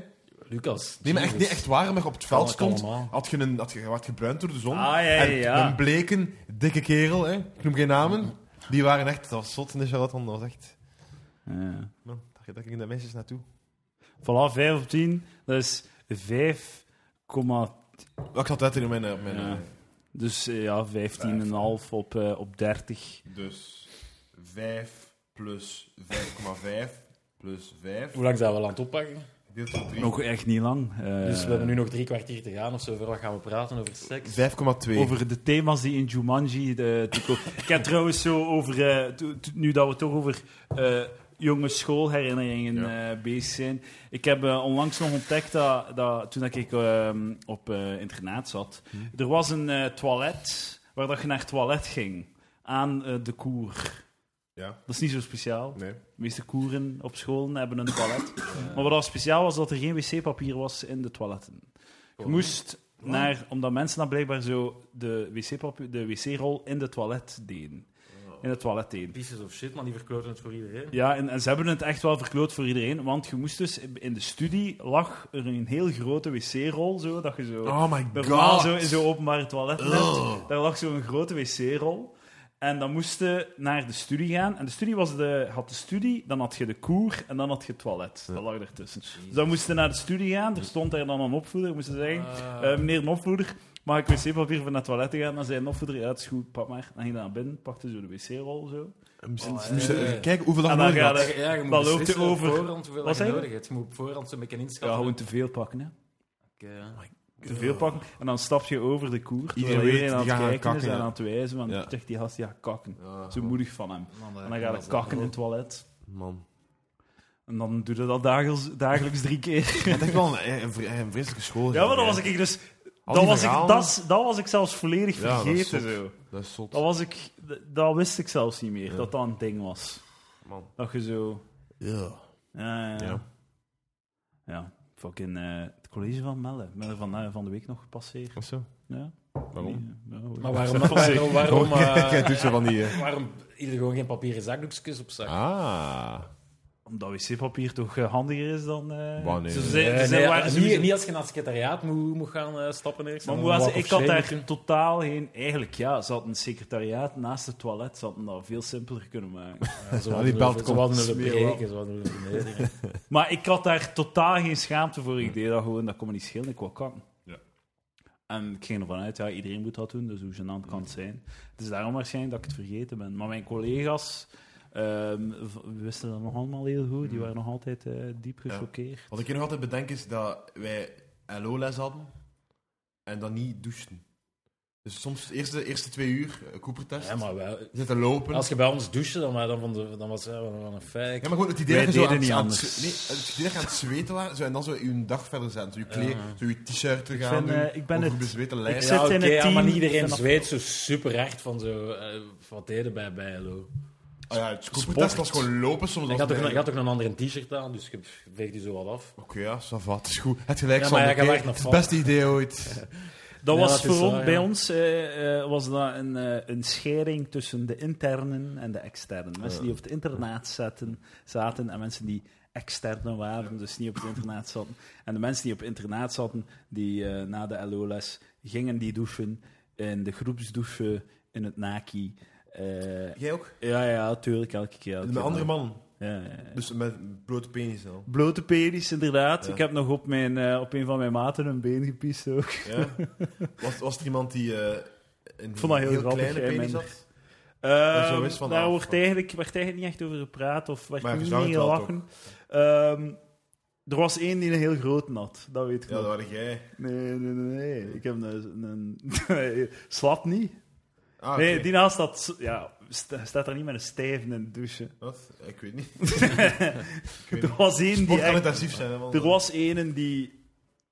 [SPEAKER 3] Lucas.
[SPEAKER 2] Nee, maar echt, nee, echt waar. Maar op het veld
[SPEAKER 3] Kan dat
[SPEAKER 2] stond,
[SPEAKER 3] allemaal?
[SPEAKER 2] had je, een, had je werd gebruind door de zon.
[SPEAKER 1] Ah, ja, ja,
[SPEAKER 2] en
[SPEAKER 1] ja.
[SPEAKER 2] een bleken, dikke kerel, hè. ik noem geen namen, die waren echt, dat was zot in de charlatan. Dat was echt,
[SPEAKER 1] Ja.
[SPEAKER 2] man, daar daar gingen de meisjes naartoe.
[SPEAKER 1] Voilà, 5 op 10. Dat is 5,
[SPEAKER 2] Maar ik zat uit in mijn... eh, mijn
[SPEAKER 1] Ja.
[SPEAKER 2] eh,
[SPEAKER 1] dus eh, ja, 15,5 op, eh, op 30.
[SPEAKER 2] Dus 5 plus 5,5 plus 5
[SPEAKER 4] Hoe lang zijn we al aan het oppakken?
[SPEAKER 2] deelt door drie.
[SPEAKER 1] Nog echt niet lang. Eh,
[SPEAKER 4] Dus we hebben nu nog drie kwartier te gaan of zo. Over wat gaan we praten? Over seks?
[SPEAKER 2] 5,2.
[SPEAKER 1] Over de thema's die in Jumanji de, te ko- Ik heb trouwens zo over... eh, to- to- nu dat we toch over eh, jonge schoolherinneringen eh, bezig zijn. Ik heb eh, onlangs nog ontdekt dat, dat toen dat ik eh, op eh, internaat zat... Er was een eh, toilet waar dat je naar het toilet ging. Aan eh, de koer.
[SPEAKER 2] Ja,
[SPEAKER 1] Dat is niet zo speciaal.
[SPEAKER 2] nee.
[SPEAKER 1] De meeste koeren op school hebben een toilet. Maar wat al speciaal was, dat er geen wc-papier was in de toiletten. Je moest naar, omdat mensen dan blijkbaar zo de, wc-papier, de wc-rol in de toilet deden. In het toilet deden.
[SPEAKER 4] Pieces of shit, man. Die verkloten het voor iedereen.
[SPEAKER 1] Ja, en, en ze hebben het echt wel verkloot voor iedereen, want je moest dus, in de studie lag er een heel grote wc-rol, zo, dat je zo...
[SPEAKER 2] Oh my
[SPEAKER 1] Normaal
[SPEAKER 2] god. Oh.
[SPEAKER 1] zo in zo'n openbare toilet.
[SPEAKER 2] Ugh.
[SPEAKER 1] Daar lag zo'n grote wc-rol. En dan moesten naar de studie gaan. En de studie was de, had de studie, dan had je de koer en dan had je het toilet. Dat lag ertussen. Dus dan moesten naar de studie gaan. Er stond daar dan een opvoeder. Moesten zeggen:
[SPEAKER 3] Ah.
[SPEAKER 1] eh, Meneer een opvoeder, mag ik wc-papier voor naar het toilet te gaan? Dan zei een opvoeder: Ja, het is goed, pak maar. Dan ging hij naar binnen, pakte zo de wc-rol. Zo.
[SPEAKER 2] Misschien-
[SPEAKER 3] Oh,
[SPEAKER 2] misschien-
[SPEAKER 3] eh.
[SPEAKER 2] Kijk hoeveel dat
[SPEAKER 1] En dan
[SPEAKER 2] nodig
[SPEAKER 1] gaat
[SPEAKER 2] had.
[SPEAKER 1] er-
[SPEAKER 3] Ja, je moet
[SPEAKER 1] Dat loopt
[SPEAKER 3] beslissen
[SPEAKER 1] er
[SPEAKER 3] op
[SPEAKER 1] over.
[SPEAKER 3] voorhand hoeveel dat je
[SPEAKER 1] Wat zei je?
[SPEAKER 3] nodig hebt. Je moet op voorhand zo'n beetje
[SPEAKER 1] Ja,
[SPEAKER 3] inschatten.
[SPEAKER 1] gewoon te veel pakken. Hè.
[SPEAKER 3] Oké, ja.
[SPEAKER 1] Te veel pakken. En dan stap je over de koer. terwijl
[SPEAKER 2] Iedereen weet,
[SPEAKER 1] aan
[SPEAKER 2] die
[SPEAKER 1] het
[SPEAKER 2] gaan
[SPEAKER 1] kijken is
[SPEAKER 2] kakken,
[SPEAKER 1] en
[SPEAKER 2] hè.
[SPEAKER 1] aan het wijzen. Want
[SPEAKER 2] Ja.
[SPEAKER 1] zegt die gast: Ja, kakken.
[SPEAKER 2] Ja,
[SPEAKER 1] Zo moedig van hem. En dan ga je kakken in het toilet.
[SPEAKER 2] Man.
[SPEAKER 1] En dan doe je dat dagelijks, dagelijks drie keer.
[SPEAKER 2] Het is echt wel een, een, vre- een vreselijke school.
[SPEAKER 1] Ja, maar dan was ik dus...
[SPEAKER 2] Al
[SPEAKER 1] Dat
[SPEAKER 2] die
[SPEAKER 1] was, ik,
[SPEAKER 2] verhalen.
[SPEAKER 1] dat, is- dat was ik zelfs volledig
[SPEAKER 2] Ja, dat is
[SPEAKER 1] vergeten.
[SPEAKER 2] zot.
[SPEAKER 1] zo.
[SPEAKER 2] Dat is zot.
[SPEAKER 1] Dat, was ik, d- dat wist ik zelfs niet meer,
[SPEAKER 2] Ja.
[SPEAKER 1] dat dat een ding was.
[SPEAKER 2] Man.
[SPEAKER 1] Dat je zo...
[SPEAKER 2] Ja.
[SPEAKER 1] Ja, ja, ja.
[SPEAKER 2] Ja.
[SPEAKER 1] Ja, fucking... eh, het college van Melle. Ik ben er van, eh, van de week nog gepasseerd.
[SPEAKER 2] Of zo.
[SPEAKER 1] Ja.
[SPEAKER 2] Waarom?
[SPEAKER 1] Nee, ja, hoor.
[SPEAKER 4] Maar waarom, waarom, waarom,
[SPEAKER 2] Waarom?
[SPEAKER 4] eh,
[SPEAKER 2] Kijk, doet zo van die... eh.
[SPEAKER 4] waarom ieder gewoon geen papieren zakdoekjes op zak?
[SPEAKER 2] Ah.
[SPEAKER 1] Omdat wc-papier toch eh, handiger is dan... eh,
[SPEAKER 2] Bah, nee.
[SPEAKER 1] ze- ze-
[SPEAKER 4] Nee,
[SPEAKER 1] ze
[SPEAKER 4] nee,
[SPEAKER 1] waren
[SPEAKER 4] niet,
[SPEAKER 1] sowieso-
[SPEAKER 4] niet als je naar het secretariaat moet, moet gaan eh, stappen eerst.
[SPEAKER 1] Maar
[SPEAKER 4] en
[SPEAKER 1] hoe
[SPEAKER 4] dan
[SPEAKER 1] was-
[SPEAKER 4] walk
[SPEAKER 1] ik
[SPEAKER 4] of
[SPEAKER 1] had
[SPEAKER 4] shame
[SPEAKER 1] daar
[SPEAKER 4] moeten.
[SPEAKER 1] totaal geen... Eigenlijk, ja, ze hadden een secretariaat naast het toilet. Ze hadden dat veel simpeler kunnen maken.
[SPEAKER 4] Ja, Ze
[SPEAKER 2] die
[SPEAKER 4] hadden
[SPEAKER 2] belt
[SPEAKER 4] willen- ze
[SPEAKER 2] komt
[SPEAKER 4] hadden willen
[SPEAKER 1] smeren
[SPEAKER 4] breken, ze hadden willen vernederen.
[SPEAKER 1] maar ik had daar totaal geen schaamte voor. Ik deed dat gewoon, dat kon me niet schelen, ik wou kakken.
[SPEAKER 2] Ja.
[SPEAKER 1] En ik ging ervan uit, ja, iedereen moet dat doen, dus hoe gênant kan het zijn. Het is daarom waarschijnlijk dat ik het vergeten ben. Maar mijn collega's ehm, v- wisten dat nog allemaal heel goed. Die waren nog altijd eh, diep gechoqueerd.
[SPEAKER 2] Wat ik hier nog altijd bedenk is dat wij... LO-les hadden en dan niet douchen. Dus soms de eerste, eerste twee uur, eh, Cooper-test,
[SPEAKER 4] Ja, maar wel.
[SPEAKER 2] zitten lopen.
[SPEAKER 4] Als je bij ons douchte, dan, wa- dan, vond de, dan was het wel een feit.
[SPEAKER 2] Ja, maar gewoon het idee
[SPEAKER 1] Wij
[SPEAKER 2] dat je zo
[SPEAKER 1] deden
[SPEAKER 2] aan,
[SPEAKER 1] niet
[SPEAKER 2] aan-
[SPEAKER 1] anders.
[SPEAKER 2] nee, het idee dat je aan het zweten waren zo, en dan zo je dag verder zijn. Zo je, kleed, zo je t-shirt te gaan
[SPEAKER 1] vind,
[SPEAKER 2] doen,
[SPEAKER 1] eh, ik ben
[SPEAKER 2] over
[SPEAKER 1] het-
[SPEAKER 2] bezweten
[SPEAKER 1] ik
[SPEAKER 2] lijf.
[SPEAKER 1] zit
[SPEAKER 4] Ja, oké,
[SPEAKER 1] in het
[SPEAKER 4] ja,
[SPEAKER 1] team.
[SPEAKER 4] maar niet iedereen
[SPEAKER 1] Vanaf-
[SPEAKER 4] zweet zo super hard van zo. eh, wat deden bij bij LO?
[SPEAKER 2] Ah ja, het Cooper-test was gewoon lopen soms.
[SPEAKER 4] Ik
[SPEAKER 2] was het
[SPEAKER 4] had, ook, een- ik
[SPEAKER 2] eigenlijk-
[SPEAKER 4] had ook een andere t-shirt aan, dus je veegt die zo wat af.
[SPEAKER 2] Oké, ja, ça va, het is goed. Het gelijk,
[SPEAKER 4] Ja, maar
[SPEAKER 2] Sander,
[SPEAKER 4] ja, je
[SPEAKER 2] oké,
[SPEAKER 4] wacht nog
[SPEAKER 2] Het
[SPEAKER 4] van.
[SPEAKER 2] beste idee ooit.
[SPEAKER 1] Dat
[SPEAKER 4] Ja,
[SPEAKER 1] was
[SPEAKER 4] dat is
[SPEAKER 1] voor
[SPEAKER 4] waar,
[SPEAKER 1] ons,
[SPEAKER 4] ja.
[SPEAKER 1] bij ons eh, eh, was dat een, eh, een scheiding tussen de internen en de externen. Mensen die op het internaat zaten, zaten en mensen die extern waren, dus niet op het internaat zaten. En de mensen die op het internaat zaten, die eh, na de LO-les gingen die douchen in de groepsdouche in het Naki. Eh,
[SPEAKER 2] Jij ook?
[SPEAKER 1] ja, ja, tuurlijk, elke keer. elke
[SPEAKER 2] Met
[SPEAKER 1] keer.
[SPEAKER 2] andere mannen.
[SPEAKER 1] Ja, ja, ja.
[SPEAKER 2] Dus met blote penis al.
[SPEAKER 1] Blote penis, inderdaad.
[SPEAKER 2] Ja.
[SPEAKER 1] Ik heb nog op, mijn, eh, op een van mijn maten een been gepiest ook.
[SPEAKER 2] Ja. Was, was er iemand die eh een
[SPEAKER 1] vond dat heel
[SPEAKER 2] heel,
[SPEAKER 1] grappig,
[SPEAKER 2] kleine
[SPEAKER 1] hè,
[SPEAKER 2] penis
[SPEAKER 1] mijn-
[SPEAKER 2] had?
[SPEAKER 1] Ehm,
[SPEAKER 2] zo is van
[SPEAKER 1] daar
[SPEAKER 2] af,
[SPEAKER 1] wordt
[SPEAKER 2] van-
[SPEAKER 1] eigenlijk, werd eigenlijk niet echt over gepraat of werd
[SPEAKER 2] Maar je
[SPEAKER 1] niet
[SPEAKER 2] zou
[SPEAKER 1] mee
[SPEAKER 2] het wel
[SPEAKER 1] gelachen. Ehm, er was één die een heel groot had, dat weet ik
[SPEAKER 2] Ja,
[SPEAKER 1] nog.
[SPEAKER 2] dat waren jij.
[SPEAKER 1] Nee, nee, nee, nee. Ik heb een... een nee, slap niet.
[SPEAKER 2] Ah,
[SPEAKER 1] Nee,
[SPEAKER 2] oké.
[SPEAKER 1] die naast dat... s- Ja, st- staat er niet met een stijf in de douche.
[SPEAKER 2] Wat? Ik weet niet.
[SPEAKER 1] Er was één
[SPEAKER 2] Mocht
[SPEAKER 1] die
[SPEAKER 2] kan
[SPEAKER 1] echt...
[SPEAKER 2] intensief zijn, hè, want-
[SPEAKER 1] Er was één die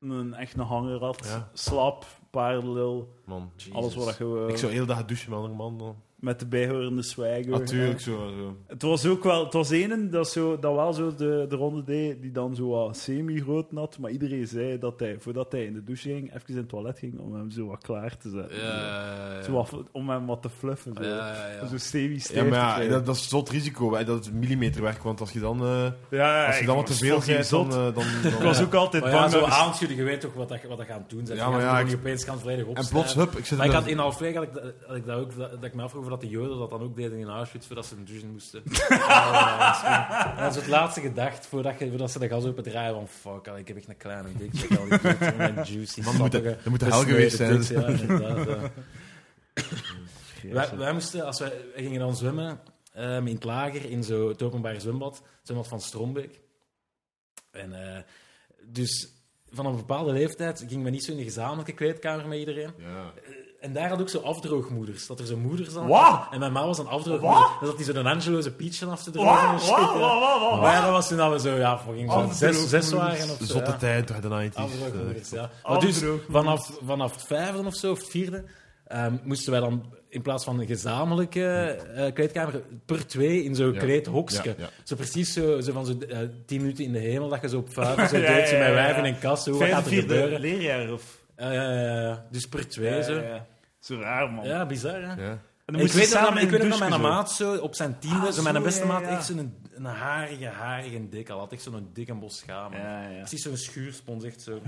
[SPEAKER 1] een, echt een hanger had.
[SPEAKER 2] Ja.
[SPEAKER 1] Slap, paardenlul,
[SPEAKER 2] Man,
[SPEAKER 1] alles wat je...
[SPEAKER 2] Ik zou Ah, heel dag douchen met andere mannen.
[SPEAKER 1] Met de bijhorende swagger.
[SPEAKER 2] Natuurlijk, zo. zo.
[SPEAKER 1] Het was ook wel, het was één dat, zo, dat wel zo de, de ronde deed, die dan zo wat semi-groot nat, maar iedereen zei dat hij, voordat hij in de douche ging, even in het toilet ging om hem zo wat klaar te zetten. Zo wat- om hem wat te fluffen. Zo, zo semi-stijf
[SPEAKER 2] Ja,
[SPEAKER 1] te
[SPEAKER 2] maar ja,
[SPEAKER 1] krijgen.
[SPEAKER 2] dat, dat is zot risico. Hè. Dat is millimeterwerk, want als je dan, eh,
[SPEAKER 1] Ja, ja,
[SPEAKER 2] als je
[SPEAKER 1] ik
[SPEAKER 2] dan wat te
[SPEAKER 1] was
[SPEAKER 2] veel
[SPEAKER 1] fucking
[SPEAKER 2] bent, dan...
[SPEAKER 1] zot.
[SPEAKER 2] eh, dan, dan-
[SPEAKER 1] Ik was ook altijd
[SPEAKER 4] Maar Oh ja,
[SPEAKER 1] bang
[SPEAKER 4] zo
[SPEAKER 1] dat we-
[SPEAKER 4] aanschudden, je weet toch wat, dat, wat dat gaan doen. zijn.
[SPEAKER 2] Ja,
[SPEAKER 4] Je
[SPEAKER 2] maar
[SPEAKER 4] gaat
[SPEAKER 2] ja,
[SPEAKER 4] gewoon
[SPEAKER 2] ik-
[SPEAKER 4] niet opeens gaan volledig
[SPEAKER 2] En
[SPEAKER 4] opstaan.
[SPEAKER 2] plots, hup, ik zit
[SPEAKER 4] Maar ik
[SPEAKER 2] er-
[SPEAKER 4] had in Alfred had ik, dat- had ik dat ook, dat, dat ik me afvroeg of dat de Joden dat dan ook deden in Auschwitz voordat ze een douche moesten. Ja, dat is het laatste gedacht voordat, je, voordat ze de gas open draaien. Van fuck, allee, ik heb echt een kleine dik. Ik heb al die kids, mijn juicy,
[SPEAKER 2] Man, moet dat-
[SPEAKER 4] sappige,
[SPEAKER 2] dat moet de hel geweest zijn.
[SPEAKER 4] besneden diks, ja, inderdaad, ja. wij, wij moesten, als wij, wij gingen dan zwemmen ehm, in het lager, in zo het openbaar zwembad. Zwembad van Strombeek. En eh, dus van een bepaalde leeftijd gingen we niet zo in de gezamenlijke kleedkamer met iedereen.
[SPEAKER 2] Ja.
[SPEAKER 4] Eh, En daar had ook zo afdroogmoeders. Dat er zo moeders aan.
[SPEAKER 1] Wat?
[SPEAKER 4] En mijn ma was een afdroogmoeder.
[SPEAKER 1] Wat?
[SPEAKER 4] Dus dat die zo'n Angelo's peach af te drogen. en
[SPEAKER 1] Wa-
[SPEAKER 4] shit,
[SPEAKER 1] wa-
[SPEAKER 4] ja.
[SPEAKER 1] wa- wa- wa-
[SPEAKER 4] Maar ja, dat was toen dat we zo, ja, fucking zo zes,
[SPEAKER 2] Afdroogmoeders.
[SPEAKER 4] zes waren of zo.
[SPEAKER 2] Zotte
[SPEAKER 4] ja.
[SPEAKER 2] tijd, toch, de
[SPEAKER 1] Ah,
[SPEAKER 2] 90s.
[SPEAKER 4] Afdroogmoeders,
[SPEAKER 2] eh.
[SPEAKER 4] ja. Maar dus
[SPEAKER 1] Afdroogmoeders.
[SPEAKER 4] vanaf, vanaf het vijfde of zo, of het vierde, ehm, moesten wij dan in plaats van een gezamenlijke eh, kleedkamer per twee in zo'n
[SPEAKER 2] Ja.
[SPEAKER 4] kleedhokske.
[SPEAKER 2] Ja, ja.
[SPEAKER 4] Zo precies zo, zo van zo'n eh, tien minuten in de hemel dat je zo op vijf zo
[SPEAKER 1] Ja,
[SPEAKER 4] deed, zo
[SPEAKER 1] ja, ja,
[SPEAKER 4] met
[SPEAKER 1] ja.
[SPEAKER 4] wijven en kassen. Hoe wat gaat
[SPEAKER 1] Vijfde,
[SPEAKER 4] er
[SPEAKER 1] vierde
[SPEAKER 4] gebeuren?
[SPEAKER 1] leerjaar of...
[SPEAKER 4] Ja, ja, ja, ja. Dus per twee
[SPEAKER 1] Ja,
[SPEAKER 4] zo.
[SPEAKER 1] ja, ja. Zo raar, man.
[SPEAKER 4] Ja, bizar, hè?
[SPEAKER 2] Ja.
[SPEAKER 1] En
[SPEAKER 4] Ik
[SPEAKER 1] moesten
[SPEAKER 4] weet,
[SPEAKER 1] samen
[SPEAKER 4] dat,
[SPEAKER 1] in
[SPEAKER 4] ik
[SPEAKER 1] de
[SPEAKER 4] weet nog dat
[SPEAKER 1] douche
[SPEAKER 4] mijn
[SPEAKER 1] zo.
[SPEAKER 4] maat zo op zijn tiende,
[SPEAKER 1] Ah,
[SPEAKER 4] zo mijn
[SPEAKER 1] zo,
[SPEAKER 4] beste
[SPEAKER 1] ja,
[SPEAKER 4] maat,
[SPEAKER 1] ja.
[SPEAKER 4] echt zo'n een harige, harige dik. Al had echt zo'n dikke bos schaam.
[SPEAKER 1] Ja, ja.
[SPEAKER 4] Precies zo'n schuurspons, echt zo.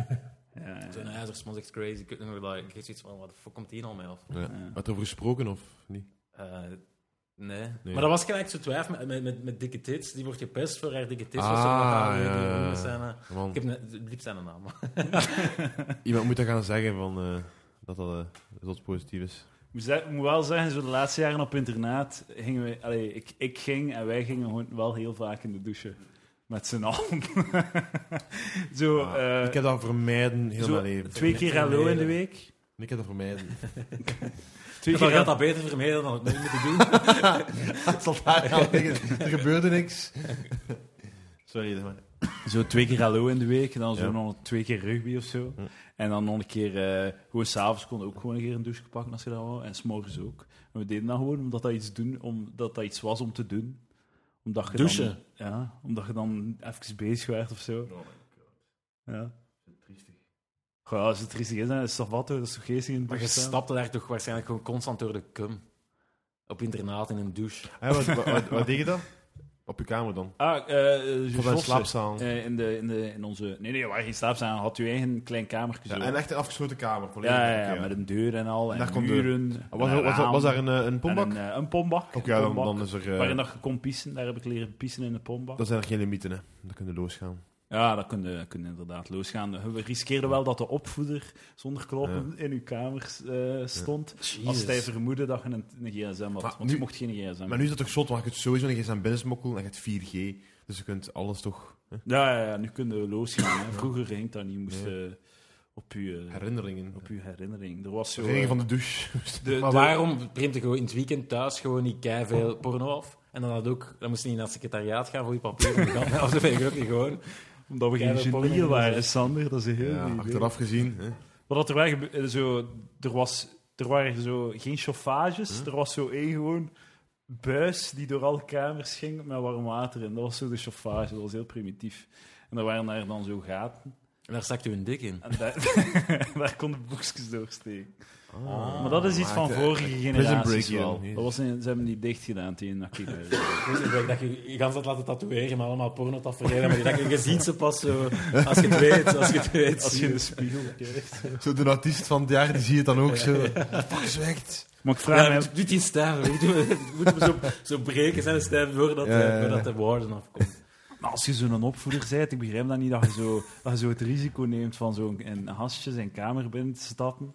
[SPEAKER 1] Ja, ja.
[SPEAKER 4] Zo'n ijzerspons, echt crazy. Ik weet nog dat ik echt zoiets van, wat de fuck komt die nou mee? Of,
[SPEAKER 2] Ja. Maar het over gesproken, of niet?
[SPEAKER 4] eh, nee. Maar dat was gelijk zo'n twijf met, met, met, met dikke tits. Die wordt gepest voor haar dikke tits.
[SPEAKER 2] Ah,
[SPEAKER 4] Ah, ja,
[SPEAKER 2] ja, ja, ja.
[SPEAKER 4] zijn, eh,
[SPEAKER 2] Man,
[SPEAKER 4] ik heb net- liep zijn naam.
[SPEAKER 2] Iemand moet dat gaan zeggen van, eh, dat dat eh, zot positief is.
[SPEAKER 1] Ik moet, ze- ik moet wel zeggen, zo de laatste jaren op internaat gingen we, allee, ik, ik ging en wij gingen gewoon wel heel vaak in de douche. Met z'n allen. zo,
[SPEAKER 2] Ah,
[SPEAKER 1] eh,
[SPEAKER 2] ik heb dat vermijden heel
[SPEAKER 1] zo
[SPEAKER 2] mijn leven.
[SPEAKER 1] twee keer hallo in de week.
[SPEAKER 2] Ik heb dat vermijden.
[SPEAKER 1] Twee
[SPEAKER 4] Maar
[SPEAKER 1] keer
[SPEAKER 4] je had dat beter vermeden dan het nu moeten doen.
[SPEAKER 2] Het zal daar gaan liggen. Er gebeurde niks. Sorry, maar...
[SPEAKER 1] Zo twee keer hallo in de week, en dan zo
[SPEAKER 2] Ja.
[SPEAKER 1] nog twee keer rugby of zo.
[SPEAKER 2] Hm.
[SPEAKER 1] En dan nog een keer, eh, gewoon s'avonds kon ook gewoon een keer een douche pakken als je dat wou. En s'morgens ook. En we deden dat gewoon omdat dat iets, doen, omdat dat iets was om te doen. Omdat je
[SPEAKER 4] Douchen?
[SPEAKER 1] Dan, ja, omdat je dan even bezig werd of zo. Ja. Goh, als het triestig is, dan is het toch wat, hoor. dat is toch geestig in de
[SPEAKER 4] Maar je
[SPEAKER 1] douche staan?
[SPEAKER 4] stapte daar toch waarschijnlijk gewoon constant door de cum. Op internaat, in een douche.
[SPEAKER 2] Ah, wat, wat, wat, wat deed je dan? Op je kamer dan?
[SPEAKER 1] Ah, eh, eh,
[SPEAKER 2] Of bij een
[SPEAKER 1] Josse.
[SPEAKER 2] slaapzaal?
[SPEAKER 1] Eh, in, de, in, de, in onze... Nee, nee, waar geen slaapzaal. Had u eigen klein kamertje
[SPEAKER 2] Ja,
[SPEAKER 1] zo.
[SPEAKER 2] en echt een afgesloten kamer. volledig.
[SPEAKER 1] ja, ja,
[SPEAKER 2] Oké,
[SPEAKER 1] ja, met een deur en al. En,
[SPEAKER 2] daar kon de-
[SPEAKER 1] muren. en
[SPEAKER 2] Was,
[SPEAKER 1] een
[SPEAKER 2] was, was,
[SPEAKER 1] raam.
[SPEAKER 2] was daar een, eh, een
[SPEAKER 1] En
[SPEAKER 2] pombak?
[SPEAKER 1] Een, eh, een pombak.
[SPEAKER 2] Oké, ja, dan,
[SPEAKER 1] Pombak.
[SPEAKER 2] dan is er... eh,
[SPEAKER 1] Waarin dat je kon pissen. Daar heb ik leren pissen in de pombak.
[SPEAKER 2] dan zijn er geen limieten, hè. Dan kunnen we losgaan.
[SPEAKER 1] Ja, dat kun je, dat kun je inderdaad losgaan. We riskeerden wel dat de opvoeder zonder kloppen in uw kamer eh, stond. Als hij vermoedde dat je een, een gsm had.
[SPEAKER 2] Maar
[SPEAKER 1] Want je
[SPEAKER 2] nu-
[SPEAKER 1] mocht geen gsm
[SPEAKER 2] Maar nu is dat toch zot, want je kunt sowieso niet eens aan binnen smokkelen en je hebt 4G. Dus je kunt alles toch...
[SPEAKER 1] Ja, ja, ja, nu kunnen we losgaan. Hè. Vroeger ging dat niet. Moest, eh, op je,
[SPEAKER 2] Herinneringen.
[SPEAKER 1] op uw herinnering. Er was zo...
[SPEAKER 2] Herinnering
[SPEAKER 1] eh,
[SPEAKER 2] van de douche.
[SPEAKER 1] de-
[SPEAKER 4] Maar
[SPEAKER 1] de-
[SPEAKER 4] waarom print je gewoon in het weekend thuis gewoon niet veel porno af? En dan, had ook, dan moest je niet naar het secretariaat gaan voor je papier. om te gaan. Of dat weet ik ook niet gewoon.
[SPEAKER 1] eh, Omdat we geen
[SPEAKER 4] Keiveel
[SPEAKER 1] genieën
[SPEAKER 4] porno
[SPEAKER 1] waren,
[SPEAKER 4] gezien.
[SPEAKER 1] Sander. Dat is een heel
[SPEAKER 2] Ja,
[SPEAKER 1] goed idee.
[SPEAKER 2] achteraf gezien. Hè.
[SPEAKER 1] Wat had er wel gebe- eh, zo, er, was, er waren zo geen chauffages, er was zo één gewoon buis die door alle kamers ging met warm water in. Dat was zo de chauffage, dat was heel primitief. En daar waren daar dan zo gaten.
[SPEAKER 4] En daar stak je een dik in.
[SPEAKER 1] En daar, daar konden boekjes doorsteken. Ah,
[SPEAKER 2] Ah,
[SPEAKER 1] maar dat is iets van
[SPEAKER 2] de-
[SPEAKER 1] vorige
[SPEAKER 2] eh, Break
[SPEAKER 1] generaties
[SPEAKER 2] hier,
[SPEAKER 1] wel.
[SPEAKER 2] jezus.
[SPEAKER 1] Dat was in, ze hebben die dicht gedaan tegen dat ik daar-
[SPEAKER 4] Dus ik denk dat je je gans had laten tatoeëren met allemaal pornotaferelen. Maar je dacht, je ziet ze pas zo, als je het weet. Als je het weet.
[SPEAKER 1] Als je in de spiegel kijkt.
[SPEAKER 2] Zo de artiest van het jaar, die zie je het dan ook zo. Fuck, zwijgt.
[SPEAKER 1] Maar ik vraag
[SPEAKER 4] Ja,
[SPEAKER 1] me...
[SPEAKER 4] doet- doet die stijf. Moeten we zo, zo breken zijn stijf voordat,
[SPEAKER 2] Ja, ja, ja.
[SPEAKER 4] eh, voordat de woorden afkomt.
[SPEAKER 1] Maar als je zo'n opvoeder bent, ik begrijp dat niet dat je zo, dat je zo het risico neemt van zo'n een hasje zijn kamer binnen te stappen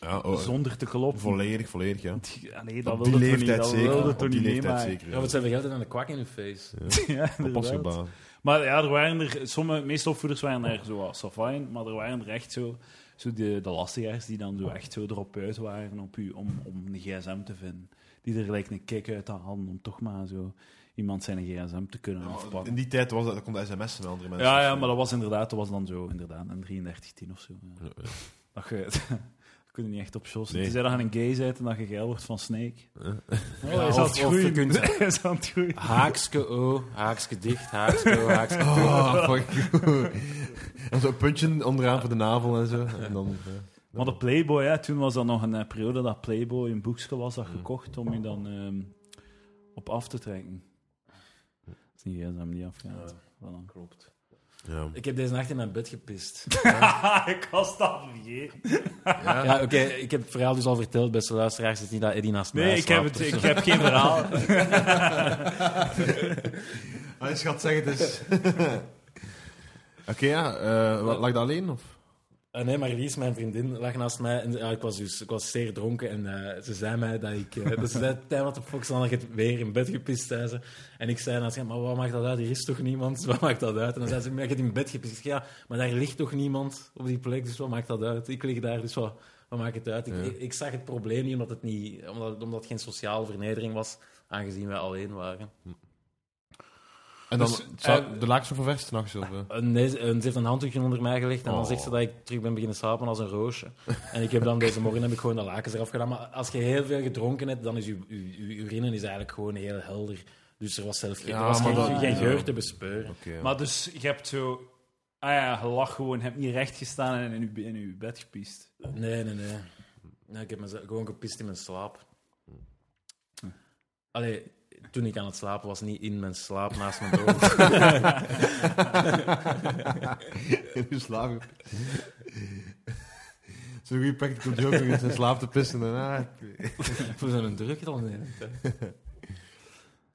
[SPEAKER 2] Ja, oh,
[SPEAKER 1] zonder te kloppen.
[SPEAKER 2] volledig, volledig, ja.
[SPEAKER 1] Ja, Nee, dat
[SPEAKER 2] Op
[SPEAKER 1] wilde
[SPEAKER 2] die
[SPEAKER 1] toch niet,
[SPEAKER 2] leeftijd
[SPEAKER 1] dat
[SPEAKER 2] zeker.
[SPEAKER 1] wilde
[SPEAKER 2] Op
[SPEAKER 1] toch
[SPEAKER 2] die
[SPEAKER 1] niet
[SPEAKER 2] leeftijd
[SPEAKER 1] meemaken.
[SPEAKER 2] zeker.
[SPEAKER 4] Ja, wat zijn we altijd aan de kwak in je face?
[SPEAKER 1] Ja,
[SPEAKER 2] Pas
[SPEAKER 1] inderdaad.
[SPEAKER 2] gebaan.
[SPEAKER 1] Maar ja, er waren er, sommige, meeste opvoeders waren er zo wat safijn, maar er waren er echt zo, zo de, de lastigaars die dan zo echt zo erop uit waren op u, om, om een gsm te vinden. Die er gelijk een kick uit hadden om toch maar zo iemand zijn gsm te kunnen
[SPEAKER 2] In
[SPEAKER 1] afpakken.
[SPEAKER 2] die tijd was dat, dat kon de sms'en met andere mensen.
[SPEAKER 1] Ja, ja, maar dat was inderdaad, dat was dan zo, inderdaad, een 3310 of zo. Ja.
[SPEAKER 2] Ja, ja.
[SPEAKER 1] Dat je... dat kun je niet echt op shows.
[SPEAKER 2] Nee.
[SPEAKER 1] Nee. Tenzij dat je een gay bent en dat je geil wordt van Snake. Oh,
[SPEAKER 4] Ja,
[SPEAKER 1] hij is
[SPEAKER 4] of-
[SPEAKER 1] aan het
[SPEAKER 4] of je
[SPEAKER 1] groeien.
[SPEAKER 4] kunt-
[SPEAKER 1] Hij is aan het groeien.
[SPEAKER 4] Haakske O, haakske dicht, haakske O, haakske
[SPEAKER 2] Oh, fuck. en zo'n puntje onderaan voor de navel en zo. En dan, eh,
[SPEAKER 1] Maar de Playboy, hè, toen was dat nog een eh, periode dat Playboy een boekje was
[SPEAKER 4] Mm.
[SPEAKER 1] dat gekocht om je dan ehm, op af te trekken. Dat is niet gsm die afgaat. Voilà.
[SPEAKER 4] Klopt.
[SPEAKER 2] ja.
[SPEAKER 4] Ik heb deze nacht in mijn bed gepist.
[SPEAKER 1] ik was dat vergeten.
[SPEAKER 4] Ja, oké, ik heb het verhaal dus al verteld, beste luisteraars. Het is niet dat Eddie naast mij
[SPEAKER 1] Nee, ik heb,
[SPEAKER 4] slaapt
[SPEAKER 1] het,
[SPEAKER 4] of
[SPEAKER 1] ik
[SPEAKER 4] zo.
[SPEAKER 1] heb geen verhaal.
[SPEAKER 2] Ah, schat, zeg het eens. Oké, ja. eh, wat, lag dat alleen? Of?
[SPEAKER 4] Ah, nee, maar Lies, mijn vriendin, lag naast mij. En, ja, ik, was dus, ik was zeer dronken en eh, ze zei mij dat ik... eh, dat ze zei, Tijn, wat de fuck, dan had je het weer in bed gepist, zei ze. En ik zei naast haar, maar wat maakt dat uit? Er is toch niemand? Wat maakt dat uit? En dan zei ze, maar je hebt in bed gepist. Ik zei, ja, maar daar ligt toch niemand op die plek, dus wat maakt dat uit? Ik lig daar, dus wat, wat maakt het uit? Ik, ik, ik zag het probleem niet, omdat het, niet, omdat, omdat het geen sociale vernedering was, aangezien wij alleen waren.
[SPEAKER 2] En dan
[SPEAKER 4] Dus,
[SPEAKER 2] het zou-
[SPEAKER 4] eh,
[SPEAKER 2] de laakse ververst s'nachts. Of, eh?
[SPEAKER 4] Eh, Nee, ze eh, ze heeft een handdoekje onder mij gelegd en dan
[SPEAKER 2] Oh.
[SPEAKER 4] zegt ze dat ik terug ben beginnen slapen als een roosje. En ik heb dan deze morgen heb ik gewoon de lakens eraf gedaan. Maar als je heel veel gedronken hebt, dan is je, je, je urine is eigenlijk gewoon heel helder. Dus er was zelf geen,
[SPEAKER 2] Ja,
[SPEAKER 4] er was
[SPEAKER 2] maar
[SPEAKER 4] geen,
[SPEAKER 2] dat-
[SPEAKER 4] geen
[SPEAKER 2] ja.
[SPEAKER 4] geur te bespeuren.
[SPEAKER 2] Oké, ja.
[SPEAKER 1] Maar dus, je hebt zo... Ah ja, je lag gewoon, je hebt niet recht gestaan en in je, in je bed gepiest.
[SPEAKER 4] Nee, nee, nee. nee ik heb mezelf gewoon gepist in mijn slaap. Allee, toen ik aan het slapen was, niet in mijn slaap naast mijn ogen.
[SPEAKER 2] in uw slaap. Zo'n goede practical joke om in zijn slaap te pissen. En, ah, ik-
[SPEAKER 4] We zijn een druk dan. nee.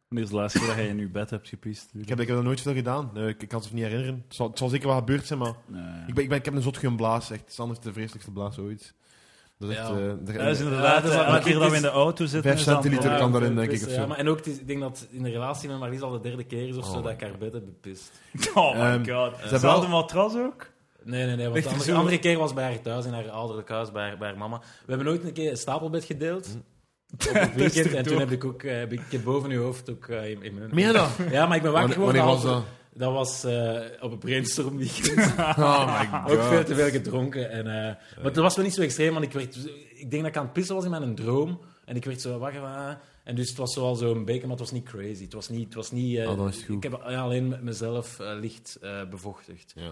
[SPEAKER 1] Wanneer is de laatste keer dat je in je bed hebt gepiest?
[SPEAKER 2] ik, heb, ik heb dat nooit veel gedaan. Nee, ik, ik kan het me niet herinneren. Het zal, het zal zeker wel gebeurd zijn, maar
[SPEAKER 1] Nee.
[SPEAKER 2] ik, ben, ik, ben, ik heb een zot geblaas. Echt, Sander is de vreselijkste blaas ooit. Dat is echt...
[SPEAKER 4] Ja.
[SPEAKER 2] eh, de-
[SPEAKER 1] Dat is dus inderdaad,
[SPEAKER 4] dat is-
[SPEAKER 1] elke
[SPEAKER 4] maar
[SPEAKER 1] keer
[SPEAKER 4] dit
[SPEAKER 1] dat we
[SPEAKER 4] is-
[SPEAKER 1] in de auto zitten...
[SPEAKER 2] Vijf
[SPEAKER 1] is dan-
[SPEAKER 2] centiliter
[SPEAKER 1] Ja.
[SPEAKER 2] kan daarin, denk ik,
[SPEAKER 4] Pissen,
[SPEAKER 2] of zo.
[SPEAKER 4] Ja, maar en ook, het is- ik denk dat in de relatie met Marlies al de derde keer is of zo
[SPEAKER 2] Oh.
[SPEAKER 4] dat ik haar bed heb bepist.
[SPEAKER 1] Oh my
[SPEAKER 2] Ehm,
[SPEAKER 1] god.
[SPEAKER 2] hebben
[SPEAKER 1] Hetzelfde
[SPEAKER 2] wel-
[SPEAKER 1] matras ook?
[SPEAKER 4] Nee, nee, nee.
[SPEAKER 1] Ligt
[SPEAKER 4] Want de
[SPEAKER 1] er
[SPEAKER 4] andere,
[SPEAKER 1] zo-
[SPEAKER 4] andere keer was bij haar thuis, in haar ouderlijk huis, bij haar, bij haar mama. We hebben ooit een keer een stapelbed gedeeld. Op het
[SPEAKER 1] Hm. is
[SPEAKER 4] weekend.
[SPEAKER 1] er
[SPEAKER 4] En toen
[SPEAKER 1] door.
[SPEAKER 4] heb ik ook eh, heb ik, ik heb boven uw hoofd ook... eh, in, in mijn-
[SPEAKER 2] Meen je dat?
[SPEAKER 4] Ja, maar ik ben wakker
[SPEAKER 2] Wanneer- wanneer
[SPEAKER 4] geworden.
[SPEAKER 2] was
[SPEAKER 4] half-
[SPEAKER 2] dat?
[SPEAKER 4] Dat was eh, op een brainstorm weekend.
[SPEAKER 2] Oh my god.
[SPEAKER 4] ook veel te veel gedronken. En, eh, maar het was wel niet zo extreem, want ik, werd, ik denk dat ik aan het pissen was in mijn droom. En ik werd zo wakker van... ah. en dus het was zoal zo'n beker, maar het was niet crazy. Het was niet... Het was niet eh,
[SPEAKER 2] Oh, dan is het goed.
[SPEAKER 4] Ik heb ja, alleen met mezelf eh, licht eh, bevochtigd.
[SPEAKER 2] Ja.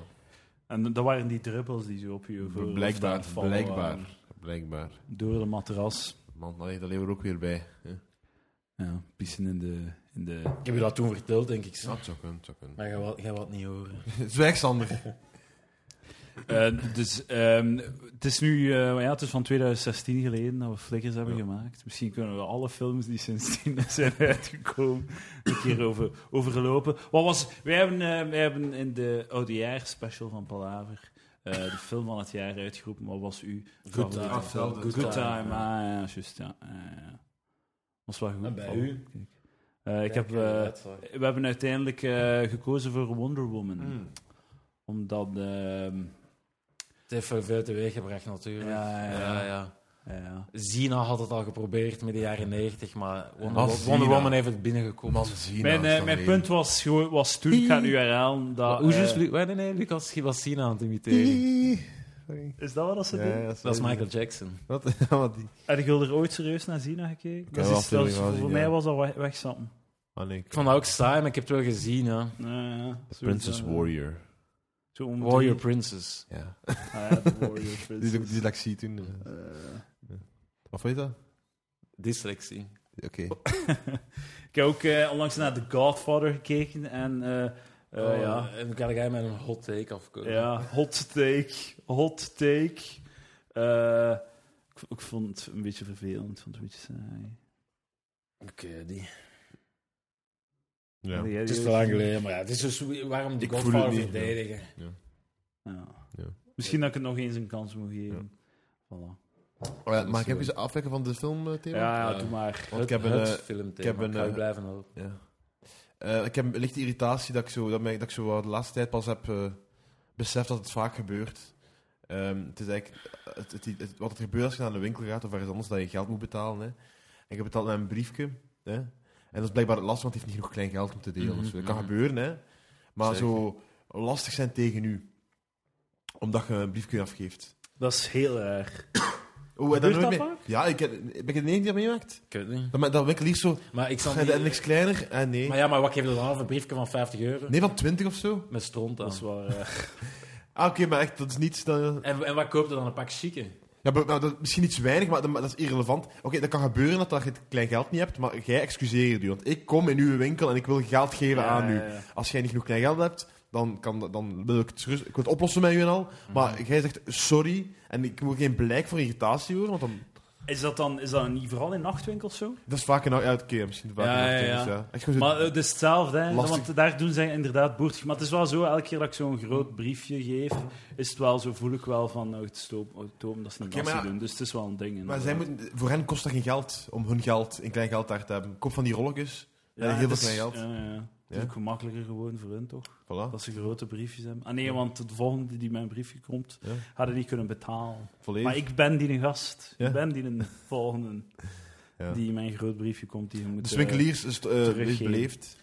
[SPEAKER 1] En dat waren die druppels die zo op je voorhoofd aan
[SPEAKER 2] Blijkbaar,
[SPEAKER 1] het vallen
[SPEAKER 2] blijkbaar,
[SPEAKER 4] eh.
[SPEAKER 1] waren.
[SPEAKER 2] blijkbaar.
[SPEAKER 1] Door de matras.
[SPEAKER 2] Man, allee, dat leven we er ook weer bij. hè.
[SPEAKER 1] Ja, pissen in de... In de...
[SPEAKER 4] Ik heb je dat toen verteld, denk ik.
[SPEAKER 2] Ja, het zou kunnen, het zou kunnen.
[SPEAKER 4] Maar jij wilt, jij wilt niet horen.
[SPEAKER 2] Zwijg, Sander.
[SPEAKER 1] Eh, dus ehm, het is nu eh, ja, het is van 2016 geleden dat we Flickers hebben gemaakt. Misschien kunnen we alle films die sindsdien zijn uitgekomen een keer over, overlopen. Wat was, wij, hebben, eh, wij hebben in de oudejaar special van Palaver eh, de film van het jaar uitgeroepen. Wat was uw
[SPEAKER 4] Good
[SPEAKER 1] favoriete
[SPEAKER 4] time.
[SPEAKER 1] film?
[SPEAKER 4] Good
[SPEAKER 1] Good
[SPEAKER 4] time,
[SPEAKER 1] time, ah ja, juist. Ja, ja, ja. Was wel goed.
[SPEAKER 4] En Nou, bij
[SPEAKER 1] Oh,
[SPEAKER 4] u?
[SPEAKER 1] kijk. Eh, ik heb, eh, we hebben
[SPEAKER 4] Hmm.
[SPEAKER 2] Hmm,
[SPEAKER 1] uiteindelijk eh, gekozen voor Wonder Woman. Omdat ehm,
[SPEAKER 4] heeft wel veel teweeg gebracht, natuurlijk.
[SPEAKER 5] Ja, ja, ja.
[SPEAKER 1] Ja, ja.
[SPEAKER 4] Zina had het al geprobeerd midden jaren 90, maar Wonder,
[SPEAKER 2] Maar
[SPEAKER 4] Wo- Wonder
[SPEAKER 2] Zina.
[SPEAKER 4] Woman heeft het binnengekomen.
[SPEAKER 2] Mazina,
[SPEAKER 1] Mijn, eh,
[SPEAKER 2] staan
[SPEAKER 1] mijn
[SPEAKER 2] leven.
[SPEAKER 1] punt was, gewoon- was toen, ik ga nu herhalen, dat...
[SPEAKER 4] Hoe
[SPEAKER 1] eh,
[SPEAKER 4] is Lu- nee, nee, nee, Lucas was Zina aan het imiteren.
[SPEAKER 2] Sorry.
[SPEAKER 1] is dat wat dat ze
[SPEAKER 2] Ja,
[SPEAKER 1] doen?
[SPEAKER 2] ja,
[SPEAKER 4] Dat
[SPEAKER 2] sorry.
[SPEAKER 4] is Michael Jackson.
[SPEAKER 2] Wat? Ja, maar die...
[SPEAKER 1] Heb je er ooit serieus naar Zina gekeken?
[SPEAKER 2] heb
[SPEAKER 1] Dat
[SPEAKER 2] wel
[SPEAKER 1] is, dat is-
[SPEAKER 2] afleveringen wel
[SPEAKER 1] voor
[SPEAKER 2] gezien,
[SPEAKER 1] mij
[SPEAKER 2] ja.
[SPEAKER 1] was dat weg- wegzappen.
[SPEAKER 2] Ah, nee. ik-
[SPEAKER 4] Ik vond dat ook saai, maar ik heb het wel gezien. Hè.
[SPEAKER 1] Ja, ja, sowieso.
[SPEAKER 2] Princess Warrior.
[SPEAKER 1] Zo om
[SPEAKER 4] Warrior
[SPEAKER 1] drie-
[SPEAKER 4] Princess.
[SPEAKER 2] Ja.
[SPEAKER 1] Ah, ja, de Warrior
[SPEAKER 2] Die is ook
[SPEAKER 1] Princess.
[SPEAKER 2] dyslexie toen. eh. Of weet je dat?
[SPEAKER 4] Dyslexie.
[SPEAKER 2] Oké.
[SPEAKER 1] ik heb ook eh, onlangs naar The Godfather gekeken en... eh, eh,
[SPEAKER 4] Oh,
[SPEAKER 1] ja.
[SPEAKER 4] En dan kan ik met een hot take afkomen.
[SPEAKER 1] Ja, hot take. Hot take. Eh, ik, v- ik vond het een beetje vervelend, ik vond het een beetje saai.
[SPEAKER 4] Oké, eh, die.
[SPEAKER 2] Ja.
[SPEAKER 1] Allee, jij-
[SPEAKER 4] Het is te
[SPEAKER 1] jij-
[SPEAKER 4] lang geleden, maar ja, het is dus waarom de
[SPEAKER 2] Ik voel
[SPEAKER 4] Godfather
[SPEAKER 2] het niet,
[SPEAKER 4] verdedigen.
[SPEAKER 1] Ja.
[SPEAKER 2] Ja.
[SPEAKER 1] Misschien dat ik het nog eens een kans moet geven. Voilà.
[SPEAKER 2] Oh ja, maar ik heb je ze afwekken van de eh, filmthema?
[SPEAKER 1] Ja,
[SPEAKER 4] Ja.
[SPEAKER 1] doe maar.
[SPEAKER 2] Want ik heb een...
[SPEAKER 4] het
[SPEAKER 2] eh,
[SPEAKER 4] filmthema.
[SPEAKER 2] ik heb een,
[SPEAKER 4] ga je
[SPEAKER 2] eh,
[SPEAKER 4] blijven houden.
[SPEAKER 2] Ja. Eh, ik heb een lichte irritatie dat ik, zo, dat, mij, dat ik zo wel de laatste tijd pas heb eh, beseft dat het vaak gebeurt. Ehm, het is eigenlijk het, het, het- wat er gebeurt als je naar de winkel gaat of ergens anders dat je geld moet betalen. Hè. En ik heb betaald met een briefje. Hè. En dat is blijkbaar lastig, want hij heeft niet genoeg klein geld om te delen.
[SPEAKER 4] Mhm,
[SPEAKER 2] of zo. Dat kan
[SPEAKER 4] mhm.
[SPEAKER 2] gebeuren, hè. maar
[SPEAKER 4] Zeker.
[SPEAKER 2] zo lastig zijn tegen u. Omdat je een briefje afgeeft.
[SPEAKER 1] Dat is heel erg.
[SPEAKER 2] Oh, en dan
[SPEAKER 1] Gebeurt
[SPEAKER 2] nooit
[SPEAKER 1] dat
[SPEAKER 2] meer- Ja, ik heb, heb ik het de enige die dat meemaakt?
[SPEAKER 4] Ik weet het niet.
[SPEAKER 2] Dat, me- dat winkel liefst zo...
[SPEAKER 4] Maar ik zal
[SPEAKER 2] Ga je niks kleiner? En nee.
[SPEAKER 4] Maar ja, maar wat geeft er dan af? Een briefje van 50 euro?
[SPEAKER 2] Nee, van 20 of zo?
[SPEAKER 4] Met stront aan.
[SPEAKER 1] Dat is waar. eh,
[SPEAKER 2] Ah, oké, maar echt, dat is niets... Dat,
[SPEAKER 4] En, en wat koopt er dan? Een pak chique?
[SPEAKER 2] Ja, maar, maar dat, misschien iets weinig, maar dat, maar dat is irrelevant. Oké, dat kan gebeuren dat, dat je het klein geld niet hebt, maar jij excuseert u. Want ik kom in uw winkel en ik wil geld geven aan u.
[SPEAKER 1] ja, ja.
[SPEAKER 2] Als jij niet genoeg klein geld hebt, dan, kan, dat- dan wil ik het, gerust- ik wil het oplossen met u en al. Maar jij zegt sorry en ik wil geen blijk voor irritatie horen, want dan,
[SPEAKER 1] Is dat dan is dat niet vooral in nachtwinkels zo?
[SPEAKER 2] dat is vaak een uit keer misschien. Vaak
[SPEAKER 1] Ja,
[SPEAKER 2] een
[SPEAKER 1] ja,
[SPEAKER 2] uitkeer,
[SPEAKER 1] ja.
[SPEAKER 2] dus Echt gewoon zo-
[SPEAKER 1] Maar eh, het is hetzelfde, hè?
[SPEAKER 2] Lastig.
[SPEAKER 1] want daar doen zij inderdaad boertig. Maar het is wel zo, elke keer dat ik zo'n groot briefje geef, is het wel zo, voel ik wel van, oh, het stoom, oh, het stoom, dat is niet
[SPEAKER 2] Oké, maar
[SPEAKER 1] lastig
[SPEAKER 2] ja.
[SPEAKER 1] doen. Dus het is wel een ding.
[SPEAKER 2] maar
[SPEAKER 1] inderdaad.
[SPEAKER 2] zij moeten, voor hen kost dat geen geld om hun geld in klein geld daar te hebben. Koop van die rolletjes. Ja, heel
[SPEAKER 1] het
[SPEAKER 2] veel
[SPEAKER 1] is-
[SPEAKER 2] klein geld.
[SPEAKER 1] Ja, ja. Het is
[SPEAKER 2] Ja.
[SPEAKER 1] ook gemakkelijker gewoon voor hun, toch?
[SPEAKER 2] Voilà,
[SPEAKER 1] Dat ze grote briefjes hebben. Ah nee, want de volgende die mijn briefje komt,
[SPEAKER 2] Ja.
[SPEAKER 1] hadden niet kunnen betalen.
[SPEAKER 2] volledig.
[SPEAKER 1] Maar ik ben die een gast.
[SPEAKER 2] Ja.
[SPEAKER 1] Ik ben die een volgende
[SPEAKER 2] Ja.
[SPEAKER 1] die mijn groot briefje komt. Die je moet,
[SPEAKER 2] dus
[SPEAKER 1] eh,
[SPEAKER 2] winkeliers is eh,
[SPEAKER 1] teruggeven.
[SPEAKER 2] is beleefd.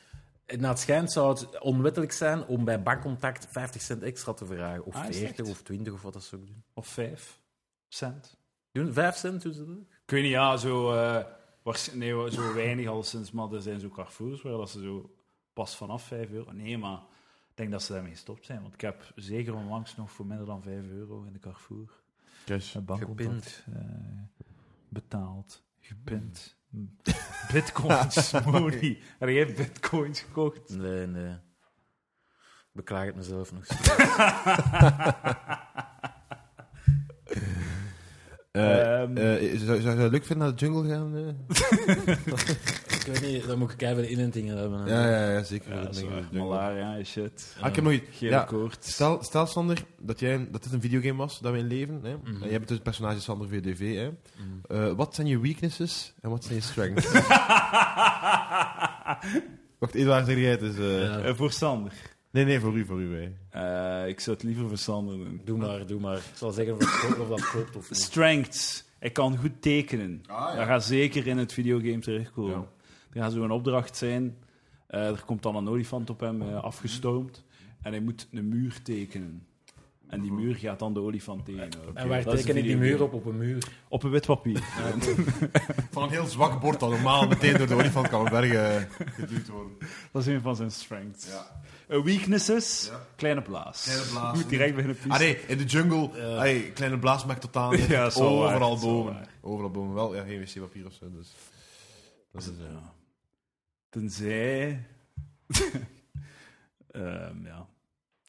[SPEAKER 4] Na het schijnt zou het onwettelijk zijn om bij bankcontact 50 cent extra te vragen. Of
[SPEAKER 1] Ah, is het
[SPEAKER 4] 40
[SPEAKER 1] echt?
[SPEAKER 4] of 20 of wat dat ze ook doen.
[SPEAKER 1] eh, of vijf cent.
[SPEAKER 4] doen 5 cent doen ze dat ook?
[SPEAKER 1] Ik weet niet, ja, zo, eh, waarsch- nee, zo weinig al sinds, maar er zijn zo Carrefours waar dat ze zo pas vanaf 5 euro. Nee, maar ik denk dat ze daarmee gestopt zijn, want ik heb zeker onlangs nog voor minder dan 5 euro in de Carrefour
[SPEAKER 2] Yes.
[SPEAKER 1] een bankcontact
[SPEAKER 4] Gepind.
[SPEAKER 1] eh, betaald, gepind. bitcoins, Moni. Heb jij bitcoins gekocht?
[SPEAKER 4] Nee, nee. Ik Beklaag het mezelf nog. steeds.
[SPEAKER 2] Eh,
[SPEAKER 1] Ehm,
[SPEAKER 2] eh, zou, zou je het leuk vinden naar de jungle gaan? eh?
[SPEAKER 4] ik weet niet, dan moet ik even inentingen hebben. hè.
[SPEAKER 2] Ja, Ah, ja, ja, zeker.
[SPEAKER 1] ja,
[SPEAKER 2] Dat
[SPEAKER 1] dat is
[SPEAKER 2] denk ik
[SPEAKER 1] waar.
[SPEAKER 2] dat jungle.
[SPEAKER 1] Malaria, shit.
[SPEAKER 2] Ah, ik heb nog iets.
[SPEAKER 1] Gele
[SPEAKER 2] eh, Ja,
[SPEAKER 1] koorts.
[SPEAKER 2] stel, stel, Sander, dat, jij, dat dit een videogame was, dat we in leven. Hè?
[SPEAKER 4] Mhm.
[SPEAKER 2] En jij bent dus het personage Sander VDV. Hè?
[SPEAKER 4] Mhm.
[SPEAKER 2] Eh, wat zijn je weaknesses en wat zijn je strengths? Wacht, Eduard, zeg jij het dus. eh,
[SPEAKER 4] Ja.
[SPEAKER 1] Eh, voor Sander.
[SPEAKER 2] Nee, nee, voor u, voor u. Hè.
[SPEAKER 1] Eh, ik zou het liever voor Sander doen.
[SPEAKER 4] Doe maar, doe maar. Ik zal zeggen of dat klopt of, dat klopt of niet.
[SPEAKER 1] Strengths. Hij kan goed tekenen.
[SPEAKER 2] Ah,
[SPEAKER 1] Dat gaat zeker in het videogame terechtkomen. Er gaat zo'n opdracht zijn. eh, er komt dan een olifant op hem eh, afgestoomd. En hij moet een muur tekenen. En die muur gaat dan de olifant tegenhouden.
[SPEAKER 4] En waar
[SPEAKER 1] Dat is
[SPEAKER 4] teken ik die
[SPEAKER 1] videogame.
[SPEAKER 4] muur op? Op een Ah, muur.
[SPEAKER 1] Op een wit papier.
[SPEAKER 2] Van een heel zwak bord dat normaal meteen door de olifant kan bergen eh, geduwd worden.
[SPEAKER 1] Dat is een van zijn strengths.
[SPEAKER 2] Ja.
[SPEAKER 1] Eh, weaknesses.
[SPEAKER 2] Ja.
[SPEAKER 1] Kleine blaas.
[SPEAKER 2] Kleine blaas.
[SPEAKER 1] Moet direct beginnen pissen.
[SPEAKER 2] Ah nee, in de jungle, hey, kleine blaas maakt totaal niet.
[SPEAKER 1] Ja,
[SPEAKER 2] uit.
[SPEAKER 1] is wel waar,
[SPEAKER 2] overal
[SPEAKER 1] is wel
[SPEAKER 2] bomen.
[SPEAKER 1] waar.
[SPEAKER 2] Overal bomen. Wel, ja, geen wc-papier of zo. Dus. Dat is, eh,
[SPEAKER 1] Ja. Tenzij. Ehm, ja.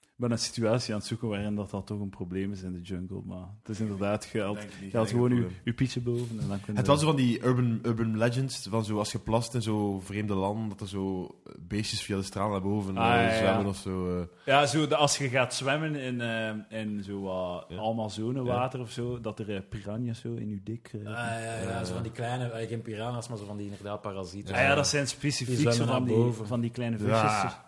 [SPEAKER 1] Ik ben een situatie aan het zoeken waarin dat, dat toch een probleem is in de jungle. Maar het is inderdaad geld.
[SPEAKER 2] denk ik niet,
[SPEAKER 1] Je had
[SPEAKER 2] geen enkel
[SPEAKER 1] gewoon uw,
[SPEAKER 2] probleem.
[SPEAKER 1] uw pietje boven en dan kun je...
[SPEAKER 2] Het was zo van die urban, urban legends, van zo als je plast in zo vreemde landen, dat er zo beestjes via de straal naar boven
[SPEAKER 1] Ah,
[SPEAKER 2] eh,
[SPEAKER 1] ja, ja.
[SPEAKER 2] zwemmen of zo. eh.
[SPEAKER 1] Ja, zo de- als je gaat zwemmen in, eh in zo wat
[SPEAKER 2] Ja.
[SPEAKER 1] Amazonewater of zo, dat er eh, piranha's zo in je dik... eh,
[SPEAKER 4] Ah, ja, ja, zo van die kleine, eh, geen piranha's, maar zo van die inderdaad parasieten.
[SPEAKER 1] ah ja, dat zijn specifiek
[SPEAKER 4] Die
[SPEAKER 1] zo
[SPEAKER 4] zwemmen
[SPEAKER 1] van
[SPEAKER 4] naar
[SPEAKER 1] die,
[SPEAKER 4] boven.
[SPEAKER 1] van die kleine visjes. Die
[SPEAKER 2] Ja.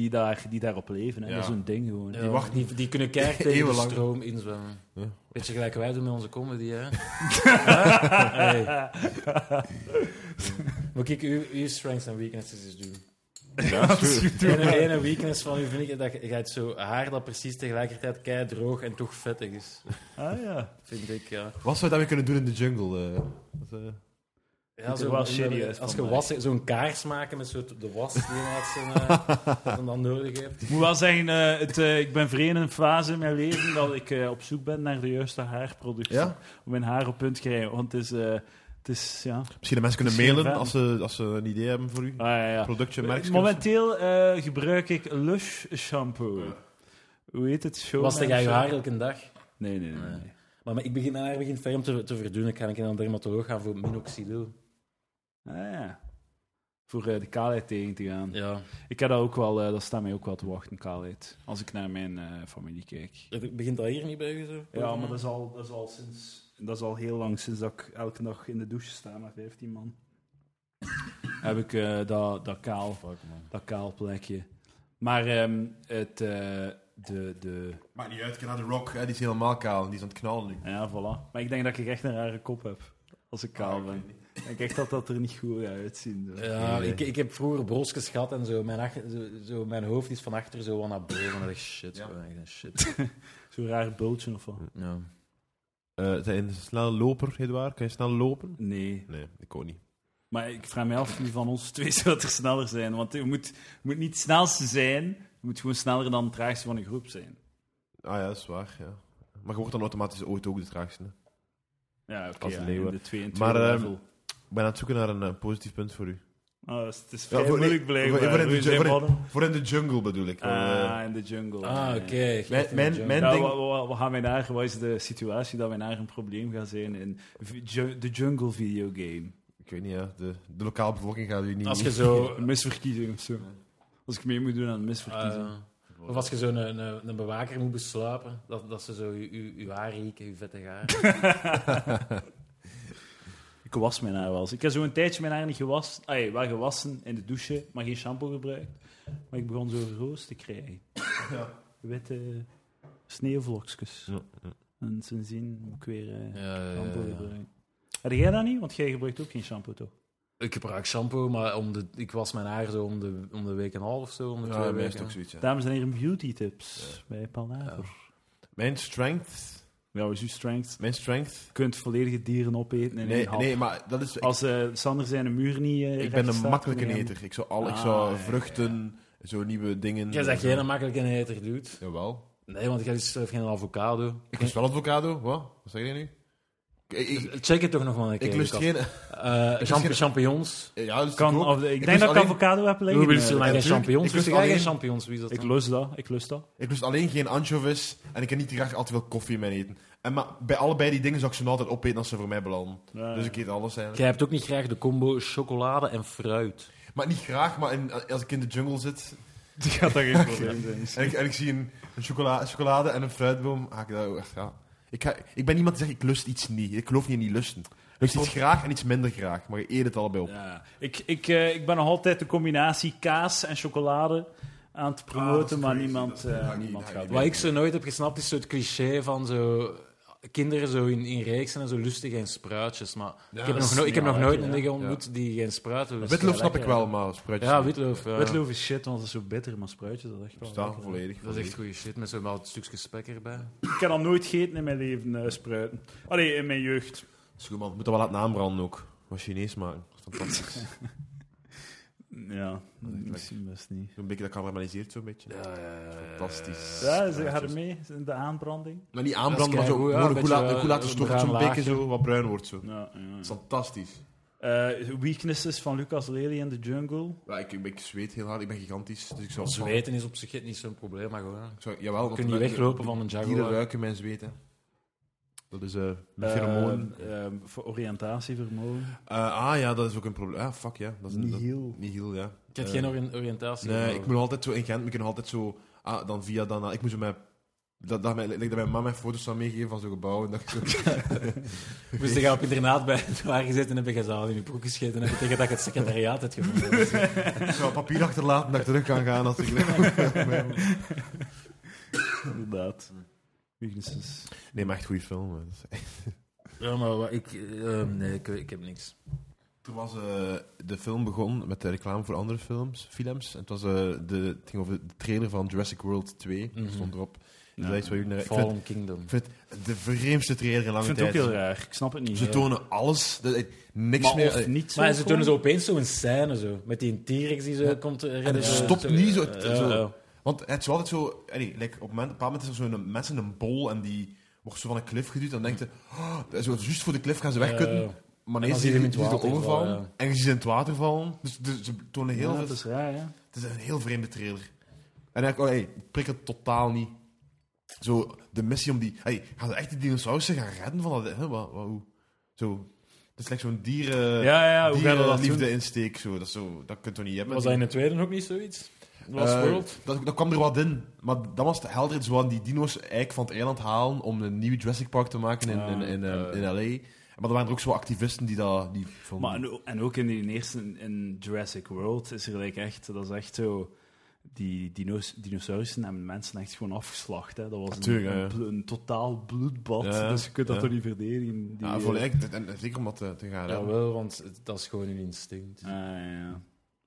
[SPEAKER 1] die, daar, die daarop leven. Hè.
[SPEAKER 2] Ja.
[SPEAKER 1] Dat is een ding gewoon.
[SPEAKER 4] Ja,
[SPEAKER 2] wacht
[SPEAKER 4] die, die kunnen keihard tegen de
[SPEAKER 2] Eeuwenlang.
[SPEAKER 4] stroom inzwemmen.
[SPEAKER 2] Ja.
[SPEAKER 4] Beetje gelijk wij doen met onze comedy, hè? Hey. Moet ik uw, uw strengths en weaknesses eens doen?
[SPEAKER 2] Ja, dat is goed.
[SPEAKER 4] De ene, ene weakness van u vind ik dat je je hebt zo haar dat precies tegelijkertijd kei droog en toch vettig is.
[SPEAKER 1] Ah ja.
[SPEAKER 4] Vind ik, ja.
[SPEAKER 2] Wat zou je daarmee kunnen doen in de jungle? eh? Dat, eh,
[SPEAKER 4] ja
[SPEAKER 1] er wel serieus
[SPEAKER 4] Als je
[SPEAKER 1] van
[SPEAKER 4] was, zo'n kaars maken met zo de was die je laatst eh, dat je dan nodig hebt.
[SPEAKER 1] Ik moet wel zeggen, eh, het, eh, ik ben vreemd in een fase in mijn leven dat ik eh, op zoek ben naar de juiste haarproductie.
[SPEAKER 2] Ja?
[SPEAKER 1] Om mijn haar op punt te krijgen. Want het is... eh, het is ja. Ah,
[SPEAKER 2] Misschien de mensen kunnen
[SPEAKER 1] Misschien
[SPEAKER 2] mailen
[SPEAKER 1] wel.
[SPEAKER 2] als ze, als ze een idee hebben voor u.
[SPEAKER 1] Ah, ja, ja.
[SPEAKER 2] Productje, merk.
[SPEAKER 1] Momenteel eh, gebruik ik Lush shampoo. Hoe heet het? Showman
[SPEAKER 4] Was jij je haar
[SPEAKER 1] shampoo?
[SPEAKER 4] elke dag?
[SPEAKER 1] Nee, nee, nee. nee.
[SPEAKER 4] Maar, maar ik begin, mijn haar begint ferm te, te verdunnen. Kan ik naar een dermatoloog gaan voor minoxidil?
[SPEAKER 1] Ah, ja. Voor eh, de kaalheid tegen te gaan.
[SPEAKER 4] Ja.
[SPEAKER 1] Ik heb dat ook wel, eh, dat staat mij ook wel te wachten, kaalheid. Als ik naar mijn eh, familie kijk.
[SPEAKER 4] Het Begint dat hier niet bij u zo?
[SPEAKER 1] Ja, maar dat is, al, dat, is al sinds, dat is al heel lang sinds dat ik elke dag in de douche sta met 15 man. Heb ik eh, dat, dat, kaal, dat kaal plekje. Maar ehm, het, eh, de, de,
[SPEAKER 2] Maar niet uit, ik ga naar de rock. Hè, die is helemaal kaal. en Die is aan het knallen nu.
[SPEAKER 1] ja, voilà. Maar ik denk dat ik echt een rare kop heb als ik
[SPEAKER 2] Ah,
[SPEAKER 1] kaal ben. Ik denk echt dat dat er niet goed uitziet. hoor.
[SPEAKER 4] Ja,
[SPEAKER 1] Nee.
[SPEAKER 4] ik, ik heb vroeger broskes gehad en zo. Mijn, ach- zo, zo, mijn hoofd is van achter zo wat naar boven. En ik dacht, shit,
[SPEAKER 2] Ja.
[SPEAKER 4] gewoon echt een shit.
[SPEAKER 1] Zo'n raar bultje of wat?
[SPEAKER 4] Ja.
[SPEAKER 2] Eh, zijn je snel loper, Edouard? Kan je snel lopen?
[SPEAKER 1] Nee.
[SPEAKER 2] Nee, ik ook niet.
[SPEAKER 1] Maar ik vraag me af wie van ons twee zou er sneller zijn. Want je moet, je moet niet het snelste zijn, je moet gewoon sneller dan het traagste van een groep zijn.
[SPEAKER 2] Ah ja, dat is waar. Ja. Maar je wordt dan automatisch ooit ook de traagste. hè.
[SPEAKER 1] Ja, oké.
[SPEAKER 2] Als
[SPEAKER 1] ja,
[SPEAKER 2] leeuwen.
[SPEAKER 1] in de 22
[SPEAKER 2] Maar, ehm,
[SPEAKER 1] level.
[SPEAKER 2] Ik ben aan het zoeken naar een eh, positief punt voor u.
[SPEAKER 1] Oh, dus het is
[SPEAKER 2] Ja,
[SPEAKER 1] vrij
[SPEAKER 2] voor- nee,
[SPEAKER 1] moeilijk
[SPEAKER 2] voor-
[SPEAKER 1] blijkbaar.
[SPEAKER 2] voor in de
[SPEAKER 1] Hoe
[SPEAKER 2] ju-
[SPEAKER 1] zijn
[SPEAKER 2] voor in-
[SPEAKER 1] mannen?
[SPEAKER 2] Voor in de jungle bedoel ik. want, eh,
[SPEAKER 1] Ah, in de jungle.
[SPEAKER 4] Ah, oké. Geef
[SPEAKER 2] Mijn-
[SPEAKER 4] hem
[SPEAKER 2] mijn-
[SPEAKER 4] een
[SPEAKER 2] mijn-
[SPEAKER 1] Ja,
[SPEAKER 2] ding-
[SPEAKER 1] wat, wat, wat gaan wij naar? Wat is de situatie dat wij naar een probleem gaan zijn in v- ju- de jungle videogame?
[SPEAKER 2] ik weet niet, ja. De, de lokale bevolking gaat u niet...
[SPEAKER 4] Als je zo...
[SPEAKER 1] Een misverkiezing of zo. Als ik mee moet doen aan een
[SPEAKER 2] Ah,
[SPEAKER 1] misverkiezing.
[SPEAKER 4] eh, of als je zo een, een, een bewaker moet besluipen, dat, dat ze zo je, je, je haar rieken, je vette haar.
[SPEAKER 1] Ik was mijn haar wel eens. Ik heb zo'n tijdje mijn haar niet gewassen. Ah, wel gewassen in de douche, maar geen shampoo gebruikt. Maar ik begon zo roos te krijgen. Witte sneeuwvlokjes.
[SPEAKER 2] Ja,
[SPEAKER 1] En sindsdien moet ik weer eh,
[SPEAKER 4] Ja, ja,
[SPEAKER 1] shampoo
[SPEAKER 4] ja, ja.
[SPEAKER 1] gebruiken. Heb jij dat niet? Want jij gebruikt ook geen shampoo, toch?
[SPEAKER 4] Ik gebruik shampoo, maar om de, ik was mijn haar zo om de, om de week en een half of zo. Om de
[SPEAKER 2] Ja,
[SPEAKER 4] twee
[SPEAKER 2] bij mij is
[SPEAKER 4] weken.
[SPEAKER 2] het ook zoiets, ja.
[SPEAKER 1] Dames en heren, beauty tips bij Palaver.
[SPEAKER 2] Mijn strength...
[SPEAKER 1] Ja, is uw strength.
[SPEAKER 2] Mijn strength...
[SPEAKER 1] Je kunt volledige dieren opeten in
[SPEAKER 2] Nee,
[SPEAKER 1] één hap.
[SPEAKER 2] nee, maar dat is... Ik,
[SPEAKER 1] Als eh, Sander zijn muur niet eh,
[SPEAKER 2] ik ben
[SPEAKER 1] recht
[SPEAKER 2] een
[SPEAKER 1] staat,
[SPEAKER 2] makkelijke
[SPEAKER 1] kun je hem-
[SPEAKER 2] eter. Ik zou, al, ik
[SPEAKER 1] Ah, ja,
[SPEAKER 2] zou
[SPEAKER 1] ja.
[SPEAKER 2] vruchten, zo nieuwe dingen...
[SPEAKER 4] Jij zegt geen makkelijke eter, dude.
[SPEAKER 2] Jawel.
[SPEAKER 4] Nee, want jij zelf geen avocado.
[SPEAKER 2] Ik lust wel avocado. Wat? Wat zeg je nu? Ik, ik, ik,
[SPEAKER 4] Check het toch nog wel een keer.
[SPEAKER 2] lust
[SPEAKER 4] Lucas.
[SPEAKER 2] geen...
[SPEAKER 4] Eh,
[SPEAKER 2] lust
[SPEAKER 4] champ-
[SPEAKER 2] geen-
[SPEAKER 4] champignons.
[SPEAKER 2] Ja, dat is
[SPEAKER 1] Kan,
[SPEAKER 2] ook.
[SPEAKER 1] of, ik,
[SPEAKER 2] Ik
[SPEAKER 1] denk
[SPEAKER 2] lust
[SPEAKER 1] dat ik
[SPEAKER 2] alleen-
[SPEAKER 1] avocado heb liggen.
[SPEAKER 4] Hoe willen ze
[SPEAKER 1] eh,
[SPEAKER 4] mij geen
[SPEAKER 2] natuurlijk.
[SPEAKER 4] champignons?
[SPEAKER 2] Ik lust
[SPEAKER 4] Lust jij
[SPEAKER 2] alleen-
[SPEAKER 4] geen champignons? Wie is dat
[SPEAKER 1] Ik
[SPEAKER 4] dan?
[SPEAKER 1] lust dat, ik lust dat.
[SPEAKER 2] Ik lust alleen geen anchovies en ik heb niet graag al te veel koffie in mijn eten. En maar bij allebei die dingen zou ik ze altijd opeten als ze voor mij belanden.
[SPEAKER 4] Ah.
[SPEAKER 1] Ja,
[SPEAKER 2] Dus
[SPEAKER 1] ja.
[SPEAKER 2] ik eet alles eigenlijk.
[SPEAKER 4] Jij hebt ook niet graag de combo chocolade en fruit.
[SPEAKER 2] Maar niet graag, maar in- als ik in de jungle zit
[SPEAKER 1] Die gaat daar geen probleem zijn.
[SPEAKER 2] en ik, en ik zie een, een chocola, chocolade en een fruitboom, ga ik dat ook echt ja. ik, ga, ik ben iemand die zegt, ik lust iets niet. Ik geloof niet in die lusten. Ik lust iets graag en iets minder graag, maar je eet het allebei op.
[SPEAKER 1] Ja. Ik, ik, eh, ik ben nog altijd de combinatie kaas en chocolade aan het
[SPEAKER 2] Ah, dat
[SPEAKER 1] promoten,
[SPEAKER 2] is
[SPEAKER 1] maar
[SPEAKER 2] crazy.
[SPEAKER 1] niemand,
[SPEAKER 2] Dat is-
[SPEAKER 1] eh,
[SPEAKER 2] dat ga ik
[SPEAKER 1] niemand
[SPEAKER 2] niet-
[SPEAKER 1] gaat
[SPEAKER 2] dat
[SPEAKER 4] Wat ik zo nooit heb gesnapt is zo het cliché van zo. Kinderen zo in, in reeksen en zo lustig en spruitjes. Maar ik heb,
[SPEAKER 1] dat
[SPEAKER 4] nog,
[SPEAKER 1] is
[SPEAKER 4] no- ik heb nog
[SPEAKER 1] niet
[SPEAKER 4] nooit
[SPEAKER 1] waar,
[SPEAKER 4] een
[SPEAKER 1] ja.
[SPEAKER 4] nigger ontmoet die geen spruiten lust.
[SPEAKER 2] Witloof
[SPEAKER 4] Ja,
[SPEAKER 2] snap ik
[SPEAKER 4] lekker.
[SPEAKER 2] wel, maar spruitjes
[SPEAKER 4] Ja,
[SPEAKER 2] niet.
[SPEAKER 4] witloof. Ja.
[SPEAKER 1] Witloof is shit, want het is zo bitter, maar spruitjes dat is echt wel
[SPEAKER 2] Staan
[SPEAKER 1] lekker, hè.
[SPEAKER 2] volledig.
[SPEAKER 4] Dat is
[SPEAKER 2] volledig.
[SPEAKER 4] echt goede shit met zo'n wel een stukje spek erbij.
[SPEAKER 1] Ik heb al nooit gegeten in mijn leven, eh, spruiten. Allee, in mijn jeugd.
[SPEAKER 2] Dat is goed, man. Moet dat wel laten aanbranden ook. Wat Chinees maken. Dat is fantastisch.
[SPEAKER 1] Ja,
[SPEAKER 2] lekker.
[SPEAKER 1] misschien best niet.
[SPEAKER 2] Zo'n beetje dat karameliseert zo'n beetje.
[SPEAKER 4] Ja, ja, ja.
[SPEAKER 2] Fantastisch.
[SPEAKER 1] Ja, ze gaat er mee, in de aanbranding.
[SPEAKER 2] Maar niet aanbranden, maar zo
[SPEAKER 4] keigoed, ja,
[SPEAKER 2] gewoon
[SPEAKER 4] een
[SPEAKER 2] een goed laten-
[SPEAKER 4] beetje,
[SPEAKER 2] goed laten
[SPEAKER 4] eh, Mm.
[SPEAKER 2] stoffen, zo'n
[SPEAKER 4] bruin
[SPEAKER 2] beetje zo wat bruin wordt. Zo. Dat
[SPEAKER 1] Ja, ja.
[SPEAKER 2] is fantastisch.
[SPEAKER 1] Eh, weaknesses van Lucas Lely in de jungle.
[SPEAKER 2] Ja, ik, ik zweet heel hard, ik ben gigantisch, dus ik zou...
[SPEAKER 4] Zweten is op zich niet zo'n probleem, maar gewoon.
[SPEAKER 2] Ik zou- jawel,
[SPEAKER 4] Je
[SPEAKER 2] want
[SPEAKER 4] kunt niet
[SPEAKER 2] de-
[SPEAKER 4] weglopen van een
[SPEAKER 2] de Dieren
[SPEAKER 4] jaguar.
[SPEAKER 2] ruiken mijn zweet, hè. Dat is eh een
[SPEAKER 1] Eh,
[SPEAKER 2] pheromoon.
[SPEAKER 1] eh, voor oriëntatievermogen.
[SPEAKER 2] Eh, ah ja, dat is ook een probleem. Ah, fuck ja. Dat is een, dat-
[SPEAKER 1] Nihil.
[SPEAKER 2] nihil, ja.
[SPEAKER 4] Ik heb
[SPEAKER 2] Eh,
[SPEAKER 4] geen ori- oriëntatie.
[SPEAKER 2] Nee,
[SPEAKER 4] gevonden.
[SPEAKER 2] ik moet altijd zo in Gent, we kunnen altijd zo... Ah, dan via dan... ah, ik moet zo met Dat, dat, mijn, like dat mijn mama mij foto's zou meegeven van zo'n gebouw. En dat ik zo,
[SPEAKER 3] Moest je op internaat bij het waar gezeten en heb je gezaal in je broek gescheten en heb je tegen dat je het secretariaat hebt gevonden.
[SPEAKER 2] ik zou papier achterlaten dat ik terug kan gaan als ik...
[SPEAKER 1] Inderdaad. Weaknesses.
[SPEAKER 2] Nee, maar echt goede film. hè. Dat is
[SPEAKER 4] Ja, maar wa- ik, eh, nee, ik, ik heb niks.
[SPEAKER 2] Toen was eh, de film begon met de reclame voor andere films, films. En het, was, eh, de, het ging over de trailer van Jurassic World 2. Dat
[SPEAKER 4] Mhm.
[SPEAKER 2] stond erop.
[SPEAKER 1] Ja.
[SPEAKER 2] Ja. Dat is wat jullie naar- ik vind
[SPEAKER 4] Fallen Kingdom.
[SPEAKER 2] het de vreemdste trailer in
[SPEAKER 1] Ik
[SPEAKER 2] lange
[SPEAKER 1] vind het ook
[SPEAKER 2] tijd.
[SPEAKER 1] heel raar. Ik snap het niet.
[SPEAKER 2] Ze tonen alles. dat- eh, niks
[SPEAKER 1] maar
[SPEAKER 2] meer.
[SPEAKER 1] of
[SPEAKER 2] eh,
[SPEAKER 1] niet
[SPEAKER 3] Maar ze doen
[SPEAKER 1] gewoon.
[SPEAKER 3] zo opeens zo'n scène zo, met die T-Rex die zo komt redden.
[SPEAKER 2] het
[SPEAKER 3] zo-
[SPEAKER 2] stopt niet zo-
[SPEAKER 3] eh,
[SPEAKER 2] zo.
[SPEAKER 3] eh,
[SPEAKER 2] Want het is wel altijd zo... eh, nee, like, op een moment- op een bepaald moment is er zo'n mens in een bol en die wordt zo van een klif geduwd. En dan denkt je, oh, dat is wel juist voor de klif gaan ze wegkutten.
[SPEAKER 3] eh,
[SPEAKER 2] maar nee,
[SPEAKER 4] en dan
[SPEAKER 2] ze
[SPEAKER 4] zie je
[SPEAKER 2] zien
[SPEAKER 4] hem in het
[SPEAKER 2] ze
[SPEAKER 4] water
[SPEAKER 2] overvallen.
[SPEAKER 4] vallen, ja.
[SPEAKER 2] En je ziet ze in het water vallen. Dus, dus ze tonen heel
[SPEAKER 1] Ja,
[SPEAKER 2] veel...
[SPEAKER 1] dat is raar, ja.
[SPEAKER 2] Het is een heel vreemde trailer. En eigenlijk, oh, hey, ik prik het totaal niet. Zo, de missie om die... Hey, gaan ze echt die dinosaurussen gaan redden van dat... Hè? Wat, wat, hoe? Zo, het is slechts zo'n dieren...
[SPEAKER 1] Ja, ja, hoe gaan we
[SPEAKER 2] dieren
[SPEAKER 1] dat
[SPEAKER 2] Eh, liefde
[SPEAKER 1] doen?
[SPEAKER 2] insteek, zo. Dat, is zo, dat kunt je niet hebben.
[SPEAKER 3] was dat in de tweede ook niet zoiets? Last
[SPEAKER 2] Eh,
[SPEAKER 3] World?
[SPEAKER 2] dat, dat kwam er wat in. Maar dan was het helder. Ze wilden die dino's eigenlijk van het eiland halen om een nieuw Jurassic Park te maken in, in, in, eh, in L.A. Maar er waren er ook zo activisten die dat... Die van,
[SPEAKER 1] Maar en, o- en ook in die eerste, in- in Jurassic World, is er like echt, dat is echt zo... Die dino's, dinosaurussen hebben mensen echt gewoon afgeslacht. Hè. Dat was
[SPEAKER 2] Natuurlijk,
[SPEAKER 1] een,
[SPEAKER 2] ja, ja.
[SPEAKER 1] een, bl- een totaal bloedbad.
[SPEAKER 2] Ja,
[SPEAKER 1] dus je kunt dat
[SPEAKER 2] ja.
[SPEAKER 1] toch niet verdedigen. Die,
[SPEAKER 2] ja,
[SPEAKER 1] eh,
[SPEAKER 2] volledig. En, en zeker om dat eh, te, te gaan redden.
[SPEAKER 4] Jawel, want het- dat is gewoon een instinct.
[SPEAKER 1] ah, ja, ja.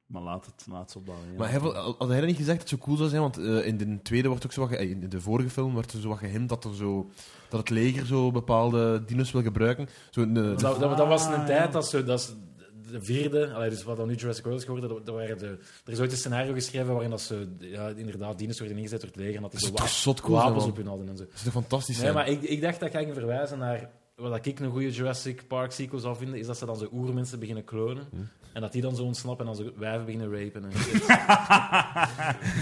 [SPEAKER 1] Maar laat het, laat het opbouwen. ja.
[SPEAKER 2] Maar hij, wil- had hij dat niet gezegd dat het zo cool zou zijn? Want eh, in de tweede wordt ook zo wat ge- eh, in de vorige film werd er zo wat gehind dat, er zo, dat het leger zo bepaalde dino's wil gebruiken. Zo een, eh,
[SPEAKER 3] Dat, dat, dat
[SPEAKER 1] Ah,
[SPEAKER 3] was een
[SPEAKER 1] ja.
[SPEAKER 3] tijd dat ze... Dat ze de vierde, allee, dus wat dan nu Jurassic World is geworden, dat, dat waren de, er is ooit een scenario geschreven waarin dat ze ja, inderdaad dienst worden ingezet door het leger en dat
[SPEAKER 2] dat
[SPEAKER 3] die zo
[SPEAKER 2] is toch
[SPEAKER 3] wa-
[SPEAKER 2] zot cool, zijn,
[SPEAKER 3] wapens
[SPEAKER 2] man.
[SPEAKER 3] op hun hadden en zo.
[SPEAKER 2] Dat is toch fantastisch
[SPEAKER 3] Nee,
[SPEAKER 2] zijn?
[SPEAKER 3] maar ik, ik dacht dat ga ik verwijzen naar wat ik een goede Jurassic Park sequel zou vinden, is dat ze dan zo oermensen beginnen klonen. En dat die dan zo ontsnappen en dan zo wijven beginnen rapen. En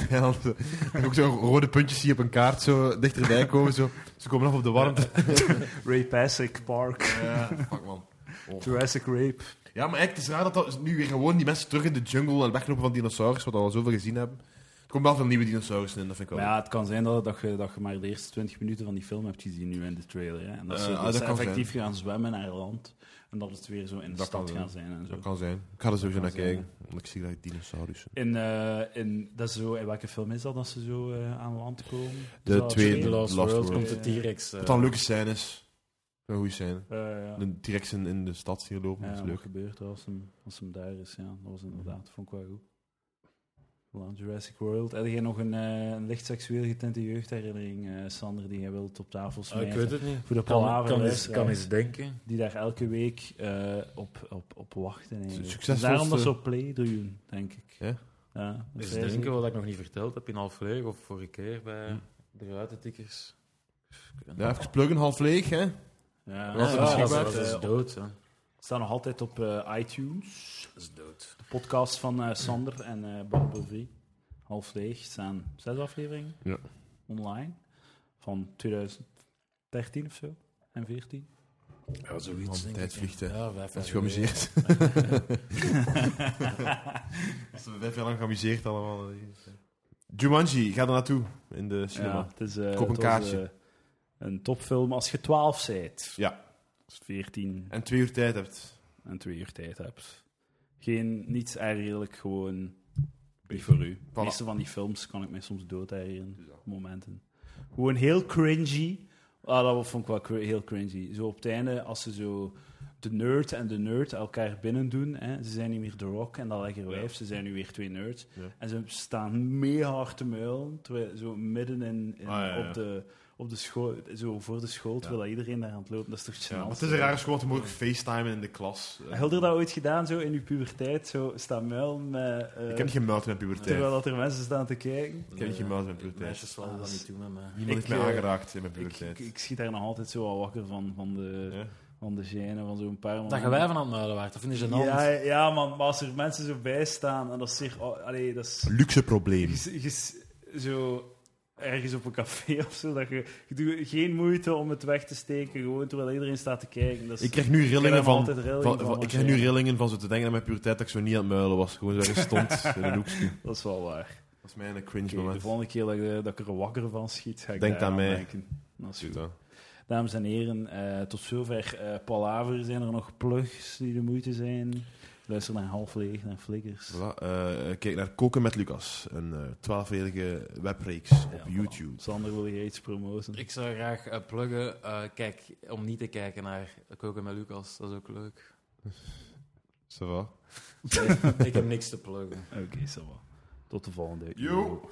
[SPEAKER 2] En dan zo- eh, en ook zo'n rode puntjes zie je op een kaart zo dichterbij komen. Zo. Ze komen af op de warmte.
[SPEAKER 1] Ray Pasek Park.
[SPEAKER 2] Ja, fuck man.
[SPEAKER 3] Oh,
[SPEAKER 1] Jurassic Rape.
[SPEAKER 2] Ja, maar eigenlijk het is raar dat, dat nu weer gewoon die mensen terug in de jungle en weglopen van dinosaurus, wat we al zoveel gezien hebben. Er komen wel veel nieuwe dinosaurussen in, dat vind ik
[SPEAKER 1] Maar
[SPEAKER 2] wel.
[SPEAKER 1] ja, het kan zijn dat, dat, je, dat je maar de eerste 20 minuten van die film hebt gezien nu in de trailer. Hè. En dat ze,
[SPEAKER 2] Eh, ah,
[SPEAKER 1] dat
[SPEAKER 2] dat
[SPEAKER 1] ze
[SPEAKER 2] kan
[SPEAKER 1] effectief gaan zwemmen naar land. En dat het weer zo in de
[SPEAKER 2] Dat
[SPEAKER 1] stad
[SPEAKER 2] kan
[SPEAKER 1] gaan zijn en zo.
[SPEAKER 2] Dat kan zijn. Ik ga er
[SPEAKER 1] Dat
[SPEAKER 2] sowieso naar
[SPEAKER 1] kan zijn,
[SPEAKER 2] kijken, want ik zie dat dinosaurussen.
[SPEAKER 1] In, eh, in, dat is zo, in welke film is dat dat ze zo eh, aan land komen? Is
[SPEAKER 2] De
[SPEAKER 1] dat
[SPEAKER 2] tweede.
[SPEAKER 3] in The Last,
[SPEAKER 2] Last
[SPEAKER 3] World,
[SPEAKER 2] World.
[SPEAKER 3] komt de T-Rex. eh,
[SPEAKER 2] Wat dan leuke scènes. Een goede scène.
[SPEAKER 1] Eh, ja.
[SPEAKER 2] De T-Rex in, in de stad hier lopen,
[SPEAKER 1] Ja,
[SPEAKER 2] dat is
[SPEAKER 1] wat
[SPEAKER 2] leuk.
[SPEAKER 1] gebeurt er als hem, als hem daar is? Ja, dat was
[SPEAKER 4] Mhm.
[SPEAKER 1] inderdaad, vond ik wel goed. Voilà, Jurassic World. Heb jij nog een, eh, een licht seksueel getinte jeugdherinnering, eh, Sander, die jij wilt op tafel
[SPEAKER 3] ah,
[SPEAKER 1] smijten?
[SPEAKER 3] ik weet het niet.
[SPEAKER 1] Voor de
[SPEAKER 4] Kan,
[SPEAKER 1] palaver
[SPEAKER 4] kan, eens,
[SPEAKER 1] luisteraars.
[SPEAKER 4] kan eens denken.
[SPEAKER 1] die daar elke week eh, op, op, op wachten. Eigenlijk.
[SPEAKER 2] Succesvolste-
[SPEAKER 1] Daarom dat ze op play doen, denk ik.
[SPEAKER 2] Ja?
[SPEAKER 1] Ja, dat
[SPEAKER 4] Eens
[SPEAKER 1] vrij zeker.
[SPEAKER 4] denken wat ik nog niet verteld heb in Alfleeg of vorige keer bij de ruitentikkers.
[SPEAKER 2] Ja, even pluggen, half leeg, hè.
[SPEAKER 1] Ja,
[SPEAKER 2] Was
[SPEAKER 1] ja,
[SPEAKER 2] het
[SPEAKER 1] dat
[SPEAKER 2] beschikbaar?
[SPEAKER 1] was,
[SPEAKER 4] dat is
[SPEAKER 1] eh, op-
[SPEAKER 4] dood. hè.
[SPEAKER 1] staan nog altijd op eh, iTunes.
[SPEAKER 4] Dat is dood.
[SPEAKER 1] De podcast van eh, Sander en eh Bart Bovee. Half leeg staan zes afleveringen
[SPEAKER 2] Ja.
[SPEAKER 1] online. Van 2013 of zo. En 14.
[SPEAKER 4] Ja, zoiets.
[SPEAKER 2] Want de
[SPEAKER 4] denk
[SPEAKER 2] tijd
[SPEAKER 4] ik,
[SPEAKER 2] vliegt, hè.
[SPEAKER 4] ja. Ja, vijf
[SPEAKER 2] Dat is
[SPEAKER 4] jaar geleden.
[SPEAKER 2] geamuseerd. Eh, Dat is vijf jaar lang geamuseerd allemaal. Jumanji, ga er naartoe in de cinema.
[SPEAKER 1] Ja, het is, eh,
[SPEAKER 2] Koop een
[SPEAKER 1] het was,
[SPEAKER 2] kaartje.
[SPEAKER 1] eh, een topfilm als je 12 bent.
[SPEAKER 2] Ja.
[SPEAKER 1] Als je 14
[SPEAKER 2] En twee uur tijd hebt.
[SPEAKER 1] en twee uur tijd hebt. Geen, niets eigenlijk gewoon big voor u. De meeste van die films kan ik mij soms dood herinneren. op Momenten. Gewoon heel cringy. Ah, dat vond ik wel cr- heel cringy. Zo op het einde, als ze zo de nerd en de nerd elkaar binnen doen. Hè, ze zijn niet meer de rock en dat lekkere wijf. Ze zijn nu weer twee nerds.
[SPEAKER 2] Ja.
[SPEAKER 1] En ze staan mega hard te muilen. Terwijl zo midden in, in-
[SPEAKER 2] Ah, ja, ja.
[SPEAKER 1] op de... Op de school, zo voor de school, terwijl iedereen daar aan het lopen, dat is toch
[SPEAKER 2] Ja,
[SPEAKER 1] gênant?
[SPEAKER 2] maar het is een rare school, want je moet ook facetimen in de klas. Eh,
[SPEAKER 1] Helder dat ooit gedaan, zo in uw puberteit, zo staan muilen met... eh,
[SPEAKER 2] Ik heb niet gemuild in mijn puberteit.
[SPEAKER 1] terwijl dat er mensen staan te kijken.
[SPEAKER 2] Ik heb niet gemuild in mijn
[SPEAKER 4] De
[SPEAKER 2] puberteit.
[SPEAKER 3] Ah,
[SPEAKER 4] Meisjes vallen dat niet toe met mij.
[SPEAKER 2] Niemand
[SPEAKER 1] Ik,
[SPEAKER 2] heeft mij
[SPEAKER 1] eh,
[SPEAKER 2] aangeraakt in mijn
[SPEAKER 1] Ik, ik,
[SPEAKER 2] puberteit.
[SPEAKER 1] ik schiet daar nog altijd zo al wakker van, van de,
[SPEAKER 2] Ja.
[SPEAKER 1] van de gêne, van zo'n paar
[SPEAKER 3] Dat je wij van aan het muilen waard, dat vinden ze een
[SPEAKER 1] Ja, ja man, maar als er mensen zo bij staan en dat is zich... oh, allee, dat is...
[SPEAKER 2] Luxe probleem.
[SPEAKER 1] je- je- zo ergens op een café of zo, dat je, je doet geen moeite om het weg te steken, gewoon terwijl iedereen staat te kijken. Dat is,
[SPEAKER 2] Ik krijg nu rillingen
[SPEAKER 1] heb
[SPEAKER 2] van...
[SPEAKER 1] altijd rillingen
[SPEAKER 2] van-
[SPEAKER 1] van
[SPEAKER 2] van-
[SPEAKER 1] als
[SPEAKER 2] Ik krijg
[SPEAKER 1] je-
[SPEAKER 2] nu rillingen van zo te denken aan mijn puberteit dat ik zo niet aan het muilen was. Gewoon zo ergens stond in een hoekje.
[SPEAKER 1] dat is wel waar.
[SPEAKER 2] Dat Dus is mijn cringe
[SPEAKER 1] Oké, de
[SPEAKER 2] moment.
[SPEAKER 1] volgende keer dat, ik, eh, dat ik er wakker van schiet, ga ik
[SPEAKER 2] Denk
[SPEAKER 1] daar
[SPEAKER 2] aan mij.
[SPEAKER 1] denken. Dat is goed.
[SPEAKER 2] Goed, hè.
[SPEAKER 1] Dames en heren, eh, tot zover eh Palaver. Zijn er nog plugs die de moeite zijn? Luister naar half leeg, naar flikkers.
[SPEAKER 2] Voilà, eh, kijk naar Koken met Lucas, een eh, twaalfjarige webreeks op
[SPEAKER 1] Ja, voilà.
[SPEAKER 2] YouTube.
[SPEAKER 1] Sander, wil jij iets promoten?
[SPEAKER 4] Ik zou graag eh, pluggen, eh, kijk, om niet te kijken naar Koken met Lucas, dat is ook leuk.
[SPEAKER 2] Ça va?
[SPEAKER 4] ik heb niks te pluggen.
[SPEAKER 1] Oké, zo. Tot de volgende.
[SPEAKER 2] Yo.